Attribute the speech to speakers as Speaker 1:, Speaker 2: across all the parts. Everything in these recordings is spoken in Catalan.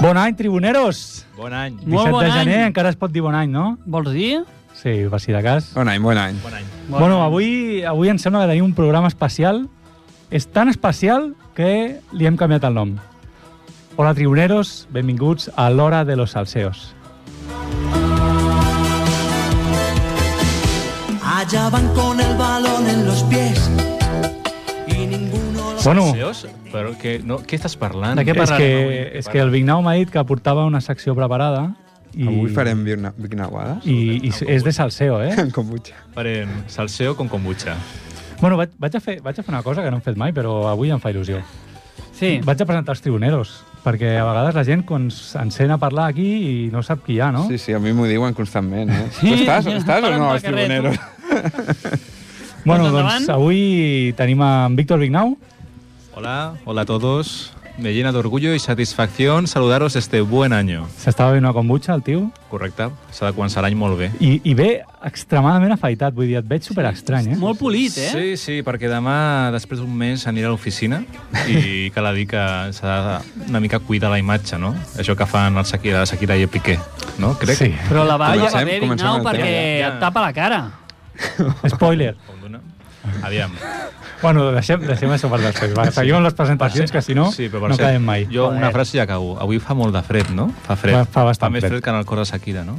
Speaker 1: Bon any, tribuneros!
Speaker 2: Bon any.
Speaker 1: 17
Speaker 3: Molt bon
Speaker 1: de gener,
Speaker 3: any.
Speaker 1: encara es pot dir bon any, no?
Speaker 3: Vols dir?
Speaker 1: Sí, per si de cas.
Speaker 4: Bon any, bon any.
Speaker 2: Bon any.
Speaker 1: Bueno, avui, avui em sembla que tenim un programa especial. És tan especial que li hem canviat el nom. Hola, tribuneros, benvinguts a l'Hora de los Salseos.
Speaker 5: Allá van con el balón en los pies y ninguno los...
Speaker 1: Bueno,
Speaker 2: Seos, però que, no, què estàs parlant?
Speaker 3: De què
Speaker 1: és
Speaker 3: parlarem
Speaker 1: que,
Speaker 3: avui?
Speaker 1: és que el Vignau m'ha dit que portava una secció preparada i,
Speaker 4: Avui farem birna- vignaguades
Speaker 1: i, i és de salseo, eh?
Speaker 4: amb kombucha.
Speaker 2: Farem salseo con kombucha.
Speaker 1: bueno, vaig, vaig, a fer, vaig a fer una cosa que no hem fet mai, però avui em fa il·lusió.
Speaker 3: Sí.
Speaker 1: Vaig a presentar els tribuneros, perquè a vegades la gent quan s'encén a parlar aquí i no sap qui hi ha, no?
Speaker 4: Sí, sí, a mi m'ho diuen constantment, eh?
Speaker 3: Sí,
Speaker 4: Tu estàs,
Speaker 3: ja
Speaker 4: estàs o
Speaker 3: paren
Speaker 4: no,
Speaker 3: pel
Speaker 4: els
Speaker 3: carrer, tu.
Speaker 4: tribuneros?
Speaker 1: Bueno, doncs
Speaker 3: Doncs endavant.
Speaker 1: avui tenim a en Víctor Vignau.
Speaker 2: Hola, hola a todos. Me llena de orgullo y satisfacción saludaros este buen año.
Speaker 1: S'estava bevent una kombucha, el tio.
Speaker 2: Correcte? S'ha de començar l'any molt bé.
Speaker 1: I, I ve extremadament afaitat, vull dir, et veig super estrany, eh?
Speaker 3: Molt polit, eh?
Speaker 2: Sí, sí, perquè demà, després d'un mes, aniré a l'oficina i cal dir que s'ha de una mica cuidar la imatge, no? Això que fan el Shakira, Shakira i el Piqué, no? Crec.
Speaker 1: Sí.
Speaker 3: Però la va ja va
Speaker 4: Comencem-
Speaker 3: bé,
Speaker 4: comencem
Speaker 3: Vignau,
Speaker 4: el
Speaker 3: perquè
Speaker 2: tema.
Speaker 3: et tapa la cara.
Speaker 1: Spoiler.
Speaker 2: Condona. Aviam.
Speaker 1: Bueno, deixem, deixem això per després. Va, seguim amb les presentacions, que si no,
Speaker 2: Sí, però per
Speaker 1: no
Speaker 2: cert,
Speaker 1: quedem mai.
Speaker 2: Jo una frase i ja acabo. Avui fa molt de fred, no? Fa fred.
Speaker 1: Fa- fa bastant
Speaker 2: fa més
Speaker 1: fred.
Speaker 2: fred. que en el cor de Shakira, no?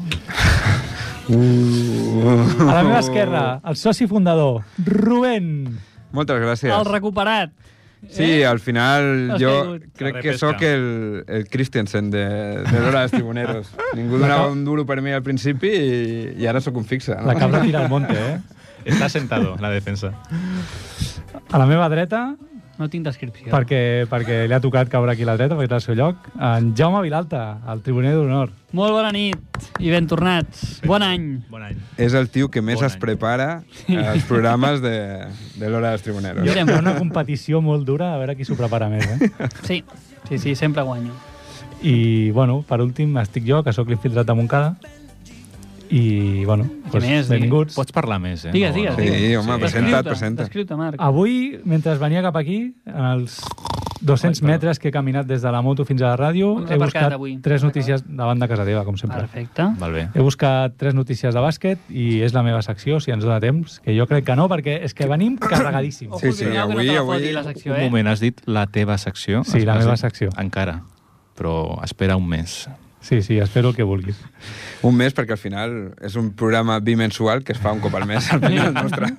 Speaker 4: Uh.
Speaker 1: A la meva esquerra, el soci fundador, Rubén.
Speaker 4: Moltes gràcies.
Speaker 3: El eh? recuperat.
Speaker 4: Sí, al final
Speaker 3: Has
Speaker 4: jo
Speaker 3: caigut.
Speaker 4: crec
Speaker 2: La
Speaker 4: que
Speaker 2: repesca.
Speaker 4: sóc el, el Christensen de, de l'hora dels tribuneros. Ningú donava un duro per mi al principi i, i ara sóc un fixe. No?
Speaker 1: La cabra tira al monte, eh?
Speaker 2: Està sentado, la defensa.
Speaker 1: A la meva dreta,
Speaker 3: No tinc descripció.
Speaker 1: perquè, perquè li ha tocat caure aquí a la dreta, perquè era el seu lloc, en Jaume Vilalta, el tribuner d'honor.
Speaker 3: Molt bona nit i ben tornats. Bon any.
Speaker 2: Bon any.
Speaker 4: És el tio que més
Speaker 2: Bon
Speaker 4: es
Speaker 2: any.
Speaker 4: prepara als programes de, de l'hora dels tribuneros.
Speaker 3: Jo
Speaker 1: Hi
Speaker 3: Veurem.
Speaker 1: ha una competició molt dura, a veure qui s'ho prepara més, eh?
Speaker 3: Sí, sí, sí, sempre guanyo.
Speaker 1: I, bueno, per últim, estic jo, que sóc l'infiltrat de Montcada. I, bueno, doncs,
Speaker 3: més?
Speaker 1: benvinguts.
Speaker 2: Pots parlar més, eh?
Speaker 3: Digues, digues,
Speaker 4: Sí,
Speaker 3: digues.
Speaker 4: home,
Speaker 3: Descriu-te,
Speaker 4: presenta't, presenta.
Speaker 3: Descriu-te, Marc.
Speaker 1: Ah. Avui, mentre venia cap aquí, en els 200
Speaker 2: Ai, perdó.
Speaker 1: metres que he caminat des de la moto fins a la ràdio,
Speaker 3: On has
Speaker 1: he
Speaker 3: aparcat
Speaker 1: buscat
Speaker 3: avui?
Speaker 1: tres
Speaker 3: Has
Speaker 1: notícies davant de casa teva, com sempre.
Speaker 3: Perfecte.
Speaker 2: Molt bé.
Speaker 1: He buscat tres notícies de bàsquet i és la meva secció, si ens dona temps, que jo crec que no, perquè és que venim carregadíssims.
Speaker 4: Sí, sí,
Speaker 3: Cuidao que no
Speaker 4: avui-
Speaker 3: te la
Speaker 4: avui-
Speaker 3: foti, la secció,
Speaker 2: Un
Speaker 3: eh?
Speaker 2: moment, has dit la teva secció?
Speaker 1: Sí, la
Speaker 2: Has
Speaker 1: meva
Speaker 2: dit-
Speaker 1: secció.
Speaker 2: Encara, però espera un mes.
Speaker 1: Sí, sí, espero el que vulguis.
Speaker 4: Un mes, perquè al final és un programa bimensual que es fa un cop al mes, al final nostre.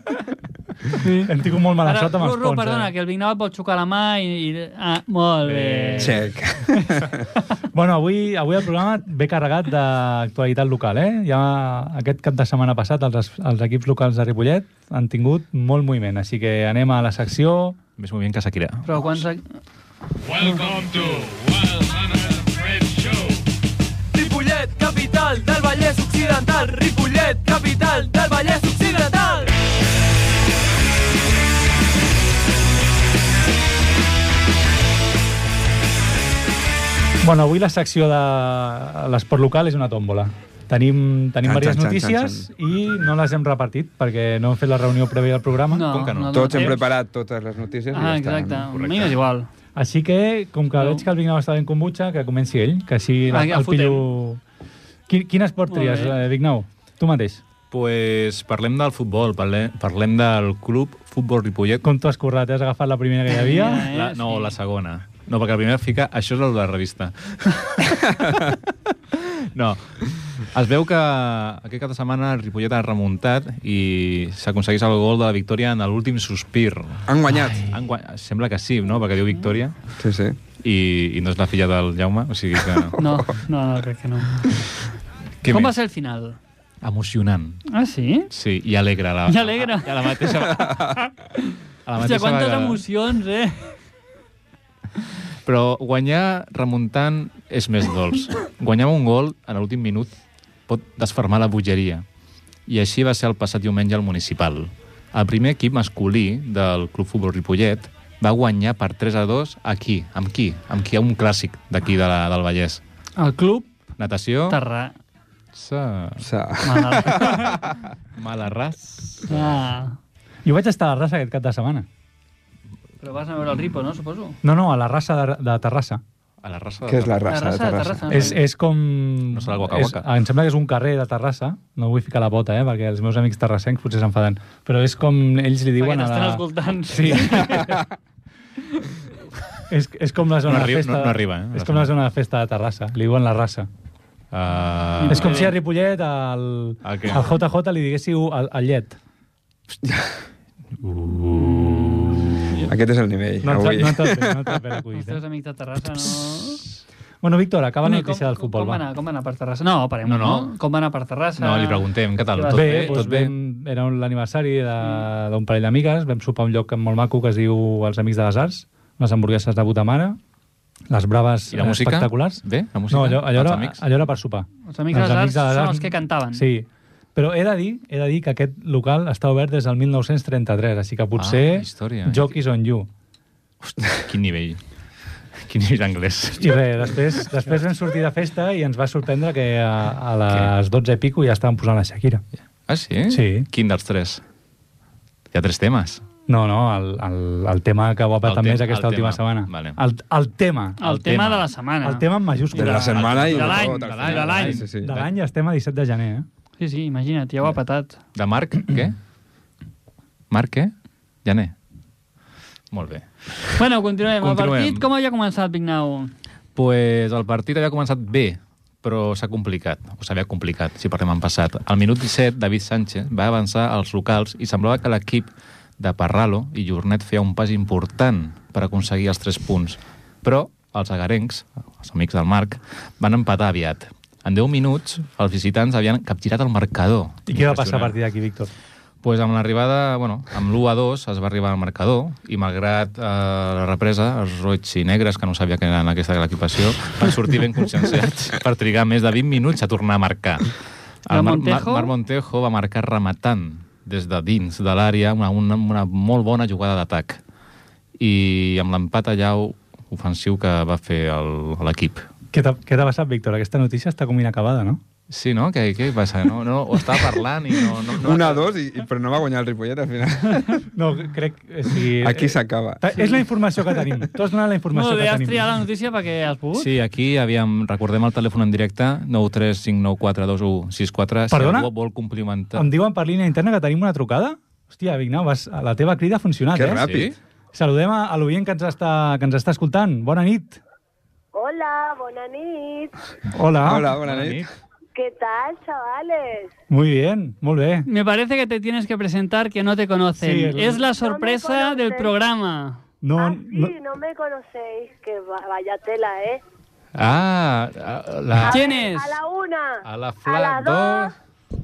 Speaker 1: Hem tingut molt mala
Speaker 3: Ara,
Speaker 1: sort amb els
Speaker 3: Ru, Ru,
Speaker 1: ponts. eh?
Speaker 3: perdona, que el Vignau et pot xocar la mà i... i ah, molt bé.
Speaker 4: Check.
Speaker 1: eh? Bueno, avui, avui el programa ve carregat d'actualitat local, eh? Ja aquest cap de setmana passat els, els equips locals de Ripollet han tingut molt moviment, així que anem a la secció...
Speaker 2: Més moviment que Shakira.
Speaker 3: Però quan... s'ha-
Speaker 6: Welcome to Wild Hunter Fred Show.
Speaker 7: Ripollet, capital del Vallès Occidental. Ripollet, capital del Vallès Occidental.
Speaker 1: Bueno, avui la secció de l'esport local és una tòmbola. Tenim, tenim
Speaker 4: Xan,
Speaker 1: diverses
Speaker 4: xan, xan,
Speaker 1: notícies
Speaker 4: xan,
Speaker 1: i no les hem repartit perquè no hem fet la reunió prèvia del programa.
Speaker 3: No,
Speaker 2: Com que no?
Speaker 3: no
Speaker 4: Tots
Speaker 3: dona
Speaker 4: hem
Speaker 3: temps.
Speaker 4: preparat totes les notícies
Speaker 3: Ah,
Speaker 4: i ja
Speaker 3: exacte.
Speaker 4: està.
Speaker 3: A mi m'és igual.
Speaker 1: Així que, com que
Speaker 3: No.
Speaker 1: veig que el Vignau està ben kombucha, que comenci ell, que així la,
Speaker 3: Ah, ja
Speaker 1: el
Speaker 3: fotem.
Speaker 1: pillo... Quin, quin esport
Speaker 3: Molt
Speaker 1: tries,
Speaker 3: bé.
Speaker 1: eh, Vignau? Tu mateix,
Speaker 2: Pues parlem del futbol, parlem, parlem del club Futbol Ripollet.
Speaker 1: com t'ho has currat, eh? has agafat la primera que hi havia?
Speaker 3: Ja, eh,
Speaker 2: La, no,
Speaker 3: sí.
Speaker 2: la segona. No, perquè la primera fica... Això és el de la revista. no. Es veu que aquest cap de setmana el Ripollet ha remuntat i s'aconsegueix el gol de la victòria en l'últim sospir.
Speaker 4: Han guanyat.
Speaker 2: Han guany- Sembla que sí, no? Perquè diu
Speaker 3: Mm.
Speaker 2: victòria
Speaker 4: Sí, sí.
Speaker 2: i, i no és la filla del Jaume, o sigui que...
Speaker 3: No, no, no, crec que no.
Speaker 2: Què
Speaker 3: Com
Speaker 2: més?
Speaker 3: va ser el final?
Speaker 2: Emocionant.
Speaker 3: Ah, sí?
Speaker 2: Sí, i alegre. a La,
Speaker 3: I alegre.
Speaker 2: A, a la mateixa... a la
Speaker 3: Hòstia, quantes
Speaker 2: vegada.
Speaker 3: emocions, eh?
Speaker 2: Però guanyar remuntant és més dolç. Guanyar amb un gol en l'últim minut pot desfermar la bogeria. I així va ser el passat diumenge al Municipal. El primer equip masculí del Club Futbol Ripollet va guanyar per 3 a 2 aquí. Amb qui? Amb qui? Un clàssic d'aquí de la- del Vallès.
Speaker 3: El club
Speaker 2: Natació...
Speaker 3: Terra...
Speaker 2: Sa...
Speaker 4: O sea,
Speaker 3: Malalt.
Speaker 2: Malarràs.
Speaker 3: Ah.
Speaker 1: Jo vaig estar a la raça aquest cap de setmana.
Speaker 3: Però vas a veure el Ripo, no, suposo?
Speaker 1: No, no, a la raça de, de Terrassa.
Speaker 2: A la raça de
Speaker 4: Què és la
Speaker 2: Terrassa.
Speaker 4: raça de
Speaker 3: raça de
Speaker 4: Terrassa?
Speaker 3: Terrassa.
Speaker 1: És, és com...
Speaker 2: No serà el Waka
Speaker 1: és,
Speaker 2: Waka.
Speaker 1: em sembla que és un carrer de Terrassa. No vull ficar la bota, eh, perquè els meus amics terrassencs potser s'enfaden. Però és com ells li
Speaker 3: Perquè
Speaker 1: diuen...
Speaker 3: t'estan
Speaker 1: a la...
Speaker 3: escoltant.
Speaker 1: Sí. és, és com la zona
Speaker 2: No arriba-
Speaker 1: de festa...
Speaker 2: no- no arriba, eh,
Speaker 1: És
Speaker 2: la
Speaker 1: com la
Speaker 2: zona.
Speaker 1: zona de festa de Terrassa. Li diuen la raça.
Speaker 2: Ah,
Speaker 1: és com si a Ripollet al,
Speaker 2: El què?
Speaker 1: al JJ li diguéssiu el, el llet.
Speaker 4: Aquest és el Ah, nivell,
Speaker 1: No ens
Speaker 4: avui.
Speaker 1: no ens el no ens el ve
Speaker 3: Els
Speaker 1: l'acudit.
Speaker 3: teus
Speaker 1: Eh?
Speaker 3: amics de Terrassa no...
Speaker 1: Bueno, Víctor, acaba la
Speaker 3: Bueno, i
Speaker 1: notícia del futbol.
Speaker 3: Com
Speaker 1: va.
Speaker 3: va anar, com va anar per Terrassa? No, parem,
Speaker 2: No,
Speaker 3: no,
Speaker 2: no.
Speaker 3: no. Com va anar per Terrassa?
Speaker 2: No, li preguntem, què tal?
Speaker 3: Què va
Speaker 2: Tot
Speaker 3: fer?
Speaker 2: bé?
Speaker 1: Bé, doncs
Speaker 2: bé?
Speaker 1: Vam, era un- l'aniversari de- d'un parell d'amigues, vam sopar a un lloc molt maco que es diu Els Amics de les Arts, unes hamburgueses de puta mare, les braves eh,
Speaker 2: I la música?
Speaker 1: espectaculars.
Speaker 2: Bé, la música?
Speaker 1: No, allò, allò,
Speaker 2: Els
Speaker 1: era,
Speaker 2: amics?
Speaker 1: allò era per sopar.
Speaker 3: Els Amics de les Arts són els que cantaven.
Speaker 1: Sí, però he de dir, he de dir que aquest local està obert des del 1933, així que potser
Speaker 2: Ah, història, eh?
Speaker 1: Jockeys on You.
Speaker 2: Quin nivell. Quin nivell d'anglès.
Speaker 1: I res, després, després vam sortir de festa i ens va sorprendre que a, a les 12 i pico ja estaven posant la Shakira.
Speaker 2: Ah, sí?
Speaker 1: Sí.
Speaker 2: Quin dels tres? Hi ha tres temes.
Speaker 1: No, no, el, el, el tema que ho ha patat
Speaker 2: El te-
Speaker 1: més aquesta
Speaker 2: el
Speaker 1: última
Speaker 2: tema,
Speaker 1: setmana.
Speaker 2: vale.
Speaker 1: El, el tema.
Speaker 3: El,
Speaker 2: El
Speaker 3: el tema,
Speaker 2: tema.
Speaker 3: de la setmana.
Speaker 1: El tema en
Speaker 4: De la
Speaker 1: majúscula.
Speaker 4: setmana i
Speaker 3: de l'any,
Speaker 4: tot, al
Speaker 2: de
Speaker 4: final.
Speaker 3: l'any.
Speaker 4: Sí, sí, sí.
Speaker 1: De l'any ja estem a 17 de gener, eh?
Speaker 3: Sí, sí, imagina't, ja ho ha patat.
Speaker 2: De Marc, què? Marc, què? Jané. Molt bé.
Speaker 3: Bueno, continuem.
Speaker 2: Continuem.
Speaker 3: continuem. El partit, com havia començat, Vignau?
Speaker 2: pues el partit havia començat bé, però s'ha complicat, o s'havia complicat, si parlem en passat. Al minut 17, David Sánchez va avançar als locals i semblava que l'equip de Parralo i Jornet feia un pas important per aconseguir els tres punts. Però els agarencs, els amics del Marc, van empatar aviat. En 10 minuts, els visitants havien capgirat el marcador.
Speaker 1: I què va passar a
Speaker 2: Impressionant
Speaker 1: partir d'aquí, Víctor?
Speaker 2: pues amb l'arribada, bueno, amb l'1-2 es va arribar al marcador i malgrat eh, la represa, els roig i negres, que no sabia que eren aquesta l'equipació, van sortir ben conscienciats per trigar més de 20 minuts a tornar a marcar.
Speaker 3: La
Speaker 2: Mar-
Speaker 3: Montejo?
Speaker 2: Mar, Mar Montejo va marcar rematant des de dins de l'àrea una, una, una molt bona jugada d'atac i amb l'empat allà ofensiu que va fer el- l'equip.
Speaker 1: Què t'ha què t'ha passat, Víctor? Aquesta notícia està com inacabada, no?
Speaker 2: Sí, no? Què, què passa? No, no, ho estava parlant i no... no, no
Speaker 4: Una, dos, i, i- però no va guanyar el Ripollet al final.
Speaker 1: No, crec... O sigui,
Speaker 8: eh,
Speaker 4: Aquí s'acaba.
Speaker 1: Ta- És la informació que tenim. Tu has donat la informació
Speaker 3: Molt bé, has
Speaker 1: que
Speaker 3: triat la
Speaker 1: tenim.
Speaker 3: notícia perquè has pogut.
Speaker 2: Sí, aquí havíem, recordem el telèfon en directe 935942164
Speaker 1: Perdona?
Speaker 2: si algú vol complimentar
Speaker 1: Em diuen per línia interna que tenim una trucada? Hòstia, Vignau, vas, la teva crida ha funcionat,
Speaker 4: Que
Speaker 1: eh?
Speaker 4: ràpid.
Speaker 1: Saludem a, a l'oient que, ens està, que ens està escoltant. Bona nit.
Speaker 9: Hola, bona nit.
Speaker 1: Ah, Hola.
Speaker 4: Hola, bona nit.
Speaker 9: ¿Qué tal, chavales?
Speaker 1: Muy bien, molt bé.
Speaker 3: Me parece que te tienes que presentar que no te conocen.
Speaker 1: Sí, el-
Speaker 3: Es la sorpresa
Speaker 9: No me conocen.
Speaker 3: del programa.
Speaker 1: No,
Speaker 9: ah, sí,
Speaker 1: no,
Speaker 9: no... me conocéis. Que va- vaya tela, ¿eh?
Speaker 2: Ah, a la,
Speaker 3: ¿Quién es?
Speaker 9: A la una,
Speaker 2: a la
Speaker 9: a
Speaker 2: fla,
Speaker 9: las
Speaker 2: dos,
Speaker 9: dos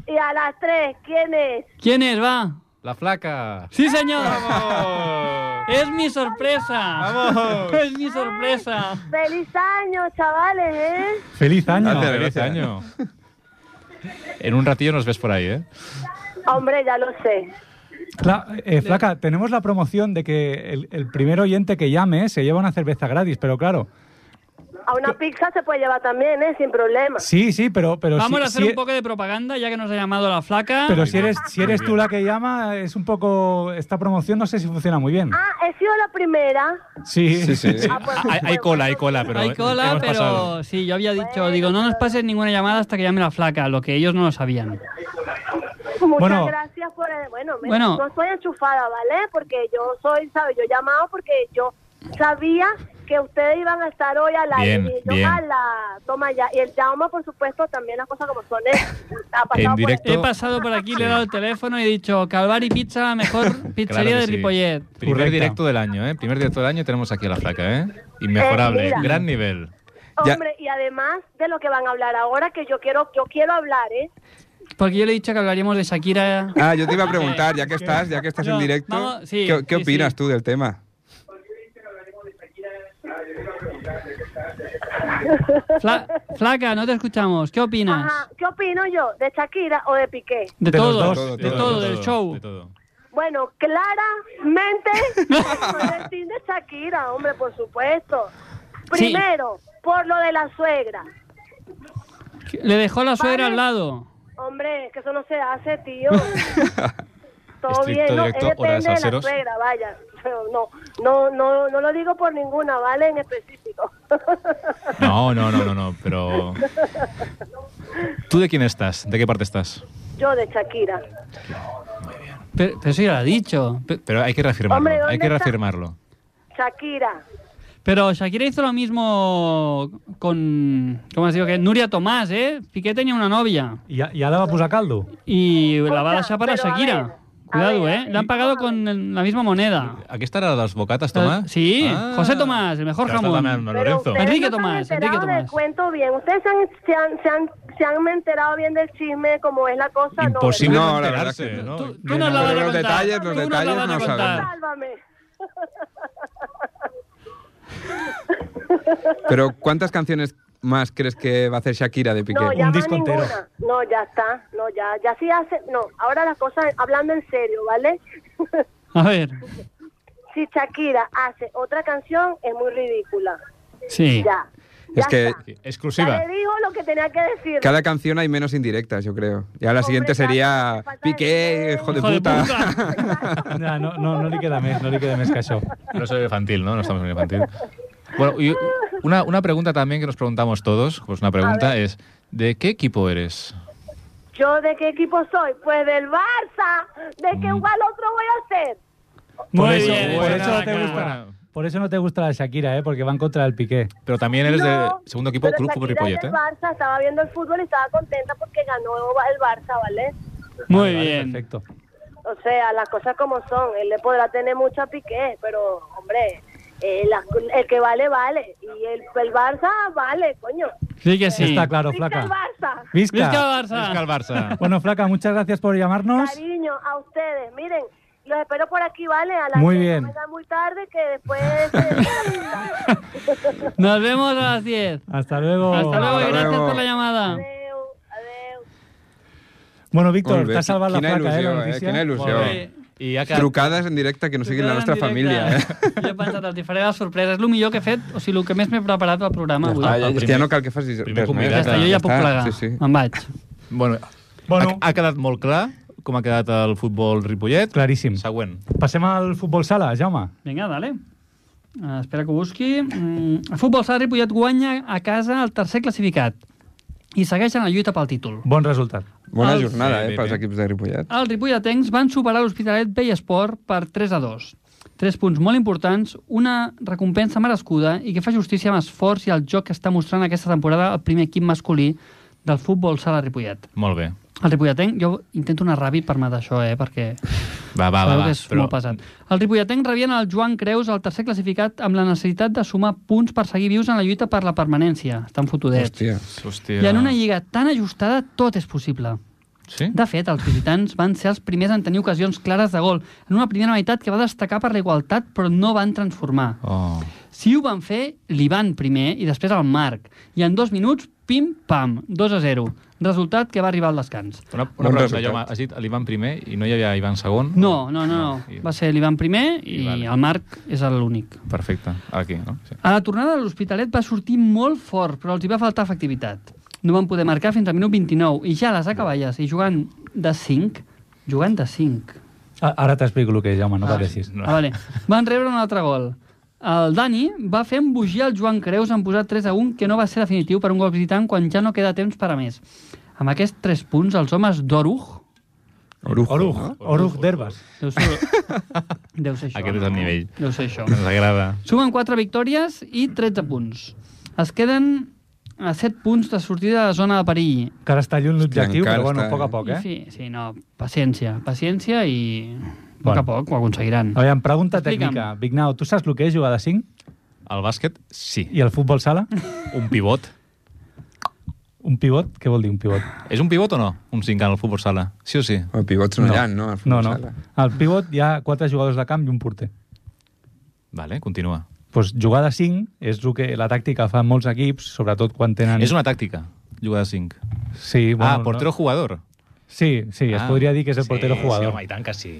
Speaker 9: y a las tres. ¿Quién es?
Speaker 3: ¿Quién es? Va.
Speaker 2: la flaca.
Speaker 3: Sí, señor. Es mi sorpresa. Es mi sorpresa.
Speaker 9: ¡Feliz año, chavales, eh!
Speaker 1: feliz año.
Speaker 4: Gracias,
Speaker 2: Feliz
Speaker 4: gracias.
Speaker 2: año. En un ratillo nos ves por ahí, ¿eh?
Speaker 9: Hombre, ya lo sé.
Speaker 1: Cla- eh, Flaca, tenemos la promoción de que el, el primer oyente que llame se lleva una cerveza gratis, pero claro.
Speaker 9: A una pizza se puede llevar también, ¿eh? Sin problema.
Speaker 1: Sí, sí, pero, pero
Speaker 3: Vamos
Speaker 1: si,
Speaker 3: a hacer
Speaker 1: si-
Speaker 3: un poco de propaganda ya que nos ha llamado la flaca.
Speaker 1: Pero si eres, si eres tú la que llama, es un poco. Esta promoción no sé si funciona muy bien.
Speaker 9: Ah, he sido la primera.
Speaker 1: Sí,
Speaker 4: Sí, sí.
Speaker 9: Ah, pues,
Speaker 2: Hay, hay
Speaker 9: pues,
Speaker 2: cola, hay cola, pero
Speaker 3: Hay cola,
Speaker 2: hemos
Speaker 3: pero
Speaker 2: pasado.
Speaker 3: sí, yo había dicho, digo, no nos pases ninguna llamada hasta que llame la flaca, lo que ellos no lo sabían.
Speaker 9: Muchas
Speaker 1: Bueno.
Speaker 9: gracias por el- bueno, mira,
Speaker 3: Bueno.
Speaker 9: no estoy enchufada, ¿vale? Porque yo soy, ¿sabes? Yo he llamado porque yo sabía que ustedes iban a estar hoy a la
Speaker 2: Bien,
Speaker 9: y yo
Speaker 2: bien.
Speaker 9: a la toma ya y el Jaume, por supuesto, también las cosas como son. ¿eh? Ha pasado
Speaker 2: En
Speaker 9: por
Speaker 2: directo.
Speaker 9: aquí.
Speaker 3: He pasado por aquí, le he dado el teléfono y he dicho, Calvari Pizza, la mejor
Speaker 2: Claro
Speaker 3: pizzería
Speaker 2: que
Speaker 3: de
Speaker 2: sí.
Speaker 3: Ripollet.
Speaker 2: Primer
Speaker 1: Correcta.
Speaker 2: directo del año, ¿eh? Primer directo del año tenemos aquí a la flaca, ¿eh? Inmejorable,
Speaker 9: Eh, mira.
Speaker 2: gran nivel.
Speaker 4: Ya.
Speaker 9: Hombre, y además de lo que van a hablar ahora, que yo quiero, yo quiero hablar, ¿eh?
Speaker 3: Porque yo le he dicho que hablaríamos de Shakira.
Speaker 4: Ah, jo t'hi va preguntar, ja que estàs, ja que estàs en
Speaker 3: No,
Speaker 4: directo,
Speaker 3: vamos, sí,
Speaker 4: què, què
Speaker 3: sí,
Speaker 4: opines
Speaker 3: sí.
Speaker 4: tu del tema?
Speaker 3: Fla- flaca, no te escuchamos. ¿Qué opinas?
Speaker 9: Ajá, ¿qué opino yo? ¿De Shakira o de Piqué?
Speaker 3: De,
Speaker 1: De los
Speaker 3: todo,
Speaker 1: dos,
Speaker 3: de todo, del show.
Speaker 2: de todo.
Speaker 9: Bueno, claramente soy del team de Shakira, hombre, por supuesto.
Speaker 3: Sí.
Speaker 9: Primero, por lo de la suegra.
Speaker 3: Le dejó la suegra
Speaker 9: Vale.
Speaker 3: al lado.
Speaker 9: Hombre, que eso no se hace, tío. todo
Speaker 2: Estricto
Speaker 9: bien, no,
Speaker 2: directo,
Speaker 9: es
Speaker 2: hora de
Speaker 9: depende de, la
Speaker 2: salseros.
Speaker 9: suegra, vaya, pero no, no, no, no lo digo por ninguna, ¿vale? En específico.
Speaker 2: No, no, no, no, no, pero... ¿Tú de quién estás? ¿De qué parte estás?
Speaker 9: Yo de Shakira.
Speaker 3: Pero, pero sí, lo ha dicho. Pe-
Speaker 2: Pero hay que reafirmarlo,
Speaker 9: Hombre, ¿dónde
Speaker 2: hay que
Speaker 9: está?
Speaker 2: reafirmarlo.
Speaker 9: Shakira.
Speaker 3: Pero Shakira hizo lo mismo con... ¿Cómo has dicho? Que Nuria Tomás, ¿eh? Piqué tenía una novia.
Speaker 1: I, I ara va posar caldo?
Speaker 3: Y la va a
Speaker 9: Escolta,
Speaker 3: dejar para
Speaker 9: pero a
Speaker 3: Shakira.
Speaker 9: ver, a
Speaker 3: Cuidado,
Speaker 9: ver, a
Speaker 3: ¿eh?
Speaker 9: ver,
Speaker 3: Le han pagado
Speaker 9: vamos a
Speaker 3: con el- la misma moneda.
Speaker 2: Aquí estará las bocatas, Tomás.
Speaker 3: Eh, Sí, José Tomás, el mejor
Speaker 2: Claro,
Speaker 3: jamón.
Speaker 2: también,
Speaker 9: Pero
Speaker 2: Lorenzo.
Speaker 9: ustedes
Speaker 3: Enrique
Speaker 9: no se han
Speaker 3: Tomás,
Speaker 9: enterado
Speaker 3: Enrique
Speaker 9: del
Speaker 3: Tomás.
Speaker 9: cuento bien. Ustedes se han, se, han, se, han, se han enterado bien del chisme como es la cosa.
Speaker 2: Imposible
Speaker 9: No,
Speaker 4: No,
Speaker 2: no,
Speaker 4: la verdad
Speaker 2: enterarse,
Speaker 4: que
Speaker 2: ¿no?
Speaker 3: Tú, tú
Speaker 4: Bien,
Speaker 3: nos
Speaker 4: pero
Speaker 3: la vas a
Speaker 4: los
Speaker 3: contar.
Speaker 4: detalles, los
Speaker 3: Tú nos la
Speaker 4: detalles
Speaker 3: vas a
Speaker 4: no
Speaker 3: contar.
Speaker 9: ¿verdad?
Speaker 4: sabemos.
Speaker 9: Sálvame.
Speaker 4: Pero ¿cuántas canciones más crees que va a hacer Shakira de Piqué?
Speaker 9: No, ya
Speaker 1: Un
Speaker 9: va
Speaker 1: disco entero.
Speaker 9: ninguna. No, ya está. No, ya, ya sí hace. No, ahora las cosas, hablando en serio, ¿vale?
Speaker 3: A ver,
Speaker 9: si Shakira hace otra canción, es muy ridícula.
Speaker 3: sí.
Speaker 9: Ya.
Speaker 4: Es
Speaker 9: ya
Speaker 4: que
Speaker 9: está.
Speaker 2: Exclusiva.
Speaker 9: Ya le digo lo que tenía que decir.
Speaker 4: Cada canción hay menos indirectas, yo creo. Ya la
Speaker 9: Hombre,
Speaker 4: siguiente sería
Speaker 9: claro, falta de
Speaker 4: Piqué,
Speaker 9: respeto.
Speaker 4: hijo de
Speaker 3: Hijo de
Speaker 4: puta.
Speaker 3: puta.
Speaker 1: No, no, no, no li queda més, no li queda més que això.
Speaker 2: No soy infantil, ¿no? No estamos en infantil. Bueno, y una, una pregunta también que nos preguntamos todos, pues una pregunta es, ¿de qué equipo eres?
Speaker 9: ¿Yo de qué equipo soy? Pues del Barça. ¿De
Speaker 2: Mm.
Speaker 9: qué igual otro voy a hacer?
Speaker 3: Muy
Speaker 1: por eso,
Speaker 3: bien,
Speaker 1: por
Speaker 3: buena,
Speaker 1: eso no te
Speaker 3: buena.
Speaker 1: gusta. Por eso no te gusta la Shakira, ¿eh? Porque va en contra del Piqué.
Speaker 2: Pero también eres de
Speaker 9: No,
Speaker 2: segundo equipo
Speaker 9: pero
Speaker 2: Club Fútbol
Speaker 9: Shakira es
Speaker 2: Ripollet,
Speaker 9: del
Speaker 2: ¿eh?
Speaker 9: Barça estaba viendo el fútbol y estaba contenta porque ganó el Barça, ¿vale?
Speaker 3: Muy
Speaker 1: Vale, vale,
Speaker 3: bien.
Speaker 1: Perfecto.
Speaker 9: O sea, las cosas como son. Él le podrá tener mucho a Piqué, pero, hombre, eh, la- el que vale, vale. Y el, el Barça vale, coño.
Speaker 3: Sí que sí.
Speaker 1: Está claro,
Speaker 9: Visca el
Speaker 1: Flaca.
Speaker 9: Barça.
Speaker 1: Visca.
Speaker 3: Visca el Barça.
Speaker 2: Es que al Barça.
Speaker 1: Bueno, Flaca, muchas gracias por llamarnos.
Speaker 9: Cariño a ustedes, miren. Los espero por aquí, ¿vale? A las
Speaker 1: Muy
Speaker 9: diez,
Speaker 1: bien.
Speaker 9: no vengan muy tarde que después... eh,
Speaker 3: Nos vemos a las 10.
Speaker 1: Hasta luego.
Speaker 3: Oh. Hasta luego y
Speaker 4: Hasta
Speaker 3: gracias
Speaker 4: luego.
Speaker 3: por la llamada.
Speaker 9: adeu, adeu.
Speaker 1: Bueno,
Speaker 4: Molt
Speaker 1: Víctor,
Speaker 4: bé,
Speaker 1: t'ha salvat la
Speaker 4: quina
Speaker 1: Flaca, eh, la
Speaker 4: il·lusió, eh?
Speaker 1: notícia.
Speaker 4: Quina il·lusió.
Speaker 2: Molt bé.
Speaker 3: eh,
Speaker 2: I ja que...
Speaker 4: Trucades en directe que no siguin la nostra família, eh?
Speaker 3: Jo he pensat, els hi faré la sorpresa. És el millor que he fet, o sigui, el que més m'he preparat al programa avui.
Speaker 4: Ah, ja,
Speaker 2: El
Speaker 4: és
Speaker 2: primer-
Speaker 4: que ja no cal que facis
Speaker 2: primer
Speaker 4: res més.
Speaker 2: convidat,
Speaker 3: Ja està, jo
Speaker 2: ja
Speaker 3: ja puc plegar.
Speaker 4: Sí, sí.
Speaker 3: Me'n vaig.
Speaker 2: Bueno,
Speaker 1: Bueno.
Speaker 2: Ha, ha quedat molt clar com ha quedat el futbol Ripollet.
Speaker 1: Claríssim.
Speaker 2: Següent.
Speaker 1: Passem al futbol sala, Jaume.
Speaker 3: Vinga, dale. Uh, espera que ho busqui. Mm, el futbol Sarri Ripollet guanya a casa el tercer classificat i segueix en la lluita pel títol.
Speaker 1: Bon resultat.
Speaker 4: Bona
Speaker 3: El-
Speaker 4: jornada,
Speaker 2: Sí,
Speaker 4: eh,
Speaker 2: bé,
Speaker 4: pels
Speaker 2: bé.
Speaker 4: equips de Ripollet.
Speaker 3: Els ripolletens van superar l'Hospitalet Vell Esport per 3 a 2. Tres punts molt importants, una recompensa merescuda i que fa justícia amb esforç i el joc que està mostrant aquesta temporada el primer equip masculí del futbol sala Ripollet.
Speaker 2: Molt bé.
Speaker 3: El ripolletenc, jo intento anar ràpid per matar això, eh, perquè
Speaker 2: Va, Ah, va, va.
Speaker 3: sabeu
Speaker 2: va.
Speaker 3: que és molt pesat. El ripolletenc rebien el Joan Creus, el tercer classificat, amb la necessitat de sumar punts per seguir vius en la lluita per la permanència. Estan fotudets.
Speaker 4: Hòstia.
Speaker 2: Hòstia.
Speaker 3: I en una lliga tan ajustada, tot és possible.
Speaker 2: Sí?
Speaker 3: De fet, els visitants van ser els primers en tenir ocasions clares de gol, en una primera meitat que va destacar per la igualtat, però no van transformar.
Speaker 2: Oh.
Speaker 3: Si ho van fer, l'Ivan primer i després el Marc. I en dos minuts, pim-pam, 2 a 0. Resultat que va arribar al descans.
Speaker 2: Una,
Speaker 4: Bon
Speaker 2: una pregunta,
Speaker 4: resultat.
Speaker 2: jo, has dit l'Ivan primer i no hi havia Ivan segon? Ah,
Speaker 3: No, no, no, no.
Speaker 2: I-
Speaker 3: Va ser l'Ivan primer i,
Speaker 2: I vale.
Speaker 3: el Marc és l'únic.
Speaker 2: Perfecte, aquí, no? Sí.
Speaker 3: A la tornada de l'Hospitalet va sortir molt fort, però els hi va faltar efectivitat. No van poder marcar fins al minut 29 i ja a les acaballes i jugant de 5, jugant de 5,
Speaker 1: A- Ara t'explico el que és, Jaume, no pateixis.
Speaker 2: No.
Speaker 3: Ah, vale. Van rebre un altre gol. El Dani va fer embogir el Joan Creus en posar 3 a 1, que no va ser definitiu per un gol visitant quan ja no queda temps per a més. Amb aquests 3 punts, els homes d'Oruj...
Speaker 4: Orujo.
Speaker 1: Oruj,
Speaker 4: no?
Speaker 1: Oruj d'Herbes.
Speaker 3: Deu ser... Deu ser això.
Speaker 2: Aquest és el nivell.
Speaker 3: Deu ser això.
Speaker 2: Ens agrada.
Speaker 3: Sumen 4 victòries i 13 punts. Es queden a 7 punts de sortida de la zona de perill.
Speaker 1: Que ara està lluny l'objectiu,
Speaker 4: Encara
Speaker 1: però bueno,
Speaker 4: està,
Speaker 1: a poc a
Speaker 4: eh?
Speaker 1: poc,
Speaker 3: I
Speaker 1: eh?
Speaker 3: fi, sí, no, paciència. Paciència i... A poc
Speaker 1: Bueno.
Speaker 3: a poc ho aconseguiran.
Speaker 1: Aviam, pregunta
Speaker 3: Explica'm.
Speaker 1: tècnica. Vignau, tu saps el que és jugar de 5?
Speaker 2: El bàsquet, sí.
Speaker 1: I el futbol sala?
Speaker 2: Un pivot.
Speaker 1: Un pivot? Què vol dir un pivot?
Speaker 2: És un pivot o no? Un 5 al futbol sala. Sí o sí?
Speaker 4: El pivot no llant, no? al eh.
Speaker 1: No,
Speaker 4: futbol
Speaker 1: no.
Speaker 4: sala.
Speaker 1: Al pivot hi ha quatre jugadors de camp i un porter.
Speaker 2: Vale, continua.
Speaker 1: Pues jugar de 5 és el que la tàctica fa en molts equips, sobretot quan tenen...
Speaker 2: És una tàctica, jugar de 5.
Speaker 1: Sí, bueno,
Speaker 2: ah, portero-jugador.
Speaker 1: No? Sí, sí, es podria dir que és el portero
Speaker 2: Ah. sí,
Speaker 1: jugador.
Speaker 2: Sí, home, i tant que sí.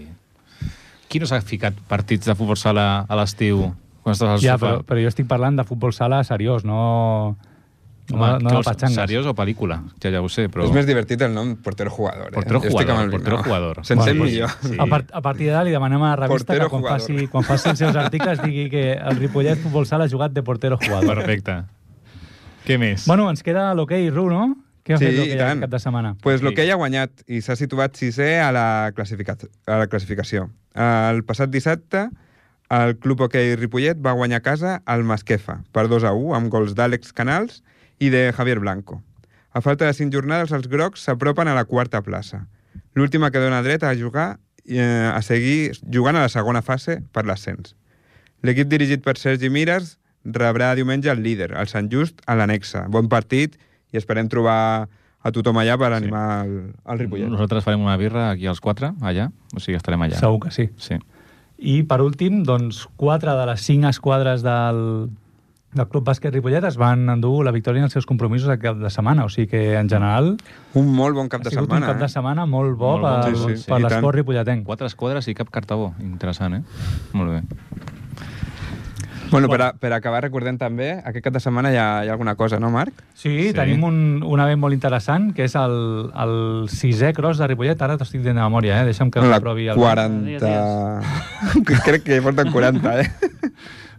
Speaker 2: Qui no s'ha ficat partits de futbol sala a l'estiu quan estàs al
Speaker 1: ja,
Speaker 2: sofà?
Speaker 1: però, però jo estic parlant de futbol sala seriós, no... no, no
Speaker 2: què
Speaker 1: la
Speaker 2: vols,
Speaker 1: pachangas.
Speaker 2: seriós o pel·lícula? Ja, ja ho sé, però...
Speaker 8: És més divertit el
Speaker 4: eh.
Speaker 8: nom portero-jugador.
Speaker 2: Portero jugador, portero jugador.
Speaker 8: S'entén
Speaker 2: Bueno,
Speaker 8: millor.
Speaker 2: sí.
Speaker 1: A, part, a partir d'ara li demanem a la revista
Speaker 8: Portero
Speaker 1: que quan
Speaker 8: jugador.
Speaker 1: faci, quan faci els seus articles digui que el Ripollet Futbol Sala ha jugat de portero jugador.
Speaker 2: Perfecte. Què més?
Speaker 1: Bueno, ens queda l'hoquei, Ru, no? Què ha
Speaker 8: Sí,
Speaker 1: fet
Speaker 8: i
Speaker 1: l'hoquei
Speaker 8: tant.
Speaker 1: aquest cap de setmana?
Speaker 8: Pues
Speaker 2: Sí.
Speaker 8: l'hoquei ha guanyat i s'ha situat sisè a la, classificat- a la classificació. El passat dissabte, el club hoquei Ripollet va guanyar a casa al Masquefa per 2 a 1 amb gols d'Àlex Canals i de Javier Blanco. A falta de cinc jornades, els grocs s'apropen a la quarta plaça, l'última que dona dret a jugar i eh, a seguir jugant a la segona fase per l'ascens. L'equip dirigit per Sergi Mires rebrà diumenge el líder, el Sant Just, a l'anexa. Bon partit i esperem trobar a tothom allà per animar el, el Ripollet.
Speaker 2: Nosaltres farem una birra aquí als quatre, allà. O sigui, estarem allà.
Speaker 1: Segur que sí.
Speaker 2: Sí.
Speaker 1: I, per últim, doncs, quatre de les cinc esquadres del, del Club Bàsquet Ripollet es van endur la victòria en els seus compromisos aquest cap de setmana. O sigui que, en general,
Speaker 8: Un molt bon cap
Speaker 1: ha
Speaker 8: de
Speaker 1: sigut
Speaker 8: setmana. eh?
Speaker 1: un cap de setmana molt bo,
Speaker 2: Molt bon,
Speaker 1: per,
Speaker 8: sí, sí, sí,
Speaker 1: per
Speaker 8: i tant.
Speaker 1: l'esport ripolletenc.
Speaker 2: Quatre esquadres i cap cartabó. Interessant, eh? Molt bé.
Speaker 8: eh? Bueno, per, a, per acabar recordem també, aquest cap de setmana hi ha, hi ha alguna cosa, no, Marc?
Speaker 1: Sí,
Speaker 2: Sí.
Speaker 1: sí, tenim un, un event molt interessant, que és el, el sisè cross de Ripollet. Ara t'ho estic dient de memòria, eh? Deixa'm que
Speaker 8: la
Speaker 1: l'aprovi.
Speaker 8: 40... Crec que porten 40, eh?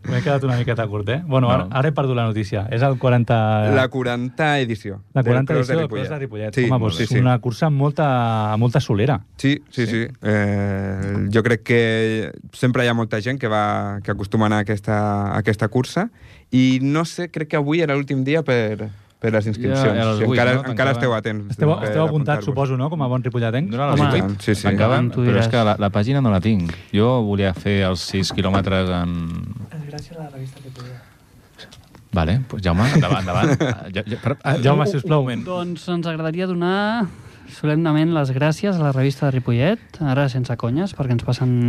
Speaker 1: M'he quedat una miqueta curt, eh? Bueno, ara,
Speaker 2: No.
Speaker 1: ara he perdut la notícia. És el 40...
Speaker 8: La 40 edició.
Speaker 1: Ah. la 40
Speaker 8: del Cross
Speaker 1: edició del Cross de Ripollet.
Speaker 8: Sí,
Speaker 1: Home, doncs
Speaker 8: sí, sí.
Speaker 1: una cursa amb molta, amb molta solera.
Speaker 8: Sí, sí, sí. Eh, jo crec que sempre hi ha molta gent que, va, que acostuma a anar a aquesta, a aquesta cursa i no sé, crec que avui era l'últim dia per, per les inscripcions.
Speaker 2: Ja, a les
Speaker 8: si
Speaker 2: vuit,
Speaker 8: encara,
Speaker 2: no? Tancava.
Speaker 8: encara esteu a temps.
Speaker 1: Esteu,
Speaker 8: per
Speaker 1: esteu apuntats,
Speaker 8: apuntar-vos.
Speaker 1: suposo, no?, com a bon ripolletenc.
Speaker 2: No era a les
Speaker 3: Home,
Speaker 2: vuit?
Speaker 8: sí, sí.
Speaker 2: Tancaven,
Speaker 3: Tu
Speaker 2: però és
Speaker 3: diràs.
Speaker 2: que la, la pàgina no la tinc. Jo volia fer els 6 quilòmetres en... Vale, pues Jaume, endavant, endavant. Ja, ja, per, ah,
Speaker 1: Jaume, sisplau.
Speaker 3: Doncs ens agradaria donar solemnement les gràcies a la revista de Ripollet, ara sense conyes, perquè ens passen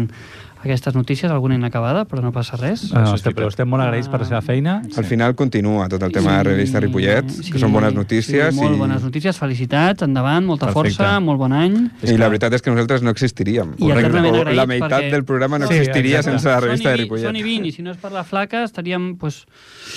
Speaker 3: aquestes notícies, alguna inacabada, però no passa res.
Speaker 1: No, no, estem, Ah, però estem molt agraïts per la seva feina.
Speaker 8: Al final continua tot el tema de revista Ripollet, que són bones notícies.
Speaker 3: Sí, molt
Speaker 8: i,
Speaker 3: bones notícies, felicitats, endavant, molta
Speaker 2: Perfecte.
Speaker 3: força, molt bon any.
Speaker 8: I la veritat és que nosaltres no existiríem.
Speaker 3: I
Speaker 8: O reg-
Speaker 3: eternament
Speaker 8: o la
Speaker 3: agraïts
Speaker 8: meitat
Speaker 3: perquè-
Speaker 8: del programa no
Speaker 1: Sí,
Speaker 8: existiria
Speaker 1: exacte.
Speaker 8: sense la revista
Speaker 3: Són
Speaker 8: de
Speaker 3: i vi- Són i
Speaker 8: Ripollet.
Speaker 3: 20, i si no és per la flaca estaríem pues,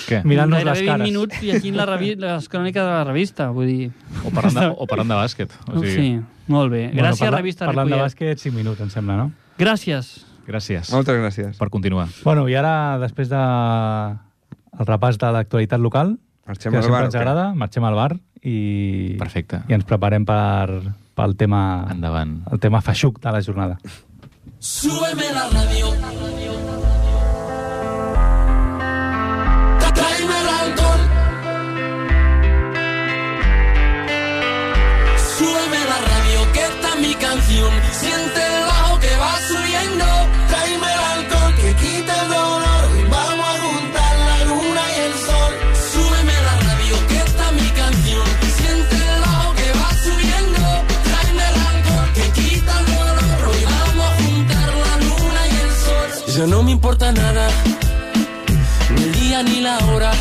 Speaker 2: Què?
Speaker 1: Mirant-nos
Speaker 3: gairebé
Speaker 1: les
Speaker 3: 20
Speaker 1: cares.
Speaker 3: minuts llegint la revi les cròniques de la revista, vull dir...
Speaker 2: O parlant de, o parlant de bàsquet. O sigui,
Speaker 3: Sí, molt bé.
Speaker 1: Oh, Bueno,
Speaker 3: Gràcies,
Speaker 1: parla-
Speaker 3: revista
Speaker 1: Parlant de
Speaker 3: Ripollet.
Speaker 1: bàsquet, 5 minuts, em sembla, no?
Speaker 3: Gràcies.
Speaker 2: Gràcies
Speaker 8: Moltes gràcies.
Speaker 2: per continuar.
Speaker 1: Bueno, i ara, després de el repàs de l'actualitat local,
Speaker 8: Marxem
Speaker 1: que
Speaker 8: al
Speaker 1: sempre
Speaker 8: bar,
Speaker 1: ens
Speaker 8: o què?
Speaker 1: agrada, marxem al bar i,
Speaker 2: Perfecte.
Speaker 1: i ens preparem per, pel tema,
Speaker 2: Endavant.
Speaker 1: el tema feixuc de la jornada.
Speaker 5: Súbeme la radio. Tráeme el alcohol. Súbeme la radio, que esta es mi canción. Siente el bajo que va subiendo. Tráeme el alcohol, que quita el dolor. Vamos a juntar la luna y el sol. Súbeme la radio, que esta es mi canción. Siente el bajo que va subiendo. Tráeme el alcohol, que quita el dolor. Hoy vamos a juntar la luna y el sol. Ya no me importa nada, ni el día ni la hora.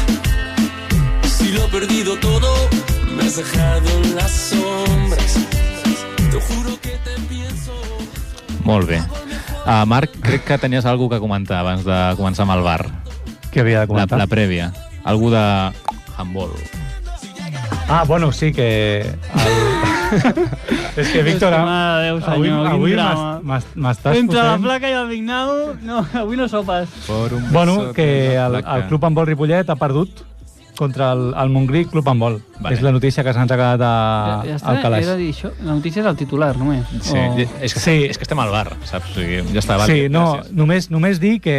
Speaker 5: Si lo he perdido todo, me has dejado en las sombras. Te juro que te pienso.
Speaker 2: Molt bé. Uh, Marc, crec que tenies alguna que comentar abans de començar amb el bar.
Speaker 1: Què havia de
Speaker 2: La,
Speaker 1: comentar?
Speaker 2: la prèvia. Algú de handball.
Speaker 1: Ah, bueno, sí que... El... és que, Víctor,
Speaker 3: És que, mare de Déu,
Speaker 1: avui,
Speaker 3: senyor, quin
Speaker 1: avui
Speaker 3: drama.
Speaker 1: m'has- m'has- m'estàs
Speaker 3: Entre la
Speaker 1: fotent...
Speaker 3: placa i el Vignau, no, avui no sopes.
Speaker 1: Bueno, que el, el Club Handbol Ripollet ha perdut contra el, el Montgrí Club Handbol.
Speaker 2: Vale.
Speaker 1: Vale. És la notícia que se'ns ha quedat a,
Speaker 3: ja, ja està,
Speaker 1: Ah, al calaix.
Speaker 3: he de dir això. La notícia és el titular, només.
Speaker 2: Sí,
Speaker 3: O-
Speaker 2: ja- és, que, sí. és que estem al bar, saps? O sigui, ja està, Ah, vale,
Speaker 1: Oh. sí, no,
Speaker 2: gràcies.
Speaker 1: només, només dir que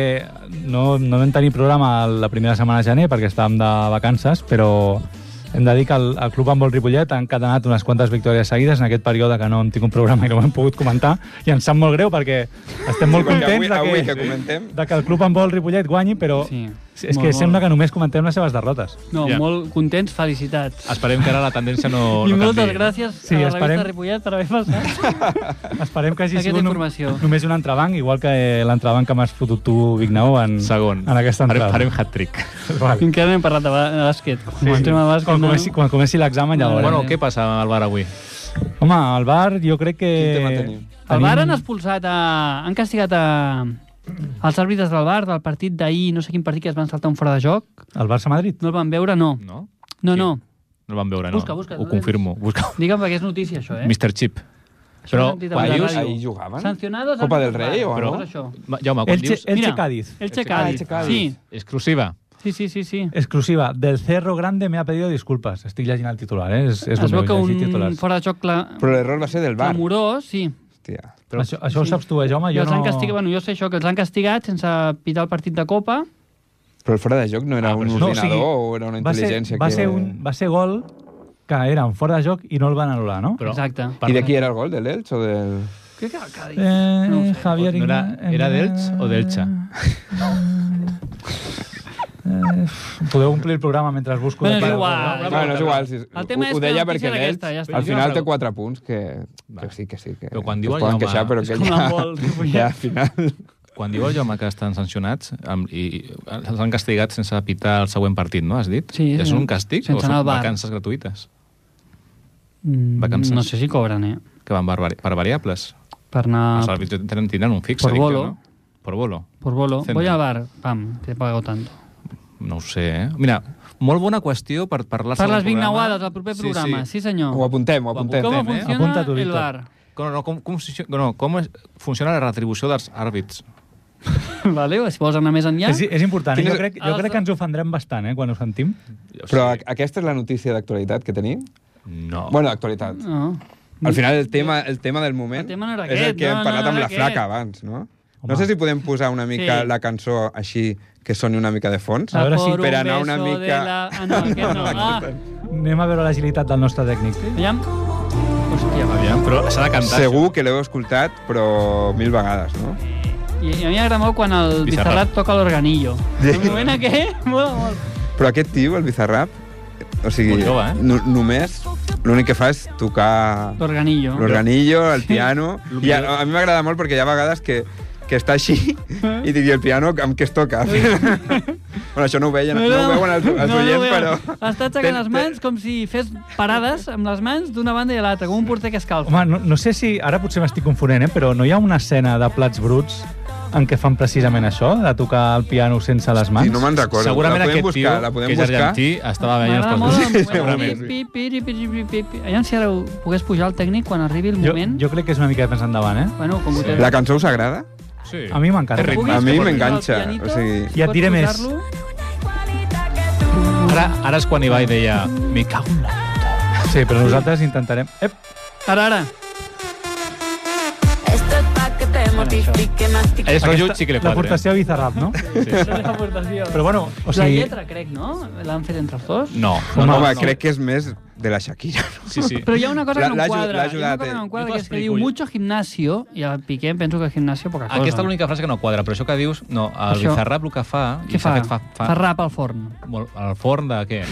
Speaker 1: no, no vam tenir programa la primera setmana de gener perquè estàvem de vacances, però hem de dir que el, el Club Handbol Ripollet ha encadenat unes quantes victòries seguides en aquest període que no hem tingut programa i no ho hem pogut comentar i ens sap molt greu perquè estem molt
Speaker 8: Sí, perquè
Speaker 1: contents
Speaker 8: avui- avui
Speaker 1: de,
Speaker 8: que comentem.
Speaker 1: de que el Club Handbol Ripollet guanyi, però
Speaker 3: Sí,
Speaker 1: és que
Speaker 3: molt, molt.
Speaker 1: sembla que només comentem les seves derrotes.
Speaker 3: No,
Speaker 2: Ja.
Speaker 3: molt contents, felicitats.
Speaker 2: Esperem que ara la tendència no,
Speaker 3: I
Speaker 2: no
Speaker 3: moltes
Speaker 2: canviï.
Speaker 3: gràcies
Speaker 1: Sí,
Speaker 3: a la
Speaker 1: esperem-
Speaker 3: revista Ripollet per haver passat.
Speaker 1: Esperem que hagi
Speaker 3: Aquesta
Speaker 1: sigut nom-
Speaker 3: informació.
Speaker 1: només un entrebanc, igual que l'entrebanc que m'has fotut tu, Vignau, en,
Speaker 2: Segon.
Speaker 1: en aquesta entrada.
Speaker 2: Farem, farem hat-trick.
Speaker 1: Vale.
Speaker 3: Encara no hem parlat de, ba- de bàsquet. Comencem sí. a bàsquet,
Speaker 1: quan,
Speaker 3: no?
Speaker 1: comenci, quan comenci l'examen ja
Speaker 3: Vale.
Speaker 1: veurem.
Speaker 2: Bueno, què passa al bar avui?
Speaker 1: Home, al bar jo crec que...
Speaker 8: Quin tema teniu?
Speaker 3: El bar han expulsat a... Han castigat a... Els àrbitres del bar, del partit d'ahir, no sé quin partit que es van saltar un fora de joc.
Speaker 1: El Barça Madrid?
Speaker 3: No el van veure, no.
Speaker 2: No?
Speaker 3: No,
Speaker 2: Qui?
Speaker 3: no.
Speaker 2: No el van veure, no.
Speaker 3: Busca, busca,
Speaker 2: Ho
Speaker 3: no
Speaker 2: confirmo. Busca.
Speaker 3: Digue'm perquè és notícia, això, eh?
Speaker 2: Mr. Chip.
Speaker 3: Això
Speaker 2: Però
Speaker 3: ho he sentit a
Speaker 2: quan
Speaker 3: la
Speaker 2: dius... Ai,
Speaker 3: ràdio. Ahí
Speaker 8: Ahir jugaven?
Speaker 3: Sancionados...
Speaker 8: Copa
Speaker 3: al-
Speaker 8: del Rei o
Speaker 3: Però...
Speaker 8: no?
Speaker 3: Això.
Speaker 2: Ma- Jaume, quan
Speaker 1: Elche, eh.
Speaker 2: dius...
Speaker 1: Elche
Speaker 3: Mira.
Speaker 1: Cádiz.
Speaker 3: El
Speaker 2: Cádiz.
Speaker 3: Checadi.
Speaker 8: Elche Cádiz.
Speaker 3: Sí,
Speaker 2: Exclusiva.
Speaker 3: sí, sí, sí. sí.
Speaker 1: Exclusiva. Del Cerro Grande me ha pedido disculpas. Estic llegint el titular, eh? És, és
Speaker 3: Es veu
Speaker 1: meu,
Speaker 3: que
Speaker 1: llegir
Speaker 3: un
Speaker 1: titulars.
Speaker 3: fora de joc cla...
Speaker 8: Però l'error va ser del bar.
Speaker 3: clamorós, sí.
Speaker 8: Hòstia.
Speaker 1: Però, això, això ho saps tu, eh, Jaume?
Speaker 3: I
Speaker 1: Jo
Speaker 3: els
Speaker 1: no...
Speaker 3: han castigat, bueno, jo sé això, que els han castigat sense pitar el partit de Copa.
Speaker 8: Però el fora de joc no era
Speaker 2: Ah,
Speaker 8: un
Speaker 1: No,
Speaker 2: però
Speaker 1: o
Speaker 8: ordinador
Speaker 1: sigui,
Speaker 8: o era una
Speaker 1: va ser,
Speaker 8: intel·ligència
Speaker 1: va,
Speaker 8: que...
Speaker 1: ser un, va ser gol que eren fora de joc i no el van anul·lar, no?
Speaker 2: Però
Speaker 3: Exacte.
Speaker 8: I de qui era el gol, de l'Elx o del...
Speaker 3: Crec que era el Cádiz.
Speaker 1: Eh,
Speaker 3: No ho sé.
Speaker 1: Javier
Speaker 2: No era-
Speaker 1: Igna-
Speaker 2: era d'Elx o d'Elxa?
Speaker 1: Eh, podeu omplir el programa mentre busco...
Speaker 3: Bueno,
Speaker 1: de-
Speaker 3: és igual.
Speaker 8: No, no és igual. Si...
Speaker 3: El tema
Speaker 8: ho-
Speaker 3: és
Speaker 8: ho
Speaker 3: que
Speaker 8: deia
Speaker 3: la notícia
Speaker 8: perquè
Speaker 3: era
Speaker 8: l'Elx
Speaker 3: aquesta, ja està.
Speaker 8: al
Speaker 3: Jo
Speaker 8: final
Speaker 2: la
Speaker 8: té
Speaker 2: trobo.
Speaker 8: quatre punts que, que
Speaker 2: Va.
Speaker 8: sí, que sí. Que,
Speaker 2: Però quan
Speaker 8: que
Speaker 2: diu
Speaker 8: es
Speaker 2: el
Speaker 8: poden
Speaker 2: Jaume-
Speaker 8: queixar, però
Speaker 3: És
Speaker 8: que
Speaker 3: com
Speaker 8: ja,
Speaker 3: l'embol, Ripollet.
Speaker 8: ja al final...
Speaker 2: Quan diu el Jaume que estan sancionats amb, i, i els han castigat sense pitar el següent partit, no? Has dit?
Speaker 3: Sí,
Speaker 2: és
Speaker 3: sí.
Speaker 2: un castig o
Speaker 3: Sense anar al
Speaker 2: són
Speaker 3: bar.
Speaker 2: vacances gratuïtes?
Speaker 3: Mm,
Speaker 2: Vacances.
Speaker 3: No sé si cobren, eh?
Speaker 2: Que van per, vari- per variables.
Speaker 3: Per
Speaker 2: Ah, els
Speaker 3: anar
Speaker 2: àrbits tenen, tindran un fix.
Speaker 3: Por
Speaker 2: dic jo,
Speaker 3: bolo.
Speaker 2: No? Por bolo.
Speaker 3: por bolo.
Speaker 2: Centro.
Speaker 3: Voy a bar. Pam, te he pagado tanto.
Speaker 2: No ho sé, eh? Mira, molt bona qüestió per parlar
Speaker 3: Per
Speaker 2: sobre
Speaker 3: les
Speaker 2: un programa.
Speaker 3: vignaguades del proper programa. Sí, senyor.
Speaker 8: Ho apuntem, ho
Speaker 2: Ho
Speaker 8: apuntem.
Speaker 3: Com
Speaker 2: apuntem, eh?
Speaker 3: funciona
Speaker 1: Apunta tu,
Speaker 3: el
Speaker 1: Víctor.
Speaker 3: bar?
Speaker 2: Com, no, com, com, funcio- no, com es- funciona la retribució dels àrbits?
Speaker 3: vale? Si vols anar més enllà...
Speaker 1: És, és important. eh?
Speaker 8: Quin
Speaker 1: Jo
Speaker 8: és-
Speaker 1: crec, jo crec que ens ofendrem bastant, eh, quan ho sentim.
Speaker 8: Però a- aquesta és la notícia d'actualitat que tenim?
Speaker 2: No.
Speaker 8: Bueno, d'actualitat.
Speaker 3: No.
Speaker 8: Al final, el tema, el tema del moment
Speaker 3: El tema no era
Speaker 8: és el
Speaker 3: aquest,
Speaker 8: que
Speaker 3: no,
Speaker 8: hem parlat
Speaker 3: no, no
Speaker 8: amb
Speaker 3: era
Speaker 8: la flaca
Speaker 3: aquest.
Speaker 8: abans, no? No sé si podem posar una mica
Speaker 3: Sí.
Speaker 8: la cançó així, que soni una mica de fons.
Speaker 1: A veure si-
Speaker 3: Por un
Speaker 8: Per anar una
Speaker 3: beso de
Speaker 8: mica-
Speaker 3: La... Ah, no, aquest no. Ah,
Speaker 1: Anem a veure l'agilitat del nostre tècnic.
Speaker 3: aviam. Hòstia, va.
Speaker 2: Aviam, però s'ha de cantar.
Speaker 8: Segur que l'heu escoltat, però mil vegades, no?
Speaker 3: I, i a mi m'agrada molt quan el
Speaker 2: Bizarrap.
Speaker 3: Bizarrat toca l'organillo. El moment aquest, mola molt.
Speaker 8: Però aquest tio, el Bizarrap, o sigui,
Speaker 2: Molt jove, eh?
Speaker 8: no, només l'únic que fa és tocar
Speaker 3: L'organillo.
Speaker 8: l'organillo, el piano...
Speaker 2: Sí.
Speaker 8: I a, a mi m'agrada molt perquè hi ha vegades que, que està així i dic, "I el piano amb què es toca? bueno, això no ho veien, no, ho veuen els, els
Speaker 3: no ho
Speaker 8: oients,
Speaker 3: veuen.
Speaker 8: però...
Speaker 3: Està aixecant
Speaker 8: Té-
Speaker 3: les
Speaker 8: té-
Speaker 3: mans com si fes parades amb les mans d'una banda i a l'altra, com un porter que escalfa.
Speaker 1: Home, no, no sé si... Ara potser m'estic confonent, eh? però no hi ha una escena de plats bruts en què fan precisament això, de tocar el piano sense les mans?
Speaker 8: Sí, no me'n recordo.
Speaker 2: Segurament
Speaker 8: la podem
Speaker 2: aquest
Speaker 8: buscar,
Speaker 2: tio,
Speaker 8: la podem
Speaker 2: que és
Speaker 8: buscar.
Speaker 2: argentí, estava veient els
Speaker 3: M'agrada molt el
Speaker 2: passos.
Speaker 3: moment.
Speaker 8: segurament, sí.
Speaker 3: Pi, pi, pi, pi, pi, pi, pi. Aviam si ara ho pogués pujar el tècnic quan arribi el
Speaker 1: jo,
Speaker 3: moment.
Speaker 1: jo crec que és una mica més endavant, eh?
Speaker 3: Bueno, com ho té.
Speaker 8: La cançó us agrada?
Speaker 2: Sí.
Speaker 1: A mi m'encanta.
Speaker 2: Té ritme.
Speaker 8: A mi m'enganxa,
Speaker 3: El pianito,
Speaker 8: o sigui-
Speaker 3: si
Speaker 1: Ja et
Speaker 3: pots
Speaker 1: diré més.
Speaker 3: posar-lo.
Speaker 2: Ara, ara és quan Ibai deia me cago en la...
Speaker 1: Sí, però nosaltres intentarem... Ep!
Speaker 3: Ara, ara.
Speaker 10: Esto es pa' que te mortifique, mastique.
Speaker 2: És rotllo xicle quadre.
Speaker 1: L'aportació a Bizarrap, no?
Speaker 3: Això és l'aportació.
Speaker 1: Però bueno, o
Speaker 3: La
Speaker 1: sigui...
Speaker 3: lletra, crec, no? L'han fet entre els dos?
Speaker 2: eh? No, no,
Speaker 8: Home,
Speaker 2: no, no.
Speaker 8: crec que és més de la Shakira.
Speaker 2: Sí, sí.
Speaker 3: Però hi ha una cosa
Speaker 8: L'ha-
Speaker 3: que no
Speaker 8: l'ha
Speaker 3: em
Speaker 8: aju- l'ha
Speaker 3: quadra. Hi ha una
Speaker 8: ajudat,
Speaker 3: cosa que no em
Speaker 8: eh?
Speaker 3: quadra,
Speaker 2: Jo
Speaker 3: que és que
Speaker 2: t'explico,
Speaker 3: diu
Speaker 2: jo.
Speaker 3: mucho gimnasio, i al Piqué em penso que gimnasio poca cosa.
Speaker 2: Aquesta és l'única frase que no quadra, però això que dius, no, el
Speaker 3: Això.
Speaker 2: Bizarrap el que fa... i
Speaker 3: Què
Speaker 2: s'ha
Speaker 3: fa?
Speaker 2: fet
Speaker 3: Fa, rap al forn.
Speaker 2: molt, al forn de què?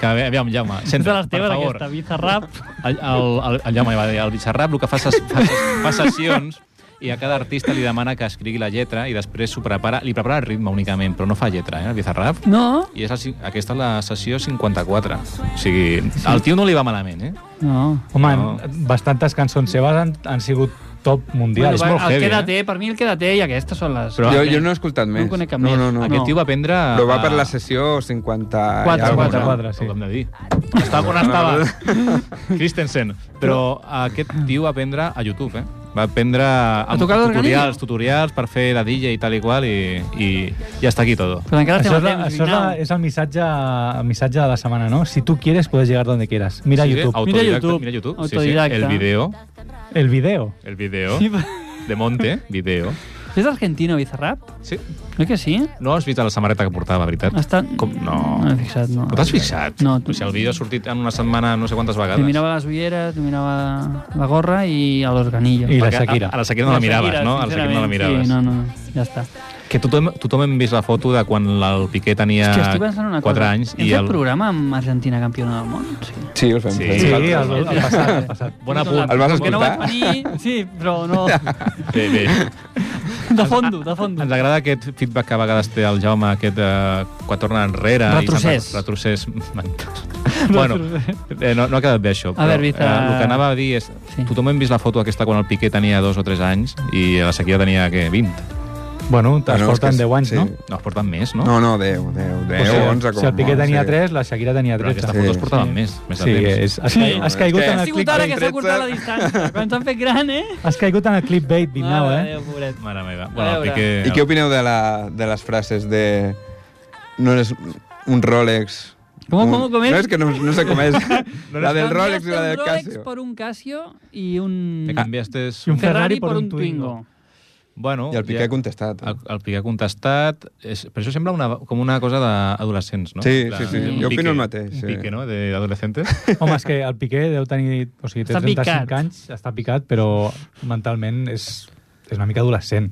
Speaker 2: Que avi- aviam, Jaume,
Speaker 3: És de
Speaker 2: senta,
Speaker 3: les
Speaker 2: per
Speaker 3: teves,
Speaker 2: favor.
Speaker 3: aquesta, bizarrap.
Speaker 2: El, el, el, el Jaume li va dir, el Bizarrap el que fa, ses, fa, ses, fa sessions i a cada artista li demana que escrigui la lletra i després s'ho prepara, li prepara el ritme únicament, però no fa lletra, eh, el Bizarrap.
Speaker 3: No?
Speaker 2: I és el, cin- aquesta és la sessió 54. O sigui, al tio no li va malament, eh?
Speaker 3: No.
Speaker 1: Home,
Speaker 2: No.
Speaker 1: no. bastantes cançons seves han, han sigut top mundial.
Speaker 2: és molt
Speaker 3: el
Speaker 2: heavy, ¿eh?
Speaker 3: quédate, per mi el quédate i aquestes són les...
Speaker 2: Però-
Speaker 8: jo,
Speaker 2: ah,
Speaker 8: jo no he escoltat més.
Speaker 3: No conec cap
Speaker 8: no,
Speaker 3: més.
Speaker 8: no, no.
Speaker 2: Aquest
Speaker 3: No.
Speaker 2: tio va aprendre...
Speaker 8: Però va per la
Speaker 2: sessió.
Speaker 8: sessió 50... i
Speaker 3: Quatre,
Speaker 8: alguna
Speaker 3: quatre,
Speaker 8: cosa.
Speaker 1: quatre.
Speaker 2: Sí.
Speaker 1: sí.
Speaker 2: Ho hem de dir. Estava on estava. Christensen. Però aquest tio va aprendre a YouTube, eh? Va aprendre amb
Speaker 3: tocar l'organillo?
Speaker 2: tutorials, tutorials per fer la DJ i tal i qual i, i, i hasta aquí todo.
Speaker 3: Però encara
Speaker 1: Això,
Speaker 3: estem
Speaker 1: és, la,
Speaker 3: a temps,
Speaker 1: això és, la,
Speaker 3: Vignau.
Speaker 1: és el missatge, el missatge de la setmana, no? Si tu quieres, puedes llegar donde quieras. Mira
Speaker 2: Sí,
Speaker 1: YouTube.
Speaker 2: autodidacta,
Speaker 3: Mira YouTube.
Speaker 2: Mira YouTube.
Speaker 3: Autodidacta.
Speaker 2: Sí, sí. El vídeo.
Speaker 1: El video.
Speaker 2: El vídeo.
Speaker 3: Sí,
Speaker 2: De Monte, vídeo.
Speaker 3: però- És argentino, Bizarrap?
Speaker 2: Sí.
Speaker 3: Oi que sí?
Speaker 2: No has vist la samarreta que portava, veritat?
Speaker 3: Està...
Speaker 2: Com? No.
Speaker 3: No m'he fixat, no.
Speaker 2: No t'has fixat?
Speaker 3: No.
Speaker 2: Però Si el vídeo Pues ha sortit en una setmana no sé quantes vegades.
Speaker 3: Li mirava les ulleres, li mirava la gorra i a l'organillo.
Speaker 1: I la
Speaker 2: Perquè a-
Speaker 1: Shakira.
Speaker 2: A, la Shakira no la miraves, no? A la Shakira no la
Speaker 3: sincerament,
Speaker 2: miraves.
Speaker 3: Sí, no, no, ja està.
Speaker 2: Que tothom, tothom hem vist la foto de quan el Piqué tenia
Speaker 3: Hòstia, estic pensant una
Speaker 2: 4
Speaker 3: cosa.
Speaker 2: anys
Speaker 3: Hem
Speaker 2: i
Speaker 3: fet
Speaker 2: el...
Speaker 3: programa amb Argentina campiona del món? Sí.
Speaker 8: Sí, el fem.
Speaker 2: Sí.
Speaker 8: fem
Speaker 1: Sí, el,
Speaker 8: nosaltres.
Speaker 1: el, el passat, el passat.
Speaker 2: Bona punt.
Speaker 8: El vas
Speaker 3: Com que No vaig
Speaker 8: escoltar?
Speaker 3: venir, sí, però no...
Speaker 2: Bé, bé.
Speaker 3: De fondo, de fondo.
Speaker 2: Ens agrada aquest feedback que a vegades té el Jaume, aquest eh, quan torna enrere...
Speaker 3: Retrocés.
Speaker 2: I se'n re- retrocés. bueno, eh, no, no ha quedat bé això.
Speaker 3: A veure, Viza-
Speaker 2: eh, el que anava a dir és...
Speaker 3: Sí.
Speaker 2: Sí. Tothom hem vist la foto aquesta quan el Piqué tenia 2 o 3 anys i la Sequia tenia, què, 20?
Speaker 1: Bueno,
Speaker 8: Ah,
Speaker 1: es
Speaker 8: no, és que
Speaker 1: porten
Speaker 8: és-
Speaker 1: 10 anys,
Speaker 8: sí.
Speaker 1: no?
Speaker 2: No, es porten més, no?
Speaker 8: No, no, 10, 10, 10,
Speaker 1: O sigui,
Speaker 8: 11, com
Speaker 1: si el Piqué
Speaker 8: molt,
Speaker 1: tenia
Speaker 8: sí.
Speaker 1: 3, la Shakira tenia
Speaker 2: Però
Speaker 1: 13.
Speaker 2: aquestes fotos
Speaker 8: Sí.
Speaker 2: portaven
Speaker 1: Sí.
Speaker 2: més, més de
Speaker 1: Sí,
Speaker 2: temps.
Speaker 1: és, has, sí, has, caigut
Speaker 8: és que-
Speaker 1: en
Speaker 3: Ha
Speaker 1: el
Speaker 3: sigut ara que
Speaker 1: clickbait,
Speaker 3: s'ha cortat la distància. Quan s'han fet gran, eh?
Speaker 1: has caigut en el clickbait, Vignau,
Speaker 3: Mare de
Speaker 1: eh?
Speaker 3: Déu, pobret.
Speaker 2: Mare meva.
Speaker 3: A
Speaker 2: Bueno, el
Speaker 3: veure.
Speaker 2: Piqué...
Speaker 8: I què opineu de, la, de les frases de... No és un Rolex...
Speaker 3: Com,
Speaker 8: un-
Speaker 3: com, com és?
Speaker 8: No, és que no, no sé com és. la del Rolex i la del
Speaker 3: Canviaste un Rolex
Speaker 8: Casio.
Speaker 3: per un Casio i un...
Speaker 2: Te canviastes...
Speaker 1: I un
Speaker 3: Ferrari per un Twingo.
Speaker 2: Bueno,
Speaker 8: I el Piqué
Speaker 2: ja-
Speaker 8: ha contestat.
Speaker 2: El, el Piqué ha contestat... És, però això sembla una, com una cosa d'adolescents, no?
Speaker 8: Sí,
Speaker 2: La-
Speaker 8: sí, sí,
Speaker 2: un
Speaker 8: jo opino
Speaker 2: pique,
Speaker 8: el mateix,
Speaker 2: Un
Speaker 8: sí.
Speaker 2: pique, no?, d'adolescentes.
Speaker 1: Home, és que el Piqué deu tenir... O sigui, té
Speaker 3: Està
Speaker 1: 35
Speaker 3: picat.
Speaker 1: anys, està picat, però mentalment és, és una mica adolescent.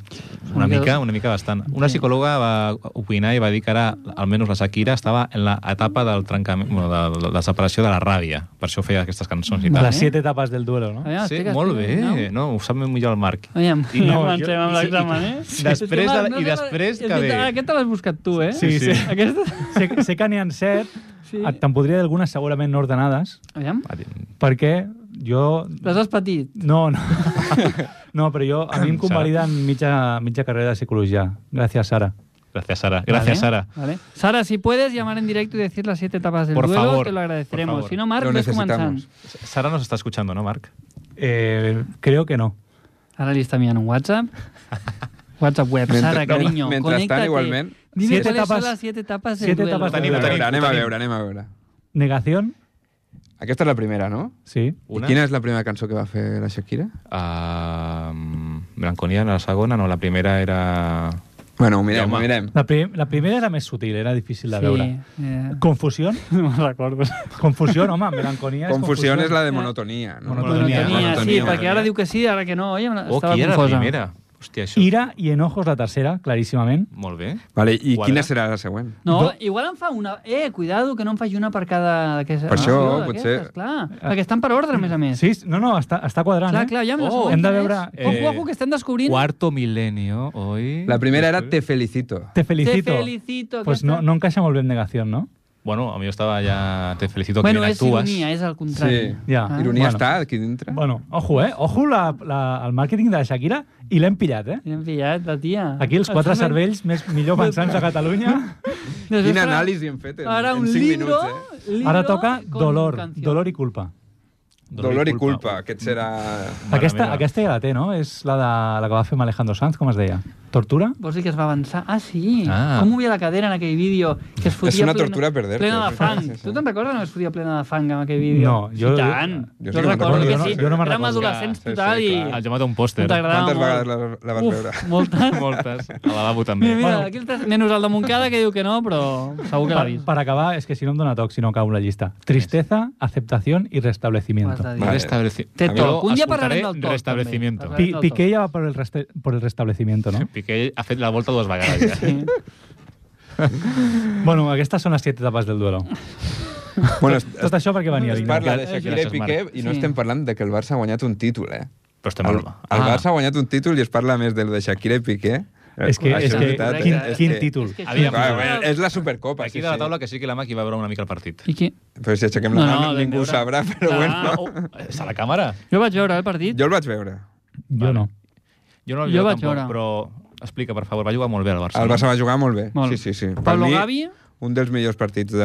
Speaker 2: Una mica, una mica bastant. Una psicòloga va opinar i va dir que ara, almenys la Shakira, estava en la etapa del trencament, bueno, de, de la separació de la ràbia. Per això feia aquestes cançons i
Speaker 3: Vale.
Speaker 2: tal.
Speaker 1: Les 7 etapes del duelo, no?
Speaker 3: Aviam,
Speaker 2: Sí,
Speaker 3: estic-
Speaker 2: molt
Speaker 3: estic-
Speaker 2: bé. No, ho sap millor el Marc.
Speaker 3: Aviam,
Speaker 2: I
Speaker 3: I
Speaker 2: no,
Speaker 3: no,
Speaker 2: jo-
Speaker 3: avancem amb
Speaker 2: sí,
Speaker 3: l'examen,
Speaker 2: i-
Speaker 3: eh?
Speaker 2: després
Speaker 3: És Marc,
Speaker 2: de la- i
Speaker 3: sé per-
Speaker 2: després
Speaker 3: és
Speaker 2: que ve.
Speaker 3: veritat, Aquesta l'has buscat tu, eh?
Speaker 1: Sí, sí.
Speaker 3: Aquesta...
Speaker 1: Sé, sé que n'hi ha 7,
Speaker 3: Sí.
Speaker 1: sí. Ah, te'n podria dir algunes segurament no ordenades,
Speaker 3: Aviam,
Speaker 2: Va dir,
Speaker 1: perquè jo...
Speaker 3: les has patit.
Speaker 1: No, no. No, però jo, a mi em
Speaker 2: Sara.
Speaker 1: convaliden mitja, mitja carrera de psicologia. Gràcies, Sara.
Speaker 2: Gràcies, Sara. Gràcies,
Speaker 3: Vale,
Speaker 2: Sara.
Speaker 3: Vale. Sara, si puedes llamar en directo y decir las siete etapas del
Speaker 2: Por
Speaker 3: duelo,
Speaker 2: favor,
Speaker 3: te lo
Speaker 2: por
Speaker 3: agradeceremos.
Speaker 2: favor.
Speaker 3: Si no, Marc,
Speaker 8: Lo
Speaker 3: ves
Speaker 8: necesitamos.
Speaker 3: començant.
Speaker 2: Sara nos está escuchando, ¿no, Marc?
Speaker 1: Eh, creo que no.
Speaker 3: Ahora le está enviando un WhatsApp. WhatsApp web,
Speaker 8: Mentre-
Speaker 3: Sara,
Speaker 8: no,
Speaker 3: cariño,
Speaker 8: mentrestant,
Speaker 3: conéctate.
Speaker 8: igualment,
Speaker 3: Dime
Speaker 1: siete
Speaker 3: cuáles
Speaker 1: etapas-
Speaker 3: son las siete etapas del
Speaker 1: siete
Speaker 3: duelo.
Speaker 1: etapas del
Speaker 8: A
Speaker 1: duelo.
Speaker 2: Ho
Speaker 8: veure,
Speaker 2: tenim,
Speaker 8: anem
Speaker 2: ho
Speaker 8: a
Speaker 2: tenim.
Speaker 8: veure, anem a veure.
Speaker 1: Negación,
Speaker 8: Aquesta és la primera, no?
Speaker 1: sí.
Speaker 8: Una?
Speaker 2: Una?
Speaker 8: I quina és la primera cançó que va fer la Shakira?
Speaker 2: Ah,
Speaker 8: mm,
Speaker 2: Blanconía, la segona, no, la primera era...
Speaker 8: Bueno, ho mirem,
Speaker 2: Home.
Speaker 8: ho mirem.
Speaker 1: La, prim la primera era més sutil, era difícil de
Speaker 3: Sí,
Speaker 1: veure.
Speaker 3: eh.
Speaker 1: Confusión,
Speaker 3: No me recuerdo.
Speaker 1: confusión, home, melanconia és
Speaker 8: Confusió és la de
Speaker 3: Eh.
Speaker 8: monotonia, no?
Speaker 1: Monotonia,
Speaker 3: Monotonia, sí,
Speaker 2: monotonia.
Speaker 3: perquè ara diu que sí, ara que no. Oi,
Speaker 2: Oh,
Speaker 3: estava
Speaker 2: qui era la
Speaker 3: confosa.
Speaker 2: primera? Hòstia, això...
Speaker 1: Ira i enojos la tercera, claríssimament.
Speaker 2: Molt bé.
Speaker 8: Vale, I
Speaker 2: Quadra.
Speaker 8: quina serà la següent?
Speaker 3: No,
Speaker 1: Do-
Speaker 3: igual em fa una... Eh, cuidado, que no em faci una per cada... d'aquesta-
Speaker 8: Per això,
Speaker 3: Ah,
Speaker 8: potser-
Speaker 3: d'aquestes, Clar, perquè estan per ordre, a més a més.
Speaker 1: Sí, no, no, està, està quadrant,
Speaker 3: Clar,
Speaker 1: eh?
Speaker 3: clar, ja amb la
Speaker 2: Oh,
Speaker 3: següent
Speaker 1: hem de
Speaker 3: quina és?
Speaker 1: veure,
Speaker 3: Ojo,
Speaker 2: eh,
Speaker 3: ojo, que estem descobrint...
Speaker 2: Cuarto milenio, hoy...
Speaker 8: La primera era Te felicito.
Speaker 1: Te felicito.
Speaker 3: Te felicito.
Speaker 1: Pues
Speaker 3: aquesta.
Speaker 1: no, no encaixa molt bé en negación, no?
Speaker 2: Bueno, a mi jo estava ja... Te felicito que
Speaker 3: Bueno,
Speaker 2: bien
Speaker 3: és
Speaker 2: actúas.
Speaker 3: ironia, eh? és el contrari.
Speaker 8: Sí.
Speaker 1: Ja.
Speaker 3: Ah.
Speaker 8: Ironia
Speaker 1: Bueno.
Speaker 8: està aquí dintre?
Speaker 1: Bueno, ojo, eh? Ojo la, la, el màrqueting de la Shakira i l'hem pillat, eh?
Speaker 3: L'hem Ah, pillat, la tia. Ah,
Speaker 1: Aquí els quatre
Speaker 3: Estem-
Speaker 1: cervells més millor pensants de Catalunya.
Speaker 3: Després
Speaker 8: Quin
Speaker 3: farà-
Speaker 8: anàlisi hem fet en,
Speaker 3: Ara un
Speaker 8: en 5
Speaker 3: libro,
Speaker 8: minuts, eh?
Speaker 3: libro
Speaker 1: Ara toca
Speaker 3: con
Speaker 1: dolor,
Speaker 3: canción.
Speaker 1: dolor i culpa.
Speaker 8: Dolor i culpa, aquest serà...
Speaker 2: Mare
Speaker 1: Aquesta,
Speaker 2: meva.
Speaker 1: aquesta ja la té, no? És la, de, la que va fer amb Alejandro Sanz, com es deia? Tortura?
Speaker 3: Vols dir que es va avançar? Ah, sí.
Speaker 2: Ah.
Speaker 3: Com movia la cadera en aquell vídeo? Que es fotia
Speaker 8: És una
Speaker 3: plena-
Speaker 8: tortura perderte. eh?
Speaker 3: Plena de fang.
Speaker 8: Sí, sí, sí.
Speaker 3: Tu te'n recordes no es fotia plena de fang en aquell vídeo?
Speaker 1: No, jo-
Speaker 3: I tant.
Speaker 8: jo sí
Speaker 3: jo
Speaker 8: que me'n
Speaker 3: recordo
Speaker 8: recordo,
Speaker 3: que
Speaker 8: jo no-
Speaker 3: sí.
Speaker 8: jo no
Speaker 1: me'n
Speaker 3: Érem
Speaker 1: recordo.
Speaker 3: adolescents
Speaker 8: Sí, sí,
Speaker 3: total i...
Speaker 8: clar.
Speaker 2: Has llamat a un
Speaker 3: No
Speaker 2: pòster.
Speaker 3: t'agradava
Speaker 8: Quantes
Speaker 3: molt.
Speaker 8: vegades la, la vas
Speaker 3: Uf,
Speaker 8: veure?
Speaker 3: moltes.
Speaker 2: Moltes. Al lavabo també.
Speaker 3: Mira, mira, aquí el tres... Menys el de Montcada, que diu que no, però segur que l'ha
Speaker 1: Per,
Speaker 3: vist.
Speaker 1: per acabar, és que si no em dóna toc, si no cau la llista. Tristeza, aceptación i restablecimiento.
Speaker 3: M'has de dir.
Speaker 8: Vale.
Speaker 2: Restableci...
Speaker 3: Té
Speaker 2: Jo
Speaker 3: toc. Un dia
Speaker 2: escoltaré
Speaker 3: parlarem del toc,
Speaker 2: Restablecimiento.
Speaker 3: també.
Speaker 1: Pi, Piqué ja va per el, reste, por el restablecimiento, no?
Speaker 2: Piqué ha fet la volta dues vegades. Ja.
Speaker 3: Sí.
Speaker 1: Bueno, aquestes són les siete etapes del duelo.
Speaker 8: Bueno, es,
Speaker 1: Tot això perquè venia
Speaker 8: es
Speaker 1: l'Ina.
Speaker 8: parla de Shakira i
Speaker 2: Gràcies,
Speaker 8: Piqué
Speaker 2: Marc.
Speaker 8: i no
Speaker 3: Sí.
Speaker 8: estem parlant de que el Barça ha guanyat un títol, eh?
Speaker 2: Però estem
Speaker 8: El,
Speaker 2: al...
Speaker 8: el Barça ha guanyat un títol i es parla més del de Shakira i Piqué.
Speaker 1: És que,
Speaker 8: Això
Speaker 1: és que,
Speaker 8: veritat,
Speaker 1: quin,
Speaker 8: eh? És
Speaker 1: quin
Speaker 8: que-
Speaker 1: títol?
Speaker 3: que-
Speaker 2: Aviam,
Speaker 8: Clar, bé, és la Supercopa,
Speaker 2: Aquí
Speaker 8: sí,
Speaker 2: de la
Speaker 8: sí.
Speaker 2: taula que sí que la Maqui va veure una mica el partit.
Speaker 3: I qui...
Speaker 8: Però si aixequem la
Speaker 3: No,
Speaker 8: no,
Speaker 3: no,
Speaker 8: mano
Speaker 3: vam
Speaker 8: ningú ho
Speaker 3: veure.
Speaker 8: sabrà, però
Speaker 3: Clar.
Speaker 8: bueno.
Speaker 2: Oh, és a la càmera?
Speaker 3: Jo vaig veure el partit.
Speaker 8: Jo el vaig veure.
Speaker 1: Jo no.
Speaker 2: Jo no el veig
Speaker 3: Jo vaig
Speaker 2: tampoc,
Speaker 3: veure.
Speaker 2: però explica, per favor, va jugar molt bé el Barça.
Speaker 8: El
Speaker 2: no?
Speaker 8: Barça va jugar molt bé.
Speaker 3: Molt.
Speaker 8: Sí, sí, sí. Per
Speaker 3: Pablo
Speaker 8: mi,
Speaker 3: Gavi...
Speaker 8: un dels millors partits de,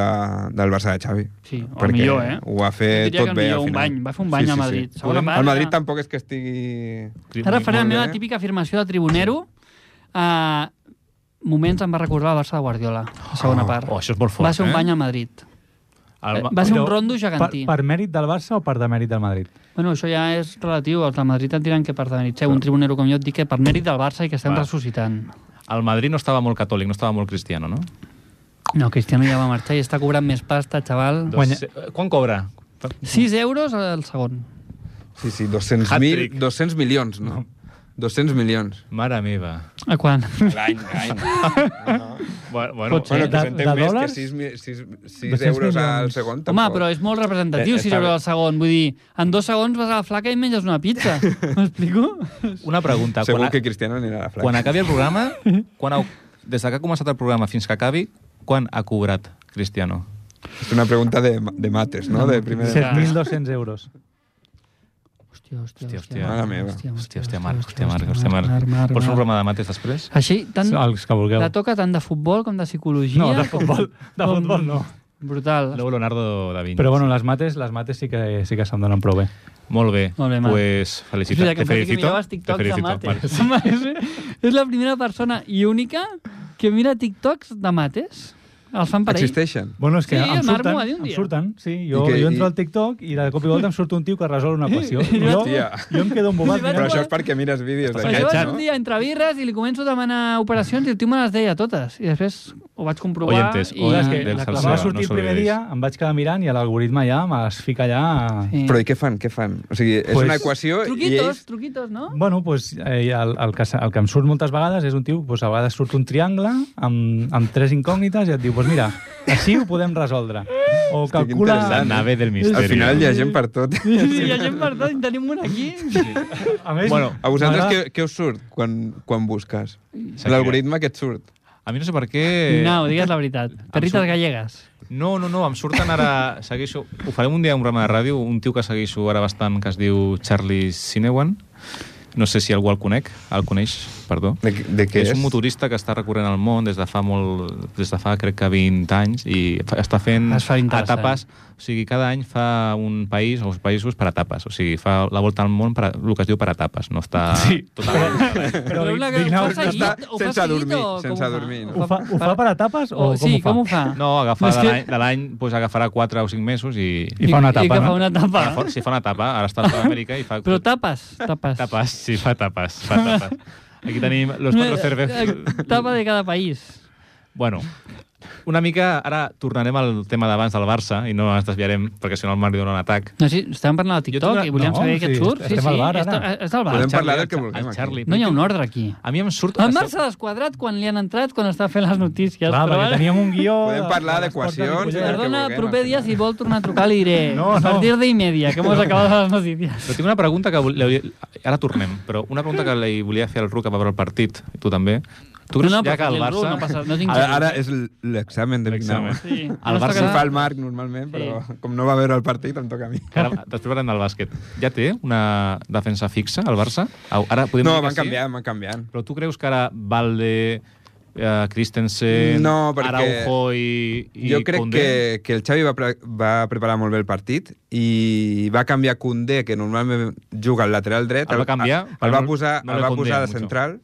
Speaker 8: del Barça de Xavi.
Speaker 3: Sí, el
Speaker 8: Perquè
Speaker 3: millor, eh?
Speaker 8: Ho va
Speaker 3: Jo
Speaker 8: fer
Speaker 3: diria que
Speaker 8: tot
Speaker 3: el
Speaker 8: bé,
Speaker 3: millor,
Speaker 8: al
Speaker 3: un
Speaker 8: final.
Speaker 3: bany. Va fer un bany al Madrid. Segona
Speaker 8: Podem-
Speaker 3: part
Speaker 8: El
Speaker 3: era-
Speaker 8: Madrid tampoc és que estigui...
Speaker 3: Ara faré la
Speaker 8: Molt bé.
Speaker 3: meva típica afirmació de tribunero. Uh, moments em va recordar el Barça de Guardiola, la segona part.
Speaker 2: oh, això és molt fort,
Speaker 3: Va ser un
Speaker 2: eh?
Speaker 3: bany al Madrid.
Speaker 2: El...
Speaker 3: Va ser un
Speaker 1: Però
Speaker 3: rondo
Speaker 1: Per,
Speaker 3: gegantí.
Speaker 1: per mèrit del Barça o per demèrit del Madrid?
Speaker 3: Bueno, això ja és relatiu. Els del Madrid et diran que per demèrit seu. Un tribunero com jo et dic que per mèrit del Barça i que estem
Speaker 2: Va.
Speaker 3: ressuscitant.
Speaker 2: El Madrid no estava molt catòlic, no estava molt cristiano, no?
Speaker 3: No, Cristiano ja va marxar i està cobrant més pasta, xaval.
Speaker 1: Guanya-
Speaker 2: Doncs, eh, Quan cobra?
Speaker 3: 6 euros al segon.
Speaker 8: Sí, sí, 200.000...
Speaker 2: Hat-trick.
Speaker 8: 200 milions, no? 200 milions.
Speaker 2: Mare meva.
Speaker 3: A quan?
Speaker 8: L'any, l'any.
Speaker 2: Bueno, bueno,
Speaker 1: Pot ser.
Speaker 8: Bueno, que
Speaker 1: De-
Speaker 8: s'entén
Speaker 1: de
Speaker 8: més
Speaker 1: dòlars?
Speaker 8: que 6, 6, 6
Speaker 1: 200
Speaker 8: euros al
Speaker 1: milions.
Speaker 8: segon. Tampoc.
Speaker 3: Home, però és molt representatiu,
Speaker 8: Eh,
Speaker 3: 6
Speaker 8: està
Speaker 3: euros
Speaker 8: bé.
Speaker 3: al segon. Vull dir, en dos segons vas a la flaca i menges una pizza. M'explico?
Speaker 2: una pregunta.
Speaker 8: Segur
Speaker 2: quan,
Speaker 8: que Cristiano anirà a la
Speaker 2: quan
Speaker 8: flaca.
Speaker 2: acabi el programa, quan ha, des de que ha començat el programa fins que acabi, quan ha cobrat Cristiano?
Speaker 8: És una pregunta de, de mates, no? De primer...
Speaker 1: 7.200 euros.
Speaker 3: Hòstia,
Speaker 2: Hòstia,
Speaker 3: hòstia, hòstia.
Speaker 2: hòstia.
Speaker 8: Mare meva.
Speaker 2: Hòstia, hòstia, Marc, hòstia, Marc, hòstia, Marc. Pots fer un programa de mates després?
Speaker 3: Així, tant,
Speaker 1: Els que vulgueu.
Speaker 3: la toca tant de futbol com de psicologia.
Speaker 1: No, de
Speaker 3: com-
Speaker 1: futbol, de
Speaker 3: com-
Speaker 1: futbol no.
Speaker 3: Brutal.
Speaker 2: Luego Leonardo da Vinci.
Speaker 1: Però bueno, les mates, les mates sí que, sí que se'm donen prou bé.
Speaker 2: Molt bé.
Speaker 3: Molt bé, Marc.
Speaker 2: Pues felicita.
Speaker 3: Mira, que
Speaker 2: te
Speaker 3: em parece que
Speaker 2: felicito.
Speaker 3: miraves
Speaker 2: te
Speaker 3: TikToks de
Speaker 2: felicito. Marc.
Speaker 3: mates. és, és la primera persona i única que mira TikToks de mates. Els fan per ell.
Speaker 8: Existeixen.
Speaker 1: Bueno, és que
Speaker 3: Sí, el
Speaker 1: em
Speaker 3: Marc
Speaker 1: surten,
Speaker 3: m'ho va dir un
Speaker 1: em
Speaker 3: dia.
Speaker 1: surten, sí. Jo,
Speaker 8: I que-
Speaker 1: jo entro
Speaker 8: i-
Speaker 1: al TikTok i de cop i volta em surt un tio que resol una equació. I jo,
Speaker 8: Hòstia.
Speaker 1: jo em quedo embobat.
Speaker 3: Li vaig
Speaker 8: Però
Speaker 1: mirant.
Speaker 8: això és perquè mires vídeos
Speaker 2: Però
Speaker 3: Però
Speaker 8: d'aquests,
Speaker 3: jo vaig
Speaker 2: Enganxat,
Speaker 3: un
Speaker 8: no?
Speaker 3: dia entre birres i li començo a demanar operacions i el tio me les deia totes. I després ho vaig comprovar.
Speaker 2: Oyentes,
Speaker 3: i...
Speaker 1: Clar, és
Speaker 2: oyentes
Speaker 1: que
Speaker 2: del
Speaker 1: la
Speaker 2: salseo,
Speaker 1: clava va sortir
Speaker 2: no
Speaker 1: el primer
Speaker 2: s'oblideix.
Speaker 1: dia, em vaig quedar mirant i l'algoritme ja me les fica allà...
Speaker 3: Sí.
Speaker 8: Però i què fan, què fan? O sigui, és
Speaker 1: Pues-
Speaker 8: una equació i
Speaker 3: Truquitos,
Speaker 8: ells...
Speaker 3: truquitos, no?
Speaker 1: Bueno, pues, eh, el, el, que, se- el que em surt moltes vegades és un tio, pues, a vegades surt un triangle amb, amb tres incògnites i et diu, pues mira, així ho podem resoldre. O
Speaker 8: que
Speaker 2: La
Speaker 1: calcula...
Speaker 8: interessant.
Speaker 2: nave del misterio.
Speaker 8: Al final hi ha gent per tot.
Speaker 3: Sí, sí, hi ha gent per tant, tenim un aquí.
Speaker 1: A més,
Speaker 2: Bueno,
Speaker 8: A vosaltres
Speaker 1: m'agrada-
Speaker 8: què, què us surt quan, quan busques?
Speaker 2: Shakira.
Speaker 8: L'algoritme que et surt.
Speaker 2: A mi no sé per què...
Speaker 3: No, digues la veritat. Perrites
Speaker 2: surt-
Speaker 3: gallegues.
Speaker 2: No, no, no, em surten ara... Segueixo... Ho farem un dia en un programa de ràdio, un tio que segueixo ara bastant, que es diu Charlie Sinewan. No sé si algú el conec, el coneix, perdó.
Speaker 8: De, de què és?
Speaker 2: és un motorista que està recorrent el món des de fa molt... des de fa crec que 20 anys i fa, està fent
Speaker 3: Es fa eh? interessant.
Speaker 2: etapes. O sigui, cada any fa un país o uns països per etapes. O sigui, fa la volta al món per, el que es diu per etapes. No està...
Speaker 1: Sí.
Speaker 2: Totalment...
Speaker 1: Però,
Speaker 3: una-
Speaker 1: dignau-
Speaker 3: ho fa seguit,
Speaker 8: està
Speaker 3: ho fa
Speaker 8: sense
Speaker 3: seguit
Speaker 8: dormir,
Speaker 3: o com
Speaker 8: sense
Speaker 3: ho fa?
Speaker 8: dormir, no?
Speaker 1: ho, fa, ho fa per etapes o com
Speaker 3: Oh, sí,
Speaker 1: ho fa?
Speaker 3: com ho fa?
Speaker 2: No, agafar
Speaker 3: És
Speaker 2: de
Speaker 3: que-
Speaker 2: l'any- de l'any, doncs agafarà 4 o 5 mesos i...
Speaker 1: I fa una
Speaker 3: I
Speaker 1: etapa,
Speaker 3: que
Speaker 1: no?
Speaker 3: fa una etapa.
Speaker 2: Ara fa, si fa una tapa, ara està a Amèrica i fa...
Speaker 3: Però tapes, tapes.
Speaker 2: Tapes, sí, fa tapes, fa tapes. Aquí tenim los cuatro cervezas.
Speaker 3: eh, Tapa de cada país.
Speaker 2: Bueno, una mica, ara tornarem al tema d'abans del Barça i no ens desviarem, perquè si no el Marc li dona un atac.
Speaker 3: No, sí, estàvem parlant de
Speaker 2: Jo tinc
Speaker 3: TikTok
Speaker 2: una-
Speaker 3: i volíem
Speaker 1: no,
Speaker 3: saber què et
Speaker 1: sí,
Speaker 3: surt.
Speaker 1: estem al bar,
Speaker 3: és,
Speaker 1: ara.
Speaker 3: és del bar.
Speaker 8: Podem
Speaker 2: Charlie,
Speaker 8: parlar del que
Speaker 2: el
Speaker 8: vulguem, aquí.
Speaker 2: Charlie.
Speaker 3: No hi ha un ordre aquí.
Speaker 2: A mi em surt...
Speaker 3: El Marc s'ha desquadrat quan li han entrat, quan està fent les notícies.
Speaker 1: Clar,
Speaker 3: però
Speaker 1: perquè
Speaker 3: ara-
Speaker 1: teníem un guió...
Speaker 8: Podem
Speaker 1: de-
Speaker 8: parlar
Speaker 1: de les portes de
Speaker 8: d'equacions,
Speaker 1: Ripollet.
Speaker 8: del que
Speaker 3: Perdona,
Speaker 8: vulguem,
Speaker 3: proper
Speaker 8: al
Speaker 3: dia,
Speaker 8: final.
Speaker 3: si vol tornar a trucar, li diré.
Speaker 1: No,
Speaker 3: a
Speaker 1: no.
Speaker 3: partir de i media, que hemos acabat les notícies.
Speaker 2: Però tinc una pregunta que... Volia... Ara tornem, però una pregunta que li volia fer al Ruc a veure el partit, i tu també. Tu creus
Speaker 3: no,
Speaker 2: ja que
Speaker 3: però
Speaker 2: el
Speaker 3: Ru
Speaker 2: Barça...
Speaker 3: No passa, no tinc
Speaker 8: Ara,
Speaker 3: res.
Speaker 8: ara és l- l'examen de Vignau.
Speaker 2: L'examen.
Speaker 3: Sí.
Speaker 2: El
Speaker 3: Ara
Speaker 2: Barça
Speaker 8: Se'n
Speaker 3: està
Speaker 8: fa
Speaker 3: quedant-
Speaker 8: el Marc normalment, però
Speaker 3: Sí.
Speaker 8: com no va veure el partit em toca a mi.
Speaker 2: que Ara, després parlem del bàsquet. Ja té una defensa fixa, el Barça? Au, Ara podem
Speaker 8: No,
Speaker 2: dir que
Speaker 8: van
Speaker 2: sí?
Speaker 8: canviant, van canviant.
Speaker 2: Però tu creus que ara Valde, eh, Christensen,
Speaker 8: No, perquè
Speaker 2: Araujo i, i
Speaker 8: jo crec
Speaker 2: Koundé?
Speaker 8: que, que el Xavi va, pre va preparar molt bé el partit i va canviar Koundé, que normalment juga al lateral dret,
Speaker 2: El va canviar,
Speaker 8: el,
Speaker 2: però
Speaker 8: va
Speaker 2: no-
Speaker 8: posar,
Speaker 2: no
Speaker 8: el
Speaker 2: le
Speaker 8: va
Speaker 2: Koundé
Speaker 8: posar de
Speaker 2: mucho.
Speaker 8: central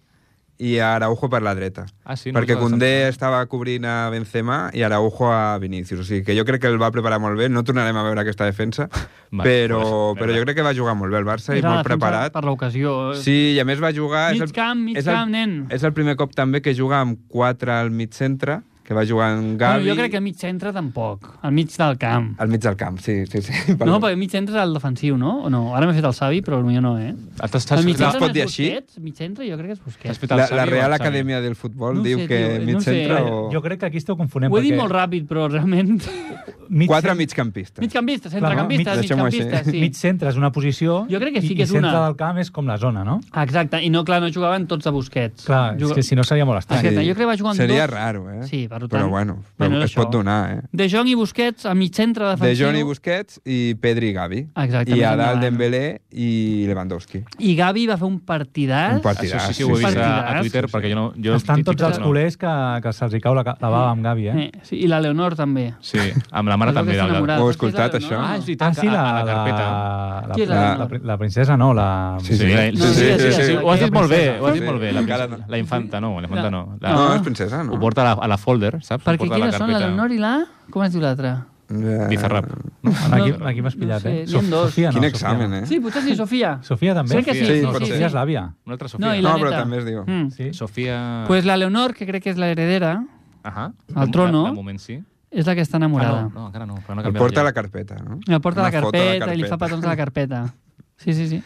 Speaker 8: i a Araujo per la dreta.
Speaker 2: Ah, sí, no
Speaker 8: perquè
Speaker 2: posava de
Speaker 8: Koundé
Speaker 2: central.
Speaker 8: estava cobrint a Benzema i Araujo a Vinícius. O sigui que jo crec que el va preparar molt bé. No tornarem a veure aquesta defensa,
Speaker 2: Vale,
Speaker 8: però,
Speaker 2: pues,
Speaker 8: però jo crec que va jugar molt bé el Barça i
Speaker 3: Era
Speaker 8: molt
Speaker 3: defensa
Speaker 8: preparat.
Speaker 3: Per l'ocasió.
Speaker 8: Sí, i a més va jugar...
Speaker 3: Mig camp, mig
Speaker 8: és el,
Speaker 3: camp, nen.
Speaker 8: És el primer cop també que juga amb 4 al mig centre, que va jugar en Gavi... Ah,
Speaker 3: Bueno, jo crec que al mig centre tampoc, al mig del camp.
Speaker 8: Al mig del camp, sí, sí, sí.
Speaker 3: No, perquè mig centre és el defensiu, no? O no? Ara m'he fet el savi, però potser no, eh?
Speaker 2: T'has
Speaker 3: El
Speaker 2: t'has
Speaker 3: mig
Speaker 2: fet,
Speaker 8: mitjans-
Speaker 2: la-
Speaker 3: centre
Speaker 8: es
Speaker 3: no
Speaker 8: pot
Speaker 3: és
Speaker 8: dir així?
Speaker 3: Busquets? Mig centre jo crec que és
Speaker 2: t'has
Speaker 3: Busquets.
Speaker 2: fet el
Speaker 8: La,
Speaker 2: Xavi
Speaker 8: la
Speaker 2: o el
Speaker 8: Real
Speaker 2: Xavi?
Speaker 8: Acadèmia del Futbol
Speaker 3: No ho
Speaker 8: diu
Speaker 3: sé,
Speaker 8: que
Speaker 3: tio,
Speaker 8: mig
Speaker 3: no ho sé.
Speaker 8: centre o...
Speaker 1: Jo crec que aquí esteu confonent.
Speaker 3: Ho he dit
Speaker 1: perquè
Speaker 3: molt ràpid, però realment...
Speaker 1: mig
Speaker 8: Quatre
Speaker 1: centre-
Speaker 8: migcampistes.
Speaker 3: Migcampistes,
Speaker 1: Clar,
Speaker 3: centrecampistes,
Speaker 8: mig- Deixem-ho
Speaker 3: migcampistes, sí.
Speaker 1: Mig centre és una posició
Speaker 3: Jo crec que sí
Speaker 1: i-
Speaker 3: que és
Speaker 1: i centre
Speaker 3: una.
Speaker 1: del camp és com la zona, no?
Speaker 3: Exacte, i no, clar, no jugaven tots a Busquets.
Speaker 1: Clar, és
Speaker 3: Juga-
Speaker 1: que si no seria molt estrany.
Speaker 3: Exacte, jo crec que va jugar amb
Speaker 8: Seria
Speaker 3: dos.
Speaker 8: raro, eh?
Speaker 3: Sí, per tant.
Speaker 8: Però bueno, però
Speaker 3: Bueno, era
Speaker 8: es pot
Speaker 3: això.
Speaker 8: donar, eh?
Speaker 3: De Jong i Busquets a mig centre
Speaker 8: De
Speaker 3: defensiu.
Speaker 8: Johnny Busquets i Pedri i Gavi.
Speaker 3: Exacte,
Speaker 8: I
Speaker 3: més
Speaker 8: a dalt
Speaker 3: endavant.
Speaker 8: Dembélé i Lewandowski.
Speaker 3: I Gavi va fer un partidàs.
Speaker 8: Un partidàs.
Speaker 2: Això Ah, sí, sí, ho he vist a, a
Speaker 3: Partidàs.
Speaker 2: Twitter, perquè jo no... Jo
Speaker 1: Estan tots
Speaker 2: TikTok
Speaker 1: els
Speaker 2: no.
Speaker 1: culers que, que se'ls hi cau la, ca- la bava amb Gavi, eh?
Speaker 3: Eh, sí, I la Leonor també.
Speaker 2: Sí, amb la mare
Speaker 3: Es veu
Speaker 2: també
Speaker 3: que està
Speaker 2: del Gavi.
Speaker 3: enamorada.
Speaker 8: Ho he
Speaker 3: Saps qui és
Speaker 8: escoltat,
Speaker 3: la
Speaker 8: això?
Speaker 3: Leonor?
Speaker 2: Ah, és veritat,
Speaker 1: Ah, sí,
Speaker 2: a-
Speaker 1: la,
Speaker 2: a la
Speaker 1: la,
Speaker 2: carpeta.
Speaker 1: la,
Speaker 3: Qui és la
Speaker 1: la,
Speaker 3: Leonor?
Speaker 1: la princesa, no, la...
Speaker 8: Sí, sí.
Speaker 2: la-
Speaker 3: No, sí, sí, sí,
Speaker 2: Ho has dit
Speaker 1: la
Speaker 2: molt bé,
Speaker 1: princesa.
Speaker 2: ho has dit molt bé. La,
Speaker 8: Sí, encara
Speaker 2: princesa- la infanta, no, la infanta no.
Speaker 3: Ah.
Speaker 2: La,
Speaker 8: No, és princesa, no?
Speaker 2: Ho porta a la, a la folder, saps? Ho
Speaker 3: Perquè
Speaker 2: porta a
Speaker 3: quines són la
Speaker 2: carpeta.
Speaker 3: Leonor i la... Com es diu l'altra?
Speaker 8: Eh,
Speaker 2: Bizarrap.
Speaker 1: Aquí,
Speaker 3: No,
Speaker 1: aquí m'has pillat,
Speaker 3: no sé,
Speaker 1: eh?
Speaker 3: n'hi ha dos.
Speaker 1: Sofia, no, Sofia
Speaker 8: Quin examen,
Speaker 1: no.
Speaker 8: eh?
Speaker 3: Sí, potser sí, Sofia.
Speaker 1: Sofia també?
Speaker 3: Crec que sí.
Speaker 8: Sí,
Speaker 3: sí,
Speaker 8: pot
Speaker 3: sí,
Speaker 8: ser.
Speaker 1: Sofia és
Speaker 3: sí.
Speaker 1: l'àvia.
Speaker 2: Una altra Sofia.
Speaker 3: No, i
Speaker 8: No,
Speaker 3: la
Speaker 8: però
Speaker 3: neta.
Speaker 8: també es diu.
Speaker 3: Mm.
Speaker 1: Sí.
Speaker 2: Sofia...
Speaker 3: Pues la Leonor, que crec que és la heredera,
Speaker 2: Ajá.
Speaker 3: Al trono.
Speaker 2: De, de moment sí.
Speaker 3: és la que està
Speaker 2: Ah,
Speaker 3: enamorada.
Speaker 2: no, no, encara no. Però no ha
Speaker 8: El
Speaker 2: canviat
Speaker 8: porta a
Speaker 2: ja.
Speaker 8: la carpeta, no?
Speaker 3: La porta a la
Speaker 8: Una foto a la
Speaker 3: carpeta i li
Speaker 8: carpeta.
Speaker 3: fa petons a la carpeta. Sí, sí, sí.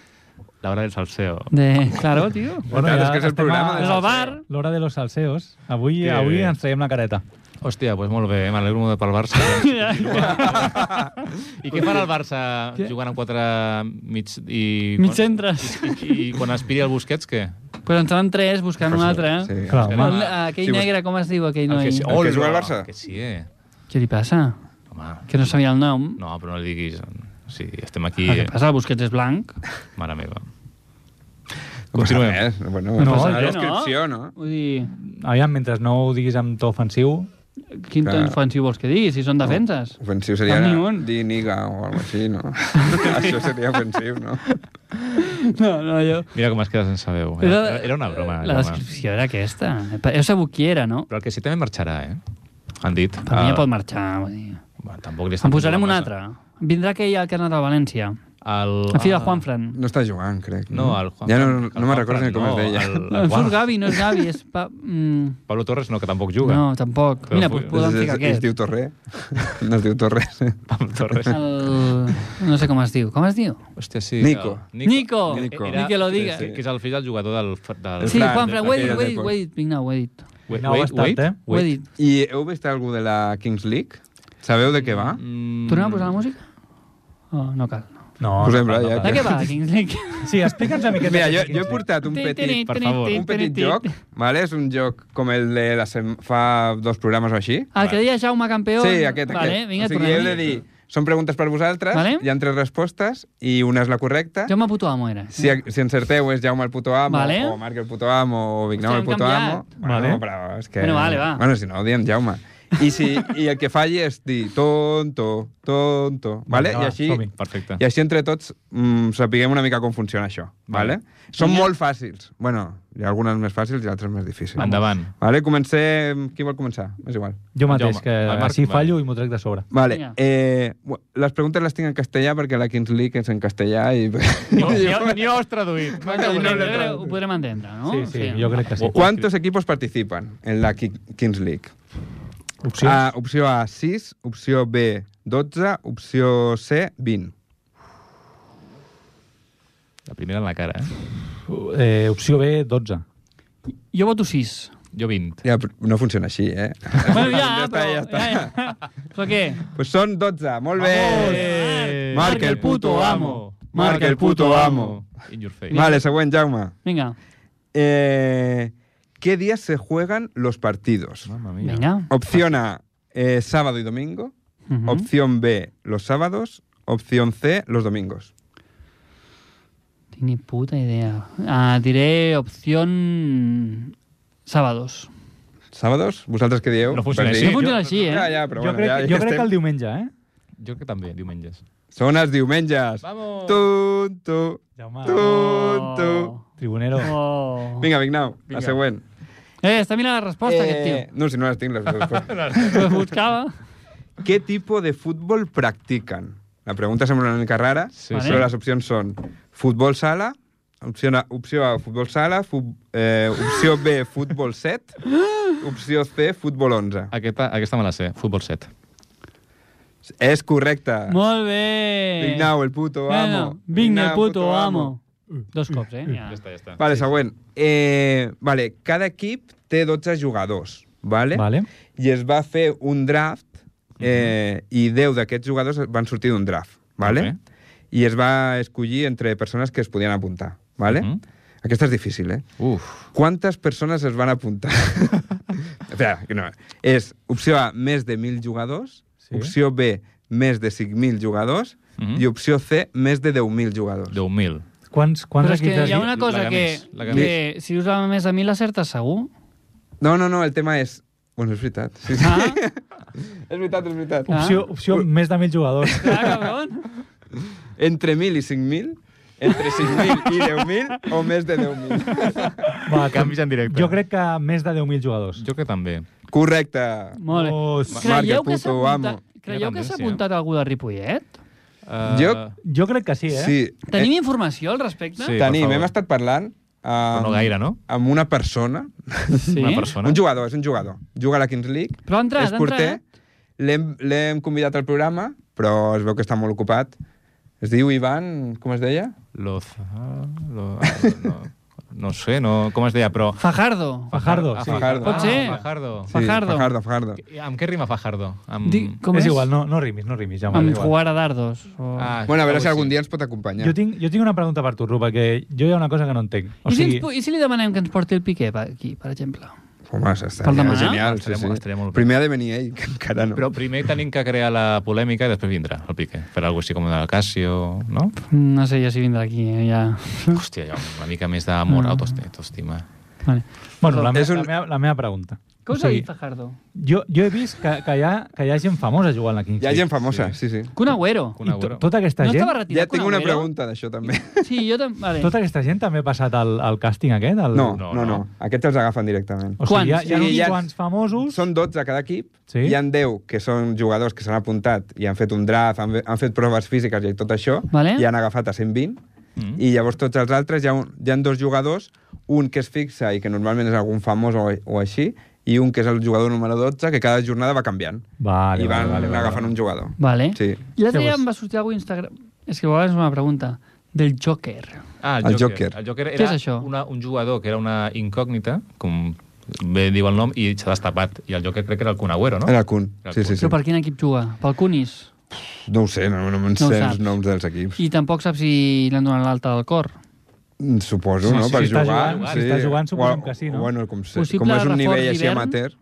Speaker 2: La hora del salseo.
Speaker 3: De... Claro, tio.
Speaker 8: Clar, és que és el
Speaker 1: estem
Speaker 8: programa
Speaker 1: a-
Speaker 3: És el bar.
Speaker 1: L'hora de los salseos. Avui,
Speaker 2: Que
Speaker 1: avui
Speaker 2: bé.
Speaker 1: ens traiem la careta.
Speaker 2: Hòstia, pues molt bé, eh? m'alegro molt pel Barça. eh? I què farà el Barça
Speaker 3: Què?
Speaker 2: jugant amb quatre mig... I,
Speaker 3: Mig centres.
Speaker 2: I, i, i quan aspiri el Busquets, què?
Speaker 3: Pues en seran tres buscant un altre. eh?
Speaker 8: Sí.
Speaker 1: Clar,
Speaker 2: que
Speaker 1: home.
Speaker 3: El, aquell
Speaker 8: Sí, bus-
Speaker 3: negre, com es diu aquell
Speaker 2: El
Speaker 3: noi?
Speaker 2: Ah, que sí. Oh.
Speaker 8: El que juga al
Speaker 2: Hola,
Speaker 8: Barça?
Speaker 2: Que sí, eh?
Speaker 3: Què li passa?
Speaker 2: Home,
Speaker 3: Que no sabia el nom?
Speaker 2: no, però no li diguis... O sigui, estem aquí...
Speaker 3: El Ah, que passa, el Busquets és blanc.
Speaker 2: Mare meva.
Speaker 8: No passa
Speaker 2: Continuem.
Speaker 8: res. Bueno,
Speaker 1: No,
Speaker 8: no, la
Speaker 1: jo no.
Speaker 8: descripció, no?
Speaker 3: Vull dir,
Speaker 1: Aviam, mentre no ho diguis amb to ofensiu,
Speaker 3: quin
Speaker 8: Clar.
Speaker 3: ton ofensiu vols que digui, si són defenses?
Speaker 8: Ofensiu seria
Speaker 3: Cap ni un.
Speaker 8: dir niga o alguna així, no? Això seria ofensiu, no?
Speaker 3: No, no, jo...
Speaker 2: Mira com has quedat sense veu. Era, era una broma. Era
Speaker 3: La
Speaker 2: una...
Speaker 3: descripció era aquesta. Jo sabut qui era, no?
Speaker 2: Però el que sí també marxarà, eh? Han dit.
Speaker 3: Per mi
Speaker 2: Ah,
Speaker 3: ja pot marxar. Vull dir.
Speaker 2: Bueno, tampoc li
Speaker 3: En posarem un altre. Vindrà aquell al que ha anat a València.
Speaker 2: El,
Speaker 3: El
Speaker 8: Ah.
Speaker 3: fill de Juanfran.
Speaker 8: No està jugant, crec.
Speaker 2: No, el Juan.
Speaker 8: Ja no, no me'n recordo ni com es deia.
Speaker 2: El, el,
Speaker 3: Em surt
Speaker 2: Juan.
Speaker 3: Gavi, no és Gavi, és... Pa... Mm,
Speaker 2: Pablo Torres no, que tampoc juga.
Speaker 3: no, tampoc.
Speaker 2: Però
Speaker 3: Mira,
Speaker 2: fui-
Speaker 3: doncs podem
Speaker 8: Es-
Speaker 3: ficar
Speaker 8: es, es
Speaker 3: aquest.
Speaker 8: diu Torré. No es diu Torré.
Speaker 2: Pablo Torres.
Speaker 3: El... No sé com es diu. Com es diu?
Speaker 2: Hòstia, sí.
Speaker 8: Nico.
Speaker 2: el-
Speaker 3: Nico.
Speaker 8: Nico.
Speaker 3: Ni que lo diga.
Speaker 2: Que, que és el fill del jugador del... f- del
Speaker 3: Sí,
Speaker 8: Fran,
Speaker 3: Juanfran, ho he dit,
Speaker 8: d'aquella
Speaker 3: ho he dit,
Speaker 8: d'època.
Speaker 3: ho he dit. Vinga, ho he dit.
Speaker 2: Wait,
Speaker 1: No, bastant, eh?
Speaker 3: Ho he dit.
Speaker 8: I heu vist algú de la Kings League? Sabeu de què va?
Speaker 2: Mm,
Speaker 3: Tornem a posar la música? Oh, no cal.
Speaker 1: no...
Speaker 8: Posem-la, ja.
Speaker 3: De què va, Kings League?
Speaker 1: Sí, explica'ns una miqueta.
Speaker 8: Mira,
Speaker 1: què és
Speaker 8: jo, jo he
Speaker 1: Kings League.
Speaker 8: portat un petit,
Speaker 2: per favor.
Speaker 8: un petit joc, vale? és un joc com el de la sem... fa dos programes o així.
Speaker 3: El Ah, que deia Jaume Campeón.
Speaker 8: Sí, aquest,
Speaker 3: vale,
Speaker 8: aquest.
Speaker 3: Vinga,
Speaker 8: o sigui, heu de
Speaker 3: tornem.
Speaker 8: dir, són preguntes per vosaltres,
Speaker 3: Vale.
Speaker 8: hi ha tres respostes i una és la correcta.
Speaker 3: Jaume Puto Amo era.
Speaker 8: Si, si encerteu és Jaume el puto amo,
Speaker 3: Vale.
Speaker 8: o Marc el puto amo, o Vignau
Speaker 3: Hòstia,
Speaker 8: el
Speaker 3: han
Speaker 8: puto
Speaker 3: canviat.
Speaker 8: amo... Bueno,
Speaker 1: Vale.
Speaker 8: però és que...
Speaker 3: Bueno, vale, va.
Speaker 8: Bueno, si no, diem Jaume. I, si, I el que falli és dir tonto, tonto, vale?
Speaker 1: Vinga, va,
Speaker 8: I així,
Speaker 1: som-hi.
Speaker 2: Perfecte.
Speaker 8: i així entre tots mm, sapiguem una mica com funciona això, vale? Són
Speaker 3: Vinga.
Speaker 8: molt fàcils. Bueno, hi ha algunes més fàcils i altres més difícils.
Speaker 2: Endavant.
Speaker 8: Vale, comencem... Qui vol començar? És igual.
Speaker 1: Jo mateix,
Speaker 2: Jaume,
Speaker 1: que
Speaker 2: el Marc,
Speaker 1: així
Speaker 2: vale.
Speaker 1: fallo i m'ho trec de sobre.
Speaker 8: Vale,
Speaker 3: Vinga.
Speaker 8: eh, bu- les preguntes les tinc en castellà perquè la Kings League és en castellà i...
Speaker 2: Ni ho has traduït.
Speaker 3: Bueno, jo crec que ho podrem entendre, no?
Speaker 1: Sí, sí, jo crec que sí.
Speaker 8: ¿Cuántos equipos participan en la Ki- Kings League?
Speaker 1: Opció.
Speaker 8: Ah, opció A, 6, opció B, 12, opció C, 20.
Speaker 2: La primera en la cara, eh?
Speaker 1: Eh, opció B, 12.
Speaker 3: Jo voto 6.
Speaker 2: Jo 20.
Speaker 8: Ja, però no funciona així, eh?
Speaker 3: Bueno, ja,
Speaker 8: està,
Speaker 3: però...
Speaker 8: ja està.
Speaker 3: ja, ja. Però què?
Speaker 8: Pues són 12, molt bé!
Speaker 2: Eh,
Speaker 8: Marc el puto amo. Marc el puto amo.
Speaker 2: Oh, In your face.
Speaker 8: Vale, següent, Jaume.
Speaker 3: Vinga,
Speaker 8: Eh, ¿Qué días se juegan los partidos?
Speaker 2: Mamma mia.
Speaker 3: vinga.
Speaker 8: Opción A, eh, sábado y domingo.
Speaker 3: Mhm.
Speaker 8: Opción B, los sábados. Opción C, los domingos.
Speaker 3: Tinc ni puta idea. Ah, diré opció... Sábados.
Speaker 8: Sábados? Vosaltres què dieu? Pues
Speaker 2: No funciona
Speaker 8: Per
Speaker 2: així.
Speaker 8: dir-
Speaker 3: No funciona
Speaker 2: jo-
Speaker 3: així, eh?
Speaker 8: Ja, ja, però
Speaker 1: Jo
Speaker 8: bueno, este-
Speaker 1: crec,
Speaker 8: ja, ja
Speaker 1: jo crec
Speaker 8: estem.
Speaker 1: que el diumenge, eh?
Speaker 2: Jo que també, diumenges.
Speaker 8: Són els diumenges.
Speaker 2: Vamos!
Speaker 8: Tun, tu,
Speaker 1: Jaume,
Speaker 8: tun, tu.
Speaker 1: tribunero.
Speaker 3: Oh.
Speaker 8: Vinga, Vignau,
Speaker 2: Vinga.
Speaker 8: la següent.
Speaker 3: Eh, està mirant la resposta, eh... aquest
Speaker 8: no, si no les tinc, les respostes.
Speaker 3: tio. Ho buscava.
Speaker 8: Què tipus de futbol practiquen? La pregunta sembla una mica rara,
Speaker 2: Sí,
Speaker 8: però
Speaker 3: sí.
Speaker 8: les opcions són futbol sala, opció A, opció A futbol sala, fu eh, opció B, futbol 7, opció C, futbol 11.
Speaker 2: Aquesta, aquesta me la sé, futbol 7.
Speaker 8: És correcte.
Speaker 3: Molt bé.
Speaker 8: Vignau, el puto amo.
Speaker 3: Bueno, Vigna, el
Speaker 8: Vignau,
Speaker 3: puto amo. Dos cops, eh? Ja.
Speaker 2: Ja està, ja està.
Speaker 8: Vale, següent. Eh, vale, cada equip té 12 jugadors, vale?
Speaker 1: Vale.
Speaker 8: i es va fer un draft eh, i 10 d'aquests jugadors van sortir d'un draft, vale?
Speaker 2: Ok.
Speaker 8: i es va escollir entre persones que es podien apuntar. Vale?
Speaker 2: Mhm.
Speaker 8: Aquesta és difícil, eh?
Speaker 2: Uf.
Speaker 8: Quantes persones es van apuntar? Espera, que no. És opció A, més de 1.000 jugadors,
Speaker 1: Sí.
Speaker 8: opció B, més de 5.000 jugadors,
Speaker 2: Mhm.
Speaker 8: i opció C, més de 10.000 jugadors.
Speaker 2: 10.000.
Speaker 1: Quants, quants
Speaker 3: Però és que
Speaker 1: equips has
Speaker 3: hi ha
Speaker 1: dit?
Speaker 3: una cosa
Speaker 2: La
Speaker 3: que,
Speaker 2: gamis, la gamis.
Speaker 3: que si us la més a mi l'acertes segur.
Speaker 8: No, no, no, el tema és... Bueno, és veritat. Sí, sí.
Speaker 3: Ah,
Speaker 8: És veritat, és veritat.
Speaker 3: Ah.
Speaker 1: Opció, opció més de mil jugadors.
Speaker 3: clar, cabron.
Speaker 8: Entre 1.000 i 5.000? Entre 5.000 i 10.000 o més de 10.000?
Speaker 1: Va,
Speaker 2: Canvis en directe.
Speaker 1: Jo crec que més de 10.000 jugadors.
Speaker 2: Jo que també.
Speaker 8: Correcte.
Speaker 3: Molt bé.
Speaker 1: Oh,
Speaker 3: Creieu que s'ha
Speaker 8: puto
Speaker 3: apuntat,
Speaker 8: amo. Eh.
Speaker 3: creieu que s'ha
Speaker 2: tendència.
Speaker 3: apuntat algú de Ripollet?
Speaker 2: Uh,
Speaker 8: Jo-
Speaker 1: jo crec que sí, eh?
Speaker 8: Sí.
Speaker 3: Tenim informació al respecte?
Speaker 2: Sí,
Speaker 8: Eh, tenim,
Speaker 2: per favor.
Speaker 8: hem estat parlant
Speaker 2: Però
Speaker 8: amb,
Speaker 2: no gaire, no?
Speaker 8: amb una persona,
Speaker 3: sí?
Speaker 2: Una persona.
Speaker 8: un jugador, és un jugador. Juga a la Kings League,
Speaker 3: Però ha entrat,
Speaker 8: és
Speaker 3: ha
Speaker 8: porter.
Speaker 3: entrat.
Speaker 8: L'hem l'hem convidat al programa, però es veu que està molt ocupat. Es diu Ivan, com es deia?
Speaker 2: Loza... ah, Lo... No, no sé, no... Com es deia, però...
Speaker 3: Fajardo.
Speaker 1: Fajardo,
Speaker 2: Ah,
Speaker 1: sí.
Speaker 8: Fajardo.
Speaker 3: Pot ser.
Speaker 2: Ah, Fajardo.
Speaker 3: Fajardo.
Speaker 8: Fajardo, Fajardo.
Speaker 2: Amb què rima Fajardo? Amb...
Speaker 3: Di, com
Speaker 1: Mm. és,
Speaker 3: és?
Speaker 1: igual, no, no rimis, no rimis, ja m'ha
Speaker 3: Amb
Speaker 1: igual.
Speaker 3: jugar a dardos. O... Ah,
Speaker 8: Bueno, a veure si
Speaker 2: algú
Speaker 8: algun
Speaker 2: sí.
Speaker 8: dia ens pot acompanyar.
Speaker 1: Jo tinc, jo tinc una pregunta per tu, Ru, perquè jo hi ha una cosa que no entenc. O
Speaker 3: I, si
Speaker 1: sigui,
Speaker 3: ens, pu- I si li demanem que ens porti el Piqué per aquí, per exemple?
Speaker 8: Home,
Speaker 3: Per
Speaker 8: estaria
Speaker 3: demanar?
Speaker 8: genial. Sí,
Speaker 2: Estaria
Speaker 8: sí.
Speaker 2: molt- estaria molt bé.
Speaker 8: Primer ha de venir ell, que encara no.
Speaker 2: Però primer tenim que crear la polèmica i després vindrà el Piqué. Fer alguna cosa així com una Casio, no?
Speaker 3: No sé, ja si vindrà aquí, eh, ja...
Speaker 2: Hòstia, jo, una mica més d'amor,
Speaker 3: Ah.
Speaker 2: autoesti- autoestima.
Speaker 3: Vale.
Speaker 1: Bueno, la, me,
Speaker 8: És un-
Speaker 1: la, meva, la meva pregunta.
Speaker 3: Què us ha dit Fajardo?
Speaker 1: Jo, jo he vist que, que, hi ha, que hi ha gent famosa jugant a la Kings
Speaker 8: Hi ha
Speaker 1: League.
Speaker 8: gent famosa, sí, sí.
Speaker 3: Kun Agüero.
Speaker 2: Kun Agüero.
Speaker 1: I to- Tota aquesta
Speaker 3: No
Speaker 1: gent...
Speaker 3: estava retirat
Speaker 8: Ja tinc
Speaker 3: Kun
Speaker 8: una
Speaker 3: Agüero?
Speaker 8: pregunta d'això, també.
Speaker 3: Sí, jo també... Vale.
Speaker 1: Tota aquesta gent també ha passat el, el càsting aquest? El...
Speaker 8: No,
Speaker 2: No,
Speaker 8: no, no.
Speaker 2: no.
Speaker 8: Aquests els agafen directament.
Speaker 1: O sigui, hi ha, hi ha
Speaker 8: Sí,
Speaker 1: uns
Speaker 8: ja-
Speaker 1: quants famosos...
Speaker 8: Són 12 a cada equip.
Speaker 1: Sí.
Speaker 8: Hi han 10 que són jugadors que s'han apuntat i han fet un draft, han, han fet proves físiques i tot això,
Speaker 3: Vale.
Speaker 8: i han agafat a 120.
Speaker 2: Mm.
Speaker 8: I llavors tots els altres, hi ha, un, hi ha dos jugadors, un que es fixa i que normalment és algun famós o, o així, i un que és el jugador número 12, que cada jornada va canviant.
Speaker 1: Vale,
Speaker 8: I van
Speaker 1: vale, vale, vale.
Speaker 8: agafant un jugador.
Speaker 3: Vale.
Speaker 8: Sí.
Speaker 3: I L'altre dia
Speaker 1: Llavors-
Speaker 3: em va sortir algú a Instagram... És que igual és una pregunta. Del Joker.
Speaker 2: Ah, el,
Speaker 8: El
Speaker 2: Joker.
Speaker 8: Joker.
Speaker 2: El Joker
Speaker 3: Què
Speaker 2: era
Speaker 3: és això?
Speaker 2: Una, un jugador que era una incògnita, com bé diu el nom, i s'ha destapat. I el Joker crec que era el Kun Agüero, no?
Speaker 8: Era el Kun.
Speaker 2: Era el
Speaker 8: Sí,
Speaker 2: Kun.
Speaker 8: sí, sí.
Speaker 3: Però per quin equip juga? Pel Cunis?
Speaker 8: No ho sé, no, no me'n
Speaker 3: No ho
Speaker 8: sé
Speaker 3: saps.
Speaker 8: els noms dels equips.
Speaker 3: I tampoc sap si l'han donat l'alta del cor.
Speaker 8: Mm, Suposo,
Speaker 2: Sí,
Speaker 8: no?
Speaker 2: sí,
Speaker 8: per
Speaker 2: si
Speaker 1: estàs
Speaker 8: jugar.
Speaker 1: jugant,
Speaker 8: sí.
Speaker 1: si estàs jugant, suposem
Speaker 8: O-
Speaker 1: que sí, no?
Speaker 8: Bueno, com, se,
Speaker 3: Possible
Speaker 8: com és un
Speaker 3: reforç
Speaker 8: nivell així
Speaker 3: d'hivern?
Speaker 8: amateur,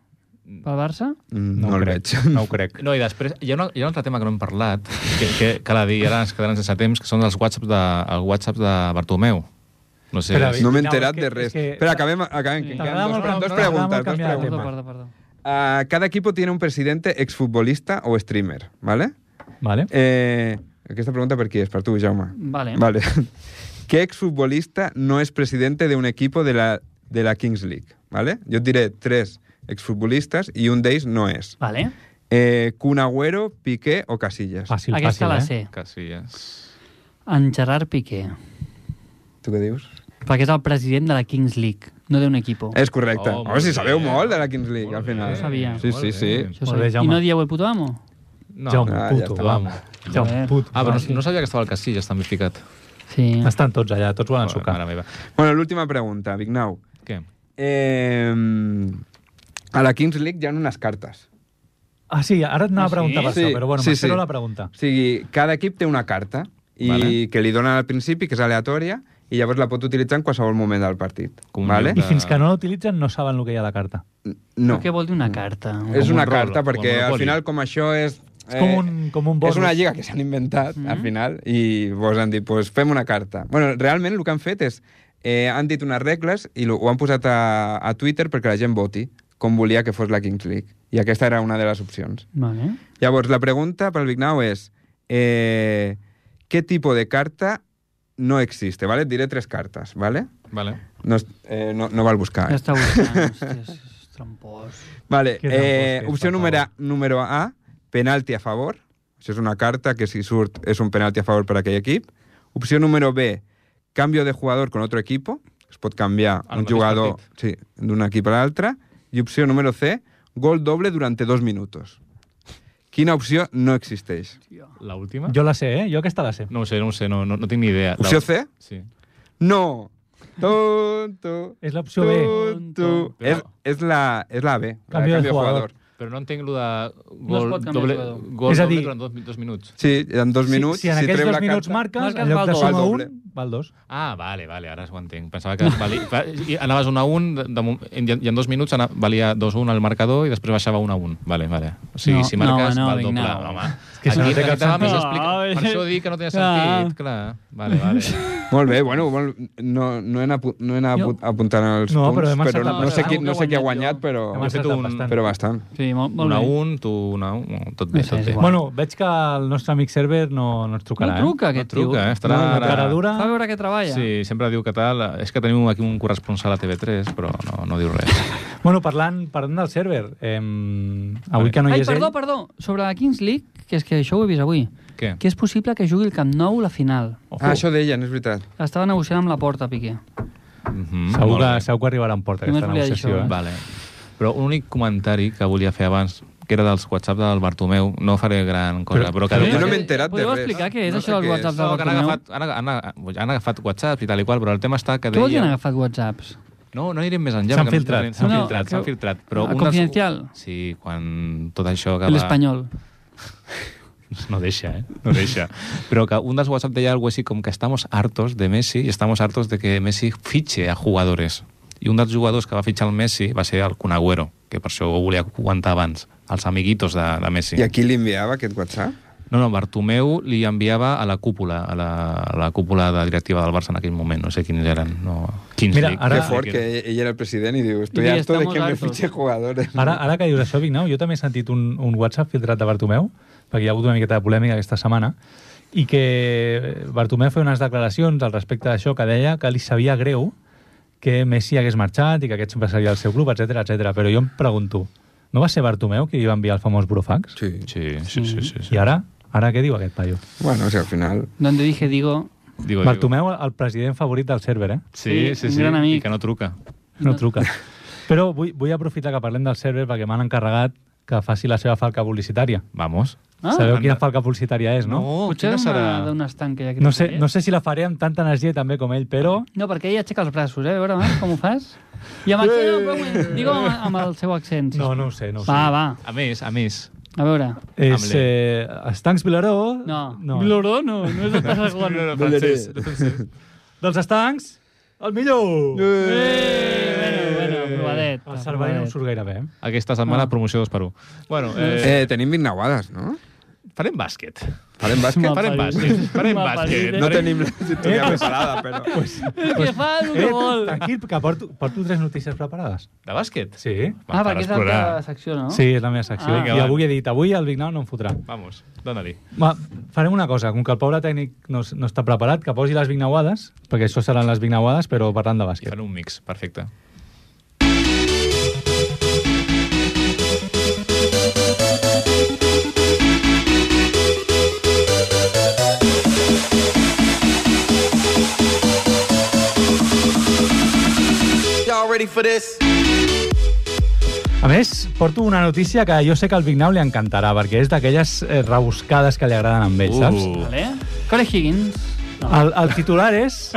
Speaker 3: Pel Barça?
Speaker 8: mm,
Speaker 1: No
Speaker 8: no,
Speaker 1: ho
Speaker 8: el
Speaker 1: crec.
Speaker 8: veig.
Speaker 1: No ho crec.
Speaker 2: No, i després, hi ha, una, hi ha un altre tema que no hem parlat, que, que cal dir, ara ens quedaran sense temps, que són els whatsapps de, el WhatsApp de Bartomeu. No sé...
Speaker 1: Espera,
Speaker 8: No m'he
Speaker 1: No,
Speaker 8: enterat
Speaker 1: és que-
Speaker 8: de
Speaker 1: és
Speaker 8: res.
Speaker 1: que-
Speaker 8: Espera, acabem, acabem. que
Speaker 1: T'agrada
Speaker 8: queden Dos,
Speaker 1: molt canviar-
Speaker 8: dos
Speaker 1: t'agrada molt
Speaker 8: preguntes, dos
Speaker 1: canviar de
Speaker 3: Perdó,
Speaker 1: tema.
Speaker 8: preguntes.
Speaker 3: perdó, perdó.
Speaker 8: Ah, cada equipo tiene un presidente exfutbolista o streamer, ¿vale?
Speaker 1: Vale.
Speaker 8: Eh, aquesta pregunta per qui és? Per tu, Jaume.
Speaker 3: Vale.
Speaker 8: Vale. ¿Qué exfutbolista no es presidente de un equipo de la, de la Kings League? ¿Vale? Yo et diré tres exfutbolistes i un d'ells no és.
Speaker 3: Vale.
Speaker 8: Eh, Kun Agüero, Piqué o Casillas.
Speaker 1: Fàcil, fàcil,
Speaker 3: Aquesta la
Speaker 1: eh?
Speaker 3: sé.
Speaker 2: Casillas.
Speaker 3: En Gerard Piqué.
Speaker 8: Tu què dius?
Speaker 3: Perquè és el president de la Kings League, no d'un equipo.
Speaker 8: És correcte.
Speaker 2: Oh,
Speaker 8: Oh,
Speaker 2: molt
Speaker 8: si
Speaker 2: bé.
Speaker 8: sabeu molt de la Kings League,
Speaker 2: Molt
Speaker 8: al
Speaker 2: bé.
Speaker 8: final.
Speaker 3: Ho sabia.
Speaker 8: Sí, sí, sí.
Speaker 3: Això
Speaker 1: Molt bé,
Speaker 3: sabia. I
Speaker 1: Jaume.
Speaker 3: no dieu el puto amo?
Speaker 2: No.
Speaker 1: Ja un
Speaker 8: Ah, ja
Speaker 1: puto,
Speaker 8: està.
Speaker 1: vamos. Ja un
Speaker 3: Joder.
Speaker 1: puto.
Speaker 2: Ah, però
Speaker 1: vamos.
Speaker 2: no, no sabia que estava el Casillas també ficat.
Speaker 3: Sí.
Speaker 1: Estan tots allà, tots volen sucar.
Speaker 2: Mare meva.
Speaker 8: Bueno, l'última pregunta, Vignau.
Speaker 2: Què?
Speaker 8: Eh, a la Kings League hi ha unes cartes.
Speaker 1: Ah, sí, ara et anava
Speaker 3: Ah,
Speaker 1: a preguntar
Speaker 3: sí?
Speaker 1: per això,
Speaker 8: Sí,
Speaker 1: però bueno,
Speaker 8: sí,
Speaker 1: m'espero
Speaker 8: sí.
Speaker 1: la pregunta.
Speaker 8: O sigui, cada equip té una carta i
Speaker 2: Vale.
Speaker 8: vale. que li donen al principi, que és aleatòria, i llavors la pot utilitzar en qualsevol moment del partit.
Speaker 2: Com un
Speaker 8: vale? Ah.
Speaker 1: I
Speaker 2: llibre.
Speaker 1: fins que no l'utilitzen no saben el que hi ha a la carta.
Speaker 8: No. Mm.
Speaker 3: Què vol dir una carta?
Speaker 8: És
Speaker 2: Com
Speaker 8: una
Speaker 2: un rol,
Speaker 8: carta,
Speaker 2: com
Speaker 8: perquè
Speaker 2: el
Speaker 8: al
Speaker 2: Monopoly.
Speaker 8: final, com això és...
Speaker 1: És com un- com un
Speaker 8: Eh, És una
Speaker 1: bonus. Mm-hmm.
Speaker 8: lliga que s'han inventat, mm -hmm. al final, i vos han dit, pues, fem una carta. bueno, realment el que han fet és... Eh, han dit unes regles i lo- ho han posat a, a Twitter perquè la gent voti com volia que fos la Kings League. I aquesta era una de les opcions.
Speaker 3: Vale.
Speaker 8: Llavors, la pregunta pel Vignau és eh, què tipus de carta no existe, ¿vale? Et diré tres cartes, ¿vale?
Speaker 2: Vale.
Speaker 8: No, es- eh, no, no val buscar.
Speaker 3: Ja
Speaker 8: Eh?
Speaker 3: està buscant. Hòstia, és trampós.
Speaker 8: Vale,
Speaker 1: Queda
Speaker 8: eh,
Speaker 1: bosque,
Speaker 8: opció
Speaker 1: per
Speaker 8: número,
Speaker 1: favor.
Speaker 8: número A, penalti a favor. Això és una carta que si surt és un penalti a favor per aquell equip. Opció número B, canvio de jugador con otro equipo. Es pot canviar
Speaker 2: Al
Speaker 8: un
Speaker 2: mateix
Speaker 8: jugador
Speaker 2: partit.
Speaker 8: sí, d'un equip a l'altre. I opció número C, gol doble durante dos minutos. Quina opció no existeix?
Speaker 2: La última?
Speaker 1: Jo la sé, eh? Jo aquesta la sé.
Speaker 2: No ho sé, no ho sé, no, no, no tinc ni idea.
Speaker 8: Opció
Speaker 2: La-
Speaker 8: C?
Speaker 2: Sí.
Speaker 8: No. Tonto.
Speaker 1: És l'opció B.
Speaker 8: Tonto.
Speaker 2: Però-
Speaker 8: És, és, la, és la B. la
Speaker 1: Canvio de jugador.
Speaker 2: Però no entenc lo de
Speaker 3: No es
Speaker 2: gol
Speaker 3: pot canviar
Speaker 2: doble,
Speaker 3: el jugador.
Speaker 2: gol
Speaker 1: És a
Speaker 2: doble
Speaker 1: dir-
Speaker 2: durant dos, mi- dos minuts.
Speaker 8: Sí, en dos minuts.
Speaker 1: si, si en aquests
Speaker 8: treu
Speaker 1: dos
Speaker 8: la
Speaker 1: minuts
Speaker 8: carta-
Speaker 1: marques,
Speaker 3: Marques,
Speaker 1: en lloc
Speaker 3: val
Speaker 1: de
Speaker 3: dos.
Speaker 1: suma
Speaker 8: Val
Speaker 1: un,
Speaker 8: doble.
Speaker 1: val dos.
Speaker 2: Ah, vale, vale, ara ho entenc. Pensava que vali... fa- i anaves 1 a 1 de, de, mo- i en, i en dos minuts ana, valia 2 a 1 al marcador i després baixava 1 a 1. Vale, vale. O sigui,
Speaker 3: No,
Speaker 2: si marques,
Speaker 3: no, home,
Speaker 2: val
Speaker 3: no,
Speaker 2: doble.
Speaker 3: no.
Speaker 2: Home.
Speaker 1: que això no té cap
Speaker 2: necessitava més
Speaker 3: sentit.
Speaker 2: explica...
Speaker 3: Ah,
Speaker 2: Per això dic que no tenia
Speaker 3: clar.
Speaker 2: sentit, clar. Vale, vale.
Speaker 8: Molt bé, bueno, molt, no, no he anat, pu- no he anat
Speaker 3: Jo-
Speaker 8: apu- apuntant els
Speaker 1: No, però
Speaker 8: punts,
Speaker 1: hem
Speaker 8: però
Speaker 1: encertat
Speaker 8: no, sé qui,
Speaker 3: bastant.
Speaker 8: no sé qui ha
Speaker 3: Hem
Speaker 8: guanyat,
Speaker 3: encertat
Speaker 8: però,
Speaker 1: Hem
Speaker 2: fet
Speaker 1: encertat
Speaker 2: un-
Speaker 1: bastant.
Speaker 8: però bastant.
Speaker 3: Sí, molt, molt
Speaker 2: 1 a
Speaker 3: bé.
Speaker 2: 1, tu 1 a 1, tot bé,
Speaker 3: No sé,
Speaker 2: tot
Speaker 3: és
Speaker 2: bé.
Speaker 3: igual.
Speaker 1: Bueno, veig que el nostre amic server no, no ens trucarà,
Speaker 3: No truca,
Speaker 2: no
Speaker 3: aquest
Speaker 2: truca, eh?
Speaker 3: tio.
Speaker 1: No,
Speaker 2: Estarà
Speaker 1: no, cara
Speaker 2: ara...
Speaker 1: dura.
Speaker 3: Fa veure que treballa.
Speaker 2: Sí, sempre diu que tal. És que tenim aquí un corresponsal a TV3, però no, no diu res.
Speaker 1: Bueno, parlant, parlant del server, eh, avui
Speaker 2: Vale.
Speaker 1: que no hi
Speaker 3: Ai,
Speaker 1: és
Speaker 3: perdó,
Speaker 1: ell...
Speaker 3: perdó. Sobre la Kings League, que és que això ho he vist avui,
Speaker 2: Què?
Speaker 3: que és possible que jugui el Camp Nou la final.
Speaker 8: Ah, això deien, és veritat.
Speaker 3: Estava negociant amb la porta, Piqué.
Speaker 2: Mhm,
Speaker 1: Segur
Speaker 2: molt
Speaker 1: que,
Speaker 2: bé.
Speaker 1: segur que arribarà en porta
Speaker 3: Només
Speaker 1: aquesta
Speaker 3: volia dir
Speaker 1: negociació.
Speaker 3: això,
Speaker 1: Eh?
Speaker 3: eh?
Speaker 2: Vale. Però un únic comentari que volia fer abans, que era dels whatsapps del Bartomeu, no faré gran cosa, però, que...
Speaker 8: però jo no
Speaker 2: que-
Speaker 8: m'he enterat de
Speaker 3: Podeu
Speaker 8: res.
Speaker 3: explicar què és
Speaker 8: No sé
Speaker 3: això del
Speaker 8: què és.
Speaker 3: WhatsApp
Speaker 2: no,
Speaker 3: del
Speaker 2: que han
Speaker 3: Bartomeu?
Speaker 2: agafat, han, han, han agafat whatsapps i tal i qual, però el tema està que
Speaker 3: Què vol dir han
Speaker 2: deia...
Speaker 3: agafat whatsapps?
Speaker 2: No, no anirem més enllà.
Speaker 1: S'han
Speaker 2: perquè no-
Speaker 1: filtrat,
Speaker 2: S'han
Speaker 3: s'han
Speaker 2: filtrat,
Speaker 3: filtrat.
Speaker 2: s'han filtrat. Però
Speaker 3: A
Speaker 2: un dels-
Speaker 3: Confidencial?
Speaker 2: Sí, quan tot això que va...
Speaker 3: L'Espanyol.
Speaker 2: No deixa, eh? No deixa. Però que un dels WhatsApp deia algo així com que estamos hartos de Messi y estamos hartos de que Messi fiche a jugadores. I un dels jugadors que va fitxar el Messi va ser el Kun Agüero, que per això ho volia comentar abans, els amiguitos de, de Messi.
Speaker 4: I a qui li enviava aquest WhatsApp?
Speaker 2: No, no, Bartomeu li enviava a la cúpula, a la, a la cúpula de directiva del Barça en aquell moment, no sé quins eren. No, quins
Speaker 1: Mira,
Speaker 2: dic,
Speaker 1: ara-
Speaker 4: Ara,
Speaker 2: no
Speaker 4: que
Speaker 2: sé
Speaker 4: fort,
Speaker 2: quins.
Speaker 4: que ell era el president i diu estoy
Speaker 3: I ja
Speaker 4: harto de
Speaker 3: estamos
Speaker 4: que me
Speaker 3: hartos".
Speaker 4: fiche jugadores.
Speaker 3: eh?
Speaker 1: Ara, ara que dius això, Vignau, jo també he sentit un, un WhatsApp filtrat de Bartomeu, perquè hi ha hagut una miqueta de polèmica aquesta setmana, i que Bartomeu feia unes declaracions al respecte d'això que deia que li sabia greu que Messi hagués marxat i que aquest sempre seria el seu club, etc etc. però jo em pregunto, no va ser Bartomeu qui li va enviar el famós burofax?
Speaker 4: Sí.
Speaker 2: Sí, sí, sí. sí, sí.
Speaker 1: I ara? Ara què diu aquest paio?
Speaker 4: Bueno, o sigui, al final...
Speaker 3: Donde dije, digo...
Speaker 2: Digo,
Speaker 1: Bartomeu, el president favorit del server, eh?
Speaker 2: Sí, sí,
Speaker 3: un
Speaker 2: sí,
Speaker 3: gran
Speaker 2: i
Speaker 3: amic.
Speaker 2: que no truca.
Speaker 1: No truca. Però vull, vull aprofitar que parlem del server perquè m'han encarregat que faci la seva falca publicitària.
Speaker 2: Vamos.
Speaker 3: Ah,
Speaker 1: Sabeu quina
Speaker 2: anda.
Speaker 1: falca publicitària és, no?
Speaker 3: potser
Speaker 2: quina
Speaker 3: era
Speaker 2: serà?
Speaker 3: una- d'un estanc que hi ha aquí
Speaker 1: No sé,
Speaker 3: darrere.
Speaker 1: no sé si la faré amb tanta energia també com ell, però...
Speaker 3: No, perquè ell aixeca els braços, eh? A veure, Marc, com ho fas? I amb accent, no, però, digue amb, amb el seu accent. sisplau.
Speaker 1: Eh. No, no ho sé, no ho
Speaker 3: Va,
Speaker 1: sé.
Speaker 3: va,
Speaker 2: A més, a més,
Speaker 3: a veure.
Speaker 1: És
Speaker 2: Amb
Speaker 1: eh, Estancs Vilaró...
Speaker 3: No.
Speaker 1: no.
Speaker 3: Loro, no, no és el pas segon.
Speaker 2: francès.
Speaker 1: Dels Estancs, el millor!
Speaker 3: Eh, bueno, bueno, provadet.
Speaker 1: El Cervell no em surt gaire bé. eh?
Speaker 2: Aquesta setmana, promoció 2 per 1. Bueno, eh,
Speaker 4: Eh, tenim vignauades, no?
Speaker 2: farem bàsquet.
Speaker 4: Farem bàsquet?
Speaker 3: Mal
Speaker 2: Farem
Speaker 3: parit.
Speaker 2: bàsquet. Farem
Speaker 3: Mal
Speaker 2: bàsquet.
Speaker 3: parit, eh?
Speaker 4: No tenim la sintonia preparada, però...
Speaker 3: El que fa és el
Speaker 1: Eh,
Speaker 3: que vol.
Speaker 1: tranquil, que porto, porto tres notícies preparades.
Speaker 2: De bàsquet?
Speaker 1: Sí.
Speaker 2: Va,
Speaker 3: Ah,
Speaker 2: per
Speaker 3: perquè és el que
Speaker 2: explorar.
Speaker 3: la secció, no?
Speaker 1: Sí, és la meva secció.
Speaker 3: Ah.
Speaker 1: Ah,
Speaker 2: Vinga,
Speaker 1: I
Speaker 2: va.
Speaker 1: avui he dit, avui el Vignau no em fotrà.
Speaker 2: Vamos, dona-li.
Speaker 1: Va, farem una cosa, com que el pobre tècnic no, s- no està preparat, que posi les vignauades, perquè això seran les vignauades, però parlant de
Speaker 2: I
Speaker 1: bàsquet.
Speaker 2: fan un mix, perfecte.
Speaker 5: Y'all ready for this?
Speaker 1: A més, porto una notícia que jo sé que al Vignau li encantarà, perquè és d'aquelles eh, rebuscades que li agraden a
Speaker 2: Uh.
Speaker 1: ell, saps?
Speaker 3: Vale. Corey Higgins.
Speaker 1: El, el titular és...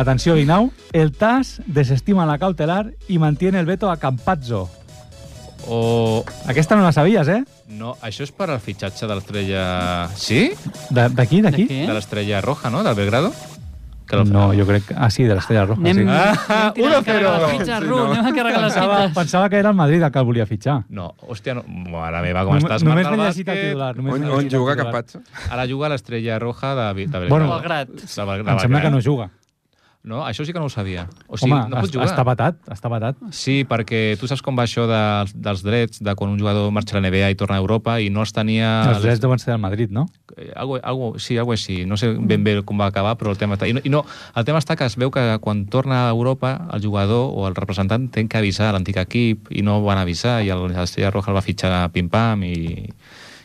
Speaker 1: Atenció, Vignau. El TAS desestima la cautelar i mantiene el veto a Campazzo.
Speaker 2: O...
Speaker 1: Aquesta no la sabies, eh?
Speaker 2: No, això és per al fitxatge de l'estrella... Sí?
Speaker 1: De- D'aquí, d'aquí?
Speaker 3: De què?
Speaker 2: De l'estrella roja, no? Del Belgrado?
Speaker 1: No, jo crec que... Ah, sí, de l'Estella Roja,
Speaker 3: Anem,
Speaker 1: sí.
Speaker 3: anem
Speaker 2: Ah,
Speaker 3: tirant
Speaker 2: 1-0.
Speaker 3: carga les fitxes, Ru, anem a carregar les
Speaker 1: Pensava,
Speaker 3: fitxes.
Speaker 1: pensava que era el Madrid el que el volia fitxar.
Speaker 2: No, hòstia, no. Mare meva, com
Speaker 1: Nom-
Speaker 2: estàs?
Speaker 1: només
Speaker 2: Marc, al
Speaker 1: m'he llegit el
Speaker 2: bàsquet.
Speaker 1: titular. Només
Speaker 4: On,
Speaker 1: m'he
Speaker 4: on
Speaker 1: llegit el
Speaker 4: juga
Speaker 1: titular.
Speaker 4: Capatxo?
Speaker 2: Ara juga a l'estrella roja de, de Belgrado.
Speaker 1: Bueno,
Speaker 3: Belgrat.
Speaker 2: De Bel- de
Speaker 1: Em sembla
Speaker 2: Belgrado.
Speaker 1: que no juga.
Speaker 2: No, això sí que no ho sabia. O sigui,
Speaker 1: Home,
Speaker 2: no
Speaker 1: es-
Speaker 2: pot jugar.
Speaker 1: està vetat, està vetat.
Speaker 2: Sí, perquè tu saps com va això de, dels drets, de quan un jugador marxa a la NBA i torna a Europa i no es tenia...
Speaker 1: Els drets deuen ser del Madrid, no?
Speaker 2: Eh, Algo, algo, sí, algo així. No sé ben bé com va acabar, però el tema està... I no, i no, el tema està que es veu que quan torna a Europa el jugador o el representant ten que avisar a l'antic equip i no van avisar i el Estrella Roja el va fitxar pim-pam i,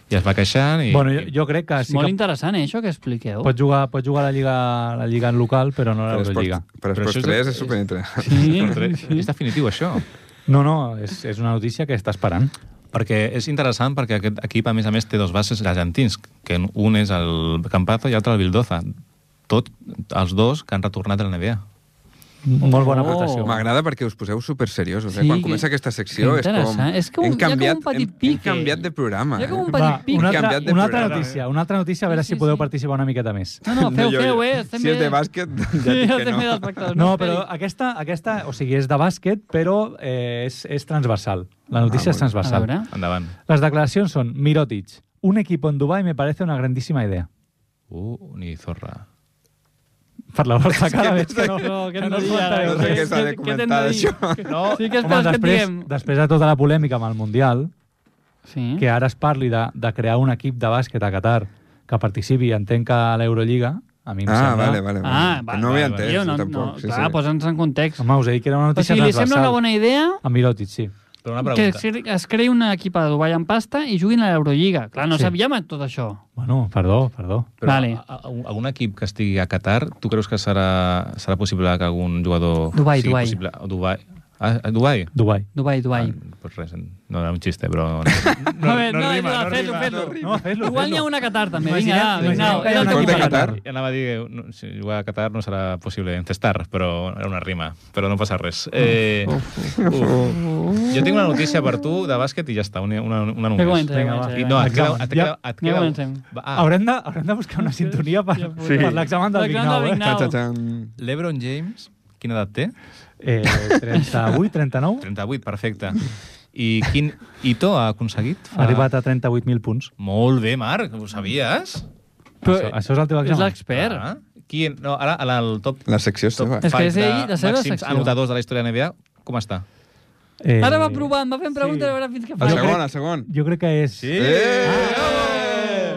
Speaker 2: i es va queixant i...
Speaker 1: Bueno, jo, jo crec que
Speaker 3: És
Speaker 1: sí
Speaker 3: molt
Speaker 1: que
Speaker 3: interessant, eh, això que expliqueu.
Speaker 1: pot jugar, pot jugar a la Lliga, a la Lliga local, però no a
Speaker 4: Per
Speaker 1: l'Eurolliga.
Speaker 4: Esports, per
Speaker 2: Però això
Speaker 4: Esports
Speaker 2: és de-
Speaker 4: 3 és superinteressant.
Speaker 3: Sí,
Speaker 2: i... És definitiu, això.
Speaker 1: No, no, és, és una notícia que està esperant.
Speaker 2: Perquè és interessant perquè aquest equip, a més a més, té dos bases argentins, que un és el Campazo i l'altre el Vildoza. Tot, els dos que han retornat a la NBA.
Speaker 1: Molt bona
Speaker 3: Oh.
Speaker 1: aportació.
Speaker 4: M'agrada perquè us poseu superseriosos, eh?
Speaker 3: Sí,
Speaker 4: Quan
Speaker 3: que-
Speaker 4: comença aquesta secció
Speaker 3: que
Speaker 4: és com...
Speaker 3: interessant. És que un- hi ha
Speaker 4: hem
Speaker 3: com
Speaker 4: canviat,
Speaker 3: un petit
Speaker 4: hem, hem
Speaker 3: pique.
Speaker 4: canviat de programa,
Speaker 3: Hi ha
Speaker 4: eh?
Speaker 3: com un
Speaker 1: Va,
Speaker 3: petit pic.
Speaker 1: una altra,
Speaker 4: Canviat de
Speaker 1: una altra
Speaker 4: programa,
Speaker 1: notícia, una altra notícia, a veure
Speaker 3: Sí, sí,
Speaker 1: si podeu
Speaker 3: sí.
Speaker 1: participar una miqueta més.
Speaker 3: No, no, feu,
Speaker 4: jo-
Speaker 3: feu, eh? Estem
Speaker 4: Si és de
Speaker 3: bé.
Speaker 4: bàsquet,
Speaker 3: Sí,
Speaker 4: ja dic que
Speaker 3: estem bé dels
Speaker 4: no.
Speaker 3: espectadors.
Speaker 1: No,
Speaker 3: esperi.
Speaker 1: però aquesta, aquesta o sigui, és de bàsquet, però eh, és, és transversal. La notícia
Speaker 4: Ah,
Speaker 1: és
Speaker 4: molt
Speaker 3: A
Speaker 1: transversal.
Speaker 3: veure.
Speaker 2: Endavant.
Speaker 1: Les declaracions són Mirotic, un equip en Dubai me parece una grandíssima idea.
Speaker 2: Uh, ni zorra.
Speaker 1: Per la vostra cara, veig que no,
Speaker 3: No, què
Speaker 1: que
Speaker 3: t'hem
Speaker 1: no
Speaker 3: de
Speaker 1: us
Speaker 3: dir ara?
Speaker 1: falta
Speaker 4: No sé
Speaker 1: res.
Speaker 4: què s'ha de
Speaker 3: t'hem
Speaker 4: comentar
Speaker 3: dir?
Speaker 4: d'això.
Speaker 3: No, sí que
Speaker 1: Home,
Speaker 3: esperes que et
Speaker 1: després,
Speaker 3: diguem.
Speaker 1: després de tota la polèmica amb el Mundial,
Speaker 3: Sí.
Speaker 1: que ara es parli de, de crear un equip de bàsquet a Qatar que participi, entenc que a l'Eurolliga, a mi em
Speaker 4: Ah,
Speaker 1: sembla...
Speaker 4: vale, vale. vale.
Speaker 3: Ah, va,
Speaker 4: Que no havia
Speaker 2: vale,
Speaker 4: entès,
Speaker 3: Tio, no,
Speaker 4: tampoc.
Speaker 3: no,
Speaker 4: sí,
Speaker 3: clar,
Speaker 4: sí.
Speaker 3: posa'ns en context.
Speaker 1: Home, us he dit que era una
Speaker 3: O
Speaker 1: notícia
Speaker 3: sigui, li sembla
Speaker 1: transversal.
Speaker 3: una bona idea
Speaker 1: A Mirotic, sí.
Speaker 2: Però una
Speaker 3: que
Speaker 2: pregunta.
Speaker 3: es- es creï una equipa de Dubai amb pasta i juguin a l'Eurolliga. Clar, no
Speaker 1: Sí.
Speaker 3: sabíem tot això.
Speaker 1: Bueno, perdó, perdó.
Speaker 2: Però
Speaker 3: vale.
Speaker 2: a- a- a- algun equip que estigui a Qatar, tu creus que serà, serà possible que algun jugador...
Speaker 3: Dubai,
Speaker 2: sigui
Speaker 3: Dubai.
Speaker 2: Possible? a Dubai. Ah, a Dubai?
Speaker 1: Dubai.
Speaker 3: Dubai, Dubai.
Speaker 2: Ah, pues res, no era un xiste, però...
Speaker 3: No, a veure, no, no, fes-lo, fes-lo.
Speaker 1: No, fes-lo,
Speaker 3: Igual n'hi ha
Speaker 1: fes-lo.
Speaker 3: una a Qatar, també.
Speaker 1: Imaginem-
Speaker 3: Vinga, va,
Speaker 1: imaginem
Speaker 3: Vignau,
Speaker 1: que hi
Speaker 3: era
Speaker 1: ha
Speaker 3: el
Speaker 1: un
Speaker 3: teu
Speaker 4: equip de
Speaker 3: equip.
Speaker 4: Qatar.
Speaker 2: I anava a dir, no, si jugar a Qatar no serà possible encestar, però era una rima, però no passa res. Eh, uf. Jo tinc una notícia per tu de bàsquet i ja està, una, una, una
Speaker 3: Ja
Speaker 2: només.
Speaker 3: comencem, ja
Speaker 2: I
Speaker 3: comencem.
Speaker 2: no, et queda... Et queda,
Speaker 1: Ja-
Speaker 2: et queda,
Speaker 3: comencem.
Speaker 2: Va,
Speaker 1: Ah.
Speaker 2: ah,
Speaker 1: Haurem, de, haurem de buscar una sintonia per,
Speaker 3: Sí.
Speaker 1: per l'examen del
Speaker 3: L'examen del
Speaker 1: Vignau, eh?
Speaker 3: Vignau.
Speaker 4: Txan, txan.
Speaker 2: LeBron James, quina edat té?
Speaker 1: Eh, 38, 39?
Speaker 2: 38, perfecte. I quin hito ha aconseguit?
Speaker 3: Ah.
Speaker 1: Ha arribat a 38.000 punts.
Speaker 2: Molt bé, Marc, ho sabies?
Speaker 3: Però
Speaker 1: Això, això és el teu
Speaker 3: és
Speaker 1: examen.
Speaker 3: l'expert.
Speaker 2: Ah, qui, no, ara, ara el top,
Speaker 8: La secció
Speaker 2: top
Speaker 8: seva.
Speaker 3: És que
Speaker 2: five
Speaker 3: és ell, la seva
Speaker 2: màxims
Speaker 3: secció.
Speaker 2: anotadors de la història de NBA, com està?
Speaker 1: Eh,
Speaker 3: Ara va provant, va fent preguntes, a veure fins que fa.
Speaker 8: El
Speaker 1: Jo crec-
Speaker 8: segon, el segon.
Speaker 1: Jo crec que és...
Speaker 2: Sí?
Speaker 8: Eh!
Speaker 1: Ah!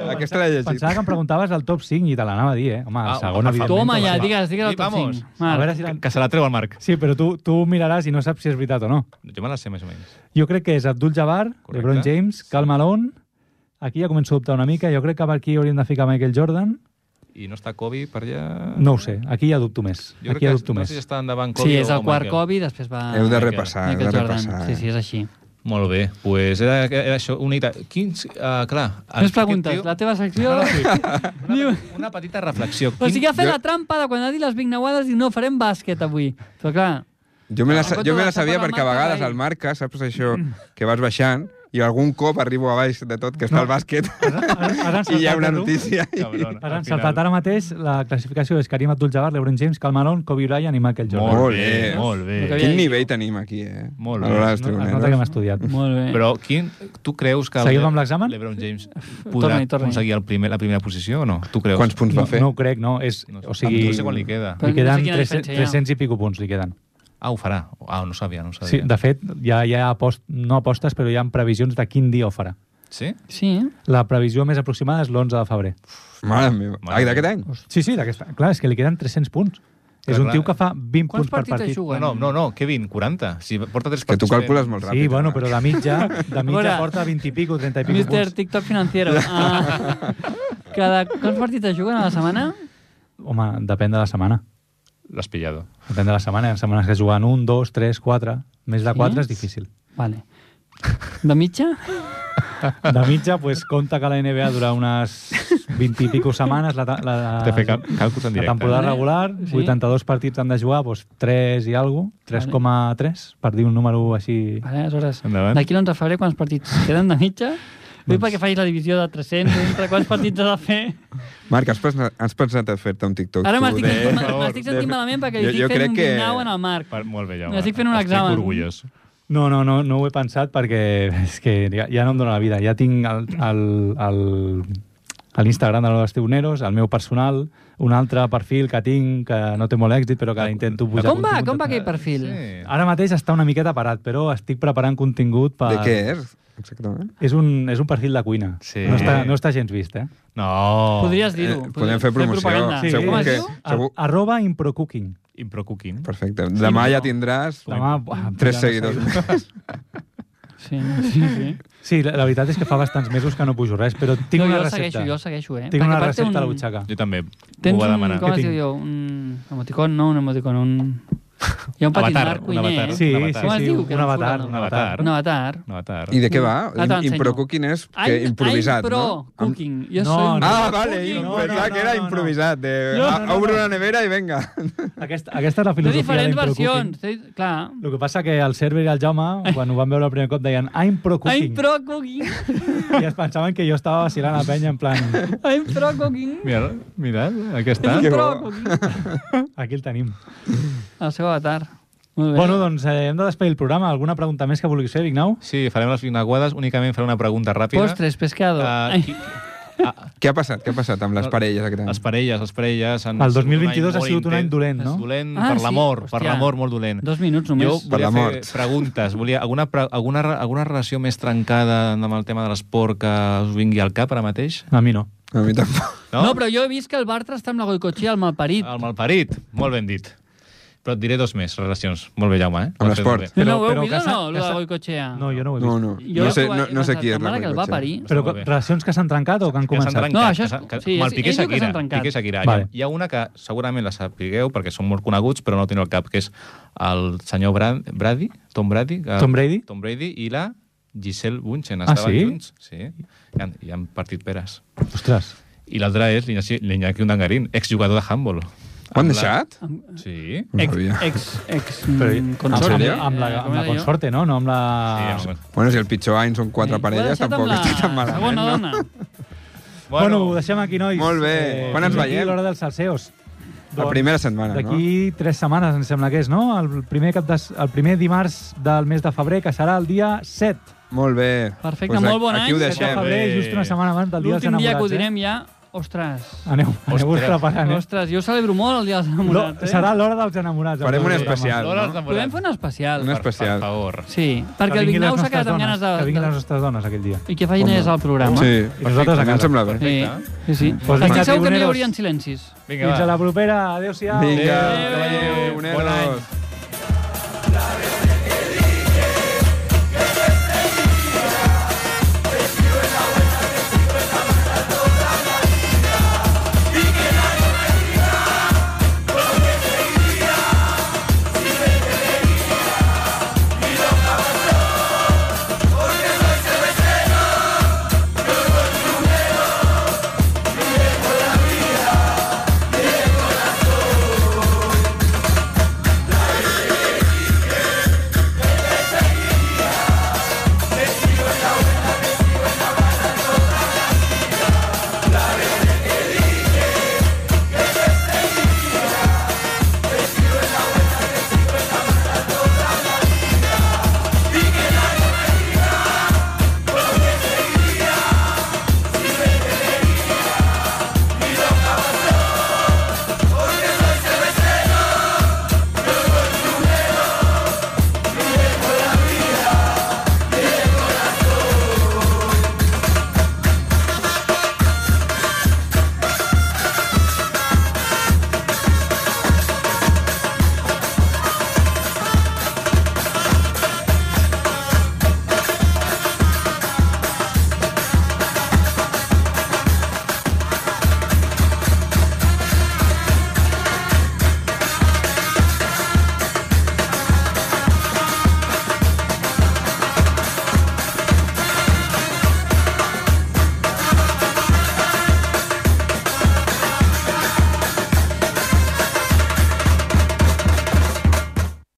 Speaker 8: Aquesta l'he llegit.
Speaker 1: Pensava que em preguntaves el top 5 i te l'anava a dir, eh? Home,
Speaker 2: Ah,
Speaker 1: el segon,
Speaker 2: home,
Speaker 1: evidentment.
Speaker 3: Toma
Speaker 1: però
Speaker 3: ja,
Speaker 1: va.
Speaker 3: digues, digues el
Speaker 2: Sí,
Speaker 3: top
Speaker 2: vamos.
Speaker 3: 5.
Speaker 1: A veure si...
Speaker 2: Que,
Speaker 1: l'han-
Speaker 2: que se la treu el Marc.
Speaker 1: Sí, però tu, tu miraràs i no saps si és veritat o no.
Speaker 2: Jo me la sé més o menys.
Speaker 1: Jo crec que és Abdul Jabbar,
Speaker 2: Correcte.
Speaker 1: LeBron James, Cal Malone... Aquí ja començo a dubtar una mica. Jo crec que per aquí hauríem de ficar Michael Jordan.
Speaker 2: I no està Kobe per allà...
Speaker 1: No ho sé, aquí ja dubto més.
Speaker 2: Jo
Speaker 1: aquí
Speaker 2: crec
Speaker 1: ja
Speaker 2: que
Speaker 1: dubto
Speaker 2: no
Speaker 1: més.
Speaker 2: sé si està endavant Kobe
Speaker 3: Sí, és
Speaker 2: o
Speaker 3: el quart
Speaker 2: Michael.
Speaker 3: Kobe, després va...
Speaker 8: Heu de
Speaker 2: Michael.
Speaker 8: repassar, heu de
Speaker 3: Michael Jordan.
Speaker 8: repassar. eh.
Speaker 3: Sí, sí, és així.
Speaker 2: Molt bé, doncs pues era, era això, una ita... Quins, uh, clar...
Speaker 3: Més
Speaker 2: aquest
Speaker 3: preguntes.
Speaker 2: tio-
Speaker 3: La teva secció... Diu-
Speaker 2: Una petita reflexió.
Speaker 3: O sigui, ha fet
Speaker 8: Jo-
Speaker 3: la trampa de quan ha dit les vignauades i no farem bàsquet avui. Però clar,
Speaker 8: Jo me la,
Speaker 3: No, en
Speaker 8: jo me la
Speaker 3: comptes
Speaker 8: sabia
Speaker 3: d'agafar la
Speaker 8: perquè a
Speaker 3: marca,
Speaker 8: vegades
Speaker 3: vai.
Speaker 8: al marca, saps això, que vas baixant i algun cop arribo a baix de tot, que està
Speaker 1: No.
Speaker 8: el bàsquet,
Speaker 1: Has- has encertat,
Speaker 8: i hi ha una
Speaker 1: eh, tu?
Speaker 8: notícia.
Speaker 2: Cabron,
Speaker 1: Has
Speaker 2: al
Speaker 1: encertat
Speaker 2: final.
Speaker 1: ara mateix la classificació és Karim Abdul-Jabbar, LeBron James, Cal Malone, Kobe Bryant i Michael Jordan.
Speaker 2: Molt
Speaker 8: Molt
Speaker 2: bé,
Speaker 8: bé.
Speaker 2: molt bé.
Speaker 3: El que
Speaker 8: Quin nivell tenim aquí, eh?
Speaker 2: Molt bé.
Speaker 8: A l'hora dels
Speaker 1: Es no, es nota que hem
Speaker 8: tribuneros.
Speaker 1: estudiat.
Speaker 3: molt bé.
Speaker 2: Però quin, tu creus que el
Speaker 1: Seguim
Speaker 2: Le-
Speaker 1: amb l'examen?
Speaker 2: LeBron James podrà
Speaker 3: Torna-hi, torna-hi.
Speaker 2: aconseguir el primer, la primera posició o no? Tu creus?
Speaker 8: Quants punts
Speaker 1: No,
Speaker 8: va fer?
Speaker 1: no ho crec, no. És,
Speaker 2: No, sé,
Speaker 1: o sigui,
Speaker 2: no sé quan li queda.
Speaker 3: Però-
Speaker 1: li
Speaker 3: no sé
Speaker 1: queden
Speaker 3: quina
Speaker 1: 300,
Speaker 3: diferència hi ha.
Speaker 1: 300 i pico punts, li queden.
Speaker 2: Ah, ho farà. Ah, no sabia, no
Speaker 1: Sí,
Speaker 2: sabia.
Speaker 1: de fet, ja hi ha apost, no apostes, però hi ha previsions de quin dia ho farà.
Speaker 2: sí?
Speaker 3: Sí, eh?
Speaker 1: La previsió més aproximada és l'11 de febrer.
Speaker 8: Mare meva.
Speaker 2: Mare
Speaker 8: Ai,
Speaker 2: meva.
Speaker 8: d'aquest any?
Speaker 1: Sí, sí, d'aquesta. Clar, és que li queden 300 punts.
Speaker 2: Clar,
Speaker 1: és un
Speaker 2: clar.
Speaker 1: tio que fa 20 punts
Speaker 3: Quants
Speaker 1: per
Speaker 3: partits
Speaker 1: partit.
Speaker 3: es juguen?
Speaker 2: No, no, no, no, Kevin, 40. Si porta tres
Speaker 8: Que tu
Speaker 2: partits
Speaker 8: calcules
Speaker 2: fent-
Speaker 8: molt ràpid.
Speaker 1: Sí, bueno,
Speaker 8: home.
Speaker 1: però de mitja, de mitja
Speaker 3: Mira.
Speaker 1: porta 20 i pico, 30 i pico
Speaker 3: Mister
Speaker 1: punts.
Speaker 3: TikTok financiero. Ah, cada... Quants partits es juguen a la setmana?
Speaker 1: Home, depèn de la setmana.
Speaker 2: L'has pillado.
Speaker 1: Depèn de la setmana. Hi ha setmanes que es juguen 1, 2, 3, 4... Més de
Speaker 3: Sí?
Speaker 1: 4 és difícil.
Speaker 3: Vale. De mitja?
Speaker 1: De mitja, pues, compta que la NBA dura unes 20 i pico setmanes. La, ta- la,
Speaker 2: T'he fet cal- càlculs
Speaker 1: Ah, la
Speaker 2: en directe. eh?
Speaker 1: temporada
Speaker 3: Vale.
Speaker 1: regular,
Speaker 3: Sí.
Speaker 1: 82 partits han de jugar, pues, 3 i alguna 3,3, per dir un número així...
Speaker 3: Vale, aleshores,
Speaker 2: Endavant.
Speaker 3: d'aquí l'11 de febrer quants partits queden de mitja? Vull
Speaker 1: Doncs-
Speaker 3: perquè facis la divisió de 300 entre quants partits has de fer.
Speaker 8: Marc, has pensat, has pensat a fer-te un TikTok?
Speaker 3: Ara
Speaker 8: tu
Speaker 3: m'estic
Speaker 8: de-
Speaker 3: sentint,
Speaker 8: de-
Speaker 3: m'estic sentint malament perquè
Speaker 8: Jo-
Speaker 3: li
Speaker 8: jo
Speaker 3: estic
Speaker 8: crec
Speaker 3: fent un
Speaker 8: que-
Speaker 3: vignau en el Marc.
Speaker 2: Per, molt bé, Jaume.
Speaker 3: Estic fent un examen.
Speaker 2: Estic orgullós.
Speaker 1: No, no, no, no ho he pensat perquè és que ja, ja no em dóna la vida. Ja tinc el, el, el, a l'Instagram de los Tribuneros, el meu personal, un altre perfil que tinc, que no té molt èxit, però que intento pujar.
Speaker 3: Com va,
Speaker 1: contingut.
Speaker 3: com va aquell perfil?
Speaker 2: Ah,
Speaker 3: Ah.
Speaker 2: Sí.
Speaker 1: Ara mateix està una miqueta parat, però estic preparant contingut per...
Speaker 8: De què és? Exactament.
Speaker 1: És un, és un perfil de cuina.
Speaker 2: Sí.
Speaker 1: No, està, no està gens vist, eh?
Speaker 2: No.
Speaker 3: Oh. Podries
Speaker 8: Eh,
Speaker 3: dir-ho.
Speaker 8: podem fer promoció.
Speaker 3: propaganda.
Speaker 1: Sí.
Speaker 8: Ah. Segur
Speaker 3: Com es
Speaker 8: que...
Speaker 3: diu?
Speaker 8: Segur...
Speaker 1: A, arroba improcooking.
Speaker 2: Improcooking.
Speaker 8: Perfecte. Demà ja tindràs
Speaker 1: Demà, buah,
Speaker 8: tres
Speaker 1: ja no
Speaker 8: seguidors.
Speaker 1: sé.
Speaker 3: Sí, sí, sí.
Speaker 1: Sí, la, la veritat és que fa bastants mesos que no pujo res, però tinc
Speaker 3: Jo-
Speaker 1: una
Speaker 3: jo el
Speaker 1: recepta.
Speaker 3: segueixo, jo el segueixo, eh?
Speaker 1: Tinc
Speaker 3: Perquè
Speaker 1: una
Speaker 3: a part té
Speaker 1: recepta a la
Speaker 3: un-
Speaker 1: butxaca.
Speaker 2: Jo també. ho
Speaker 3: Tens
Speaker 2: va
Speaker 3: un,
Speaker 2: demanar.
Speaker 3: com es
Speaker 1: Què
Speaker 3: diu,
Speaker 1: tinc?
Speaker 3: jo? un emoticon, no, un emoticon, un... Hi ha un petit
Speaker 2: Avatar,
Speaker 3: Marc
Speaker 2: un
Speaker 3: cuiner,
Speaker 2: avatar.
Speaker 3: eh?
Speaker 1: Sí,
Speaker 2: Un
Speaker 1: sí,
Speaker 2: avatar.
Speaker 1: sí,
Speaker 3: Com es diu?
Speaker 1: un,
Speaker 3: Que no em surt
Speaker 1: avatar,
Speaker 3: el nom.
Speaker 1: un avatar.
Speaker 3: Un avatar.
Speaker 2: No, tard.
Speaker 8: I de què va?
Speaker 3: Ara te l'ensenyo.
Speaker 8: Improcooking és que
Speaker 3: Ai-
Speaker 8: improvisat,
Speaker 3: ai, pro
Speaker 8: no? Amb-
Speaker 3: cooking. Jo
Speaker 1: No,
Speaker 3: soy
Speaker 1: no.
Speaker 8: Ah, vale,
Speaker 1: Cooking.
Speaker 8: jo
Speaker 1: No,
Speaker 8: pensava
Speaker 1: no, no,
Speaker 8: que era
Speaker 1: no, no.
Speaker 8: improvisat. De...
Speaker 1: No,
Speaker 8: ah,
Speaker 1: no, no,
Speaker 8: Obro
Speaker 1: no.
Speaker 8: una nevera i venga.
Speaker 1: Aquesta, aquesta és la
Speaker 3: Té
Speaker 1: filosofia
Speaker 3: diferents
Speaker 1: d'Improcooking.
Speaker 3: versions. Té, clar.
Speaker 1: El que passa que el Cerver i el Jaume, quan ho van veure el primer cop, deien I'm pro
Speaker 3: Ai,
Speaker 1: cooking.
Speaker 3: pro cooking.
Speaker 1: I es pensaven que jo estava vacilant a penya en plan,
Speaker 3: Ai, pro cooking.
Speaker 2: Mira, mira, aquí està.
Speaker 3: Ai,
Speaker 8: Que
Speaker 3: pro
Speaker 8: bo.
Speaker 3: cooking.
Speaker 1: aquí el tenim.
Speaker 3: El seu avatar. Molt bé.
Speaker 1: Bueno, doncs eh, hem de despedir el programa. Alguna pregunta més que vulguis fer, Vignau?
Speaker 2: Sí, farem les vinaguades, únicament faré una pregunta ràpida.
Speaker 3: Postres, pescado.
Speaker 2: Ah,
Speaker 3: Ai,
Speaker 2: qui-
Speaker 8: Què ha passat? Què ha passat amb les parelles aquest any?
Speaker 2: les parelles, les parelles... Han
Speaker 1: El
Speaker 2: sigut un
Speaker 1: 2022 ha
Speaker 2: molt
Speaker 1: sigut un any
Speaker 2: intens.
Speaker 1: dolent, no?
Speaker 2: És dolent
Speaker 3: Ah,
Speaker 2: per
Speaker 3: sí?
Speaker 2: l'amor, per
Speaker 3: Hòstia.
Speaker 2: l'amor molt dolent.
Speaker 3: dos minuts només.
Speaker 2: Jo
Speaker 8: Per
Speaker 2: volia
Speaker 8: la
Speaker 2: fer
Speaker 8: mort.
Speaker 2: preguntes. Volia alguna, pre alguna, re- alguna relació més trencada amb el tema de l'esport que us vingui al cap ara mateix?
Speaker 1: A mi no.
Speaker 8: A mi tampoc.
Speaker 3: No? no, però jo he vist que el Bartra està amb la goicotxia al malparit.
Speaker 1: Ah,
Speaker 2: El malparit, molt ben dit. Però et diré dos més, relacions. Molt bé, Jaume, eh?
Speaker 8: Amb
Speaker 2: Ho has fet
Speaker 8: l'esport.
Speaker 2: molt
Speaker 1: Però-
Speaker 2: bé.
Speaker 3: No, no, ho
Speaker 1: però
Speaker 3: heu vist
Speaker 1: que
Speaker 3: o no,
Speaker 1: s'ha- que
Speaker 3: el de
Speaker 1: s'ha-
Speaker 3: la goicotxea?
Speaker 1: No, jo no ho he vist.
Speaker 8: No, no.
Speaker 3: Jo
Speaker 8: No
Speaker 3: he
Speaker 8: sé,
Speaker 3: trobat-
Speaker 8: no,
Speaker 3: he
Speaker 8: no sé
Speaker 3: pensat,
Speaker 8: qui és la
Speaker 3: mare que el va
Speaker 8: Goicoechea.
Speaker 3: parir.
Speaker 1: Però
Speaker 2: Molt bé.
Speaker 1: relacions que s'han trencat o que han
Speaker 2: que s'han
Speaker 1: començat?
Speaker 2: trencat.
Speaker 3: No, això és-
Speaker 2: que s'han- que,
Speaker 3: sí,
Speaker 2: com el
Speaker 3: és-
Speaker 2: Piqué
Speaker 3: ell diu que
Speaker 2: Shakira.
Speaker 3: s'han trencat.
Speaker 2: Piqué Shakira.
Speaker 1: Vale.
Speaker 2: Hi, ha, hi ha una que segurament la sapigueu perquè són molt coneguts, però no la teniu al cap, que és el senyor Brad, Brady, Tom Brady. Que,
Speaker 1: Tom Brady?
Speaker 2: Tom Brady i la Giselle Bunchen.
Speaker 1: Ah,
Speaker 2: Estaven
Speaker 1: sí?
Speaker 2: junts. Sí. I han, i han partit peres.
Speaker 1: Ostres.
Speaker 2: I l'altra és l'Iñaki l'Iñaki Undangarín, exjugador de handball.
Speaker 8: Ho han deixat?
Speaker 2: Sí.
Speaker 8: No
Speaker 3: Ex,
Speaker 8: sabia.
Speaker 3: ex, ex,
Speaker 1: Però,
Speaker 3: mm, consorte.
Speaker 1: amb,
Speaker 8: sèrio?
Speaker 1: amb, la,
Speaker 3: Eh, com
Speaker 1: amb la
Speaker 3: era jo?
Speaker 1: consorte, no? No amb la...
Speaker 2: Sí, home.
Speaker 8: Bueno, si el pitjor any són quatre
Speaker 3: Sí. Ho ha
Speaker 8: parelles,
Speaker 3: deixat
Speaker 8: tampoc
Speaker 3: amb la
Speaker 8: està tan ¿eh? malament,
Speaker 3: Segona
Speaker 8: no?
Speaker 3: dona.
Speaker 1: Bueno, ho deixem aquí, nois. Eh,
Speaker 8: Molt bé. Quan ens
Speaker 1: fins aquí
Speaker 8: veiem?
Speaker 1: L'hora dels salseos. Doncs,
Speaker 8: La primera setmana, no?
Speaker 1: D'aquí tres setmanes, em sembla que és, no? El primer, cap de, el primer dimarts del mes de febrer, que serà el dia 7.
Speaker 8: Molt bé.
Speaker 3: Perfecte,
Speaker 8: Doncs a-
Speaker 3: molt bon
Speaker 8: aquí
Speaker 3: any.
Speaker 8: Ho
Speaker 1: de
Speaker 8: deixem.
Speaker 1: febrer,
Speaker 2: Bé.
Speaker 1: just una setmana abans del dia dels
Speaker 3: L'últim dia que ho
Speaker 1: enamorats.
Speaker 3: direm ja... Ostres,
Speaker 1: Eh? Aneu, aneu-vos
Speaker 2: Ostres.
Speaker 1: preparant, eh?
Speaker 3: ostres, jo celebro molt el dia dels
Speaker 1: Lo,
Speaker 3: enamorats. Eh?
Speaker 1: serà l'hora dels enamorats.
Speaker 8: Farem
Speaker 1: avui,
Speaker 8: un
Speaker 1: programa.
Speaker 8: especial.
Speaker 2: L'hora dels
Speaker 3: Podem fer un
Speaker 2: enamorats.
Speaker 3: especial.
Speaker 8: Un especial.
Speaker 2: Per favor.
Speaker 3: Sí, perquè
Speaker 1: vinguin
Speaker 3: el Vignau
Speaker 1: les
Speaker 3: s'ha quedat amb ganes
Speaker 1: nostres
Speaker 3: de...
Speaker 1: dones, Que vinguin
Speaker 3: de-
Speaker 1: les nostres dones aquell dia.
Speaker 3: I que facin ells al programa.
Speaker 8: Sí,
Speaker 1: I nosaltres a
Speaker 8: perfecte,
Speaker 1: casa.
Speaker 8: em sembla bé.
Speaker 3: sí. sí, sí.
Speaker 1: Doncs vinga,
Speaker 3: Estic segur que no hi
Speaker 1: tribuneros.
Speaker 3: haurien silencis.
Speaker 2: Vinga,
Speaker 1: Fins a
Speaker 2: va.
Speaker 1: la propera. Adéu-siau.
Speaker 8: Vinga,
Speaker 2: Adéu.
Speaker 8: cavallero,
Speaker 2: Bon any.
Speaker 8: uneros.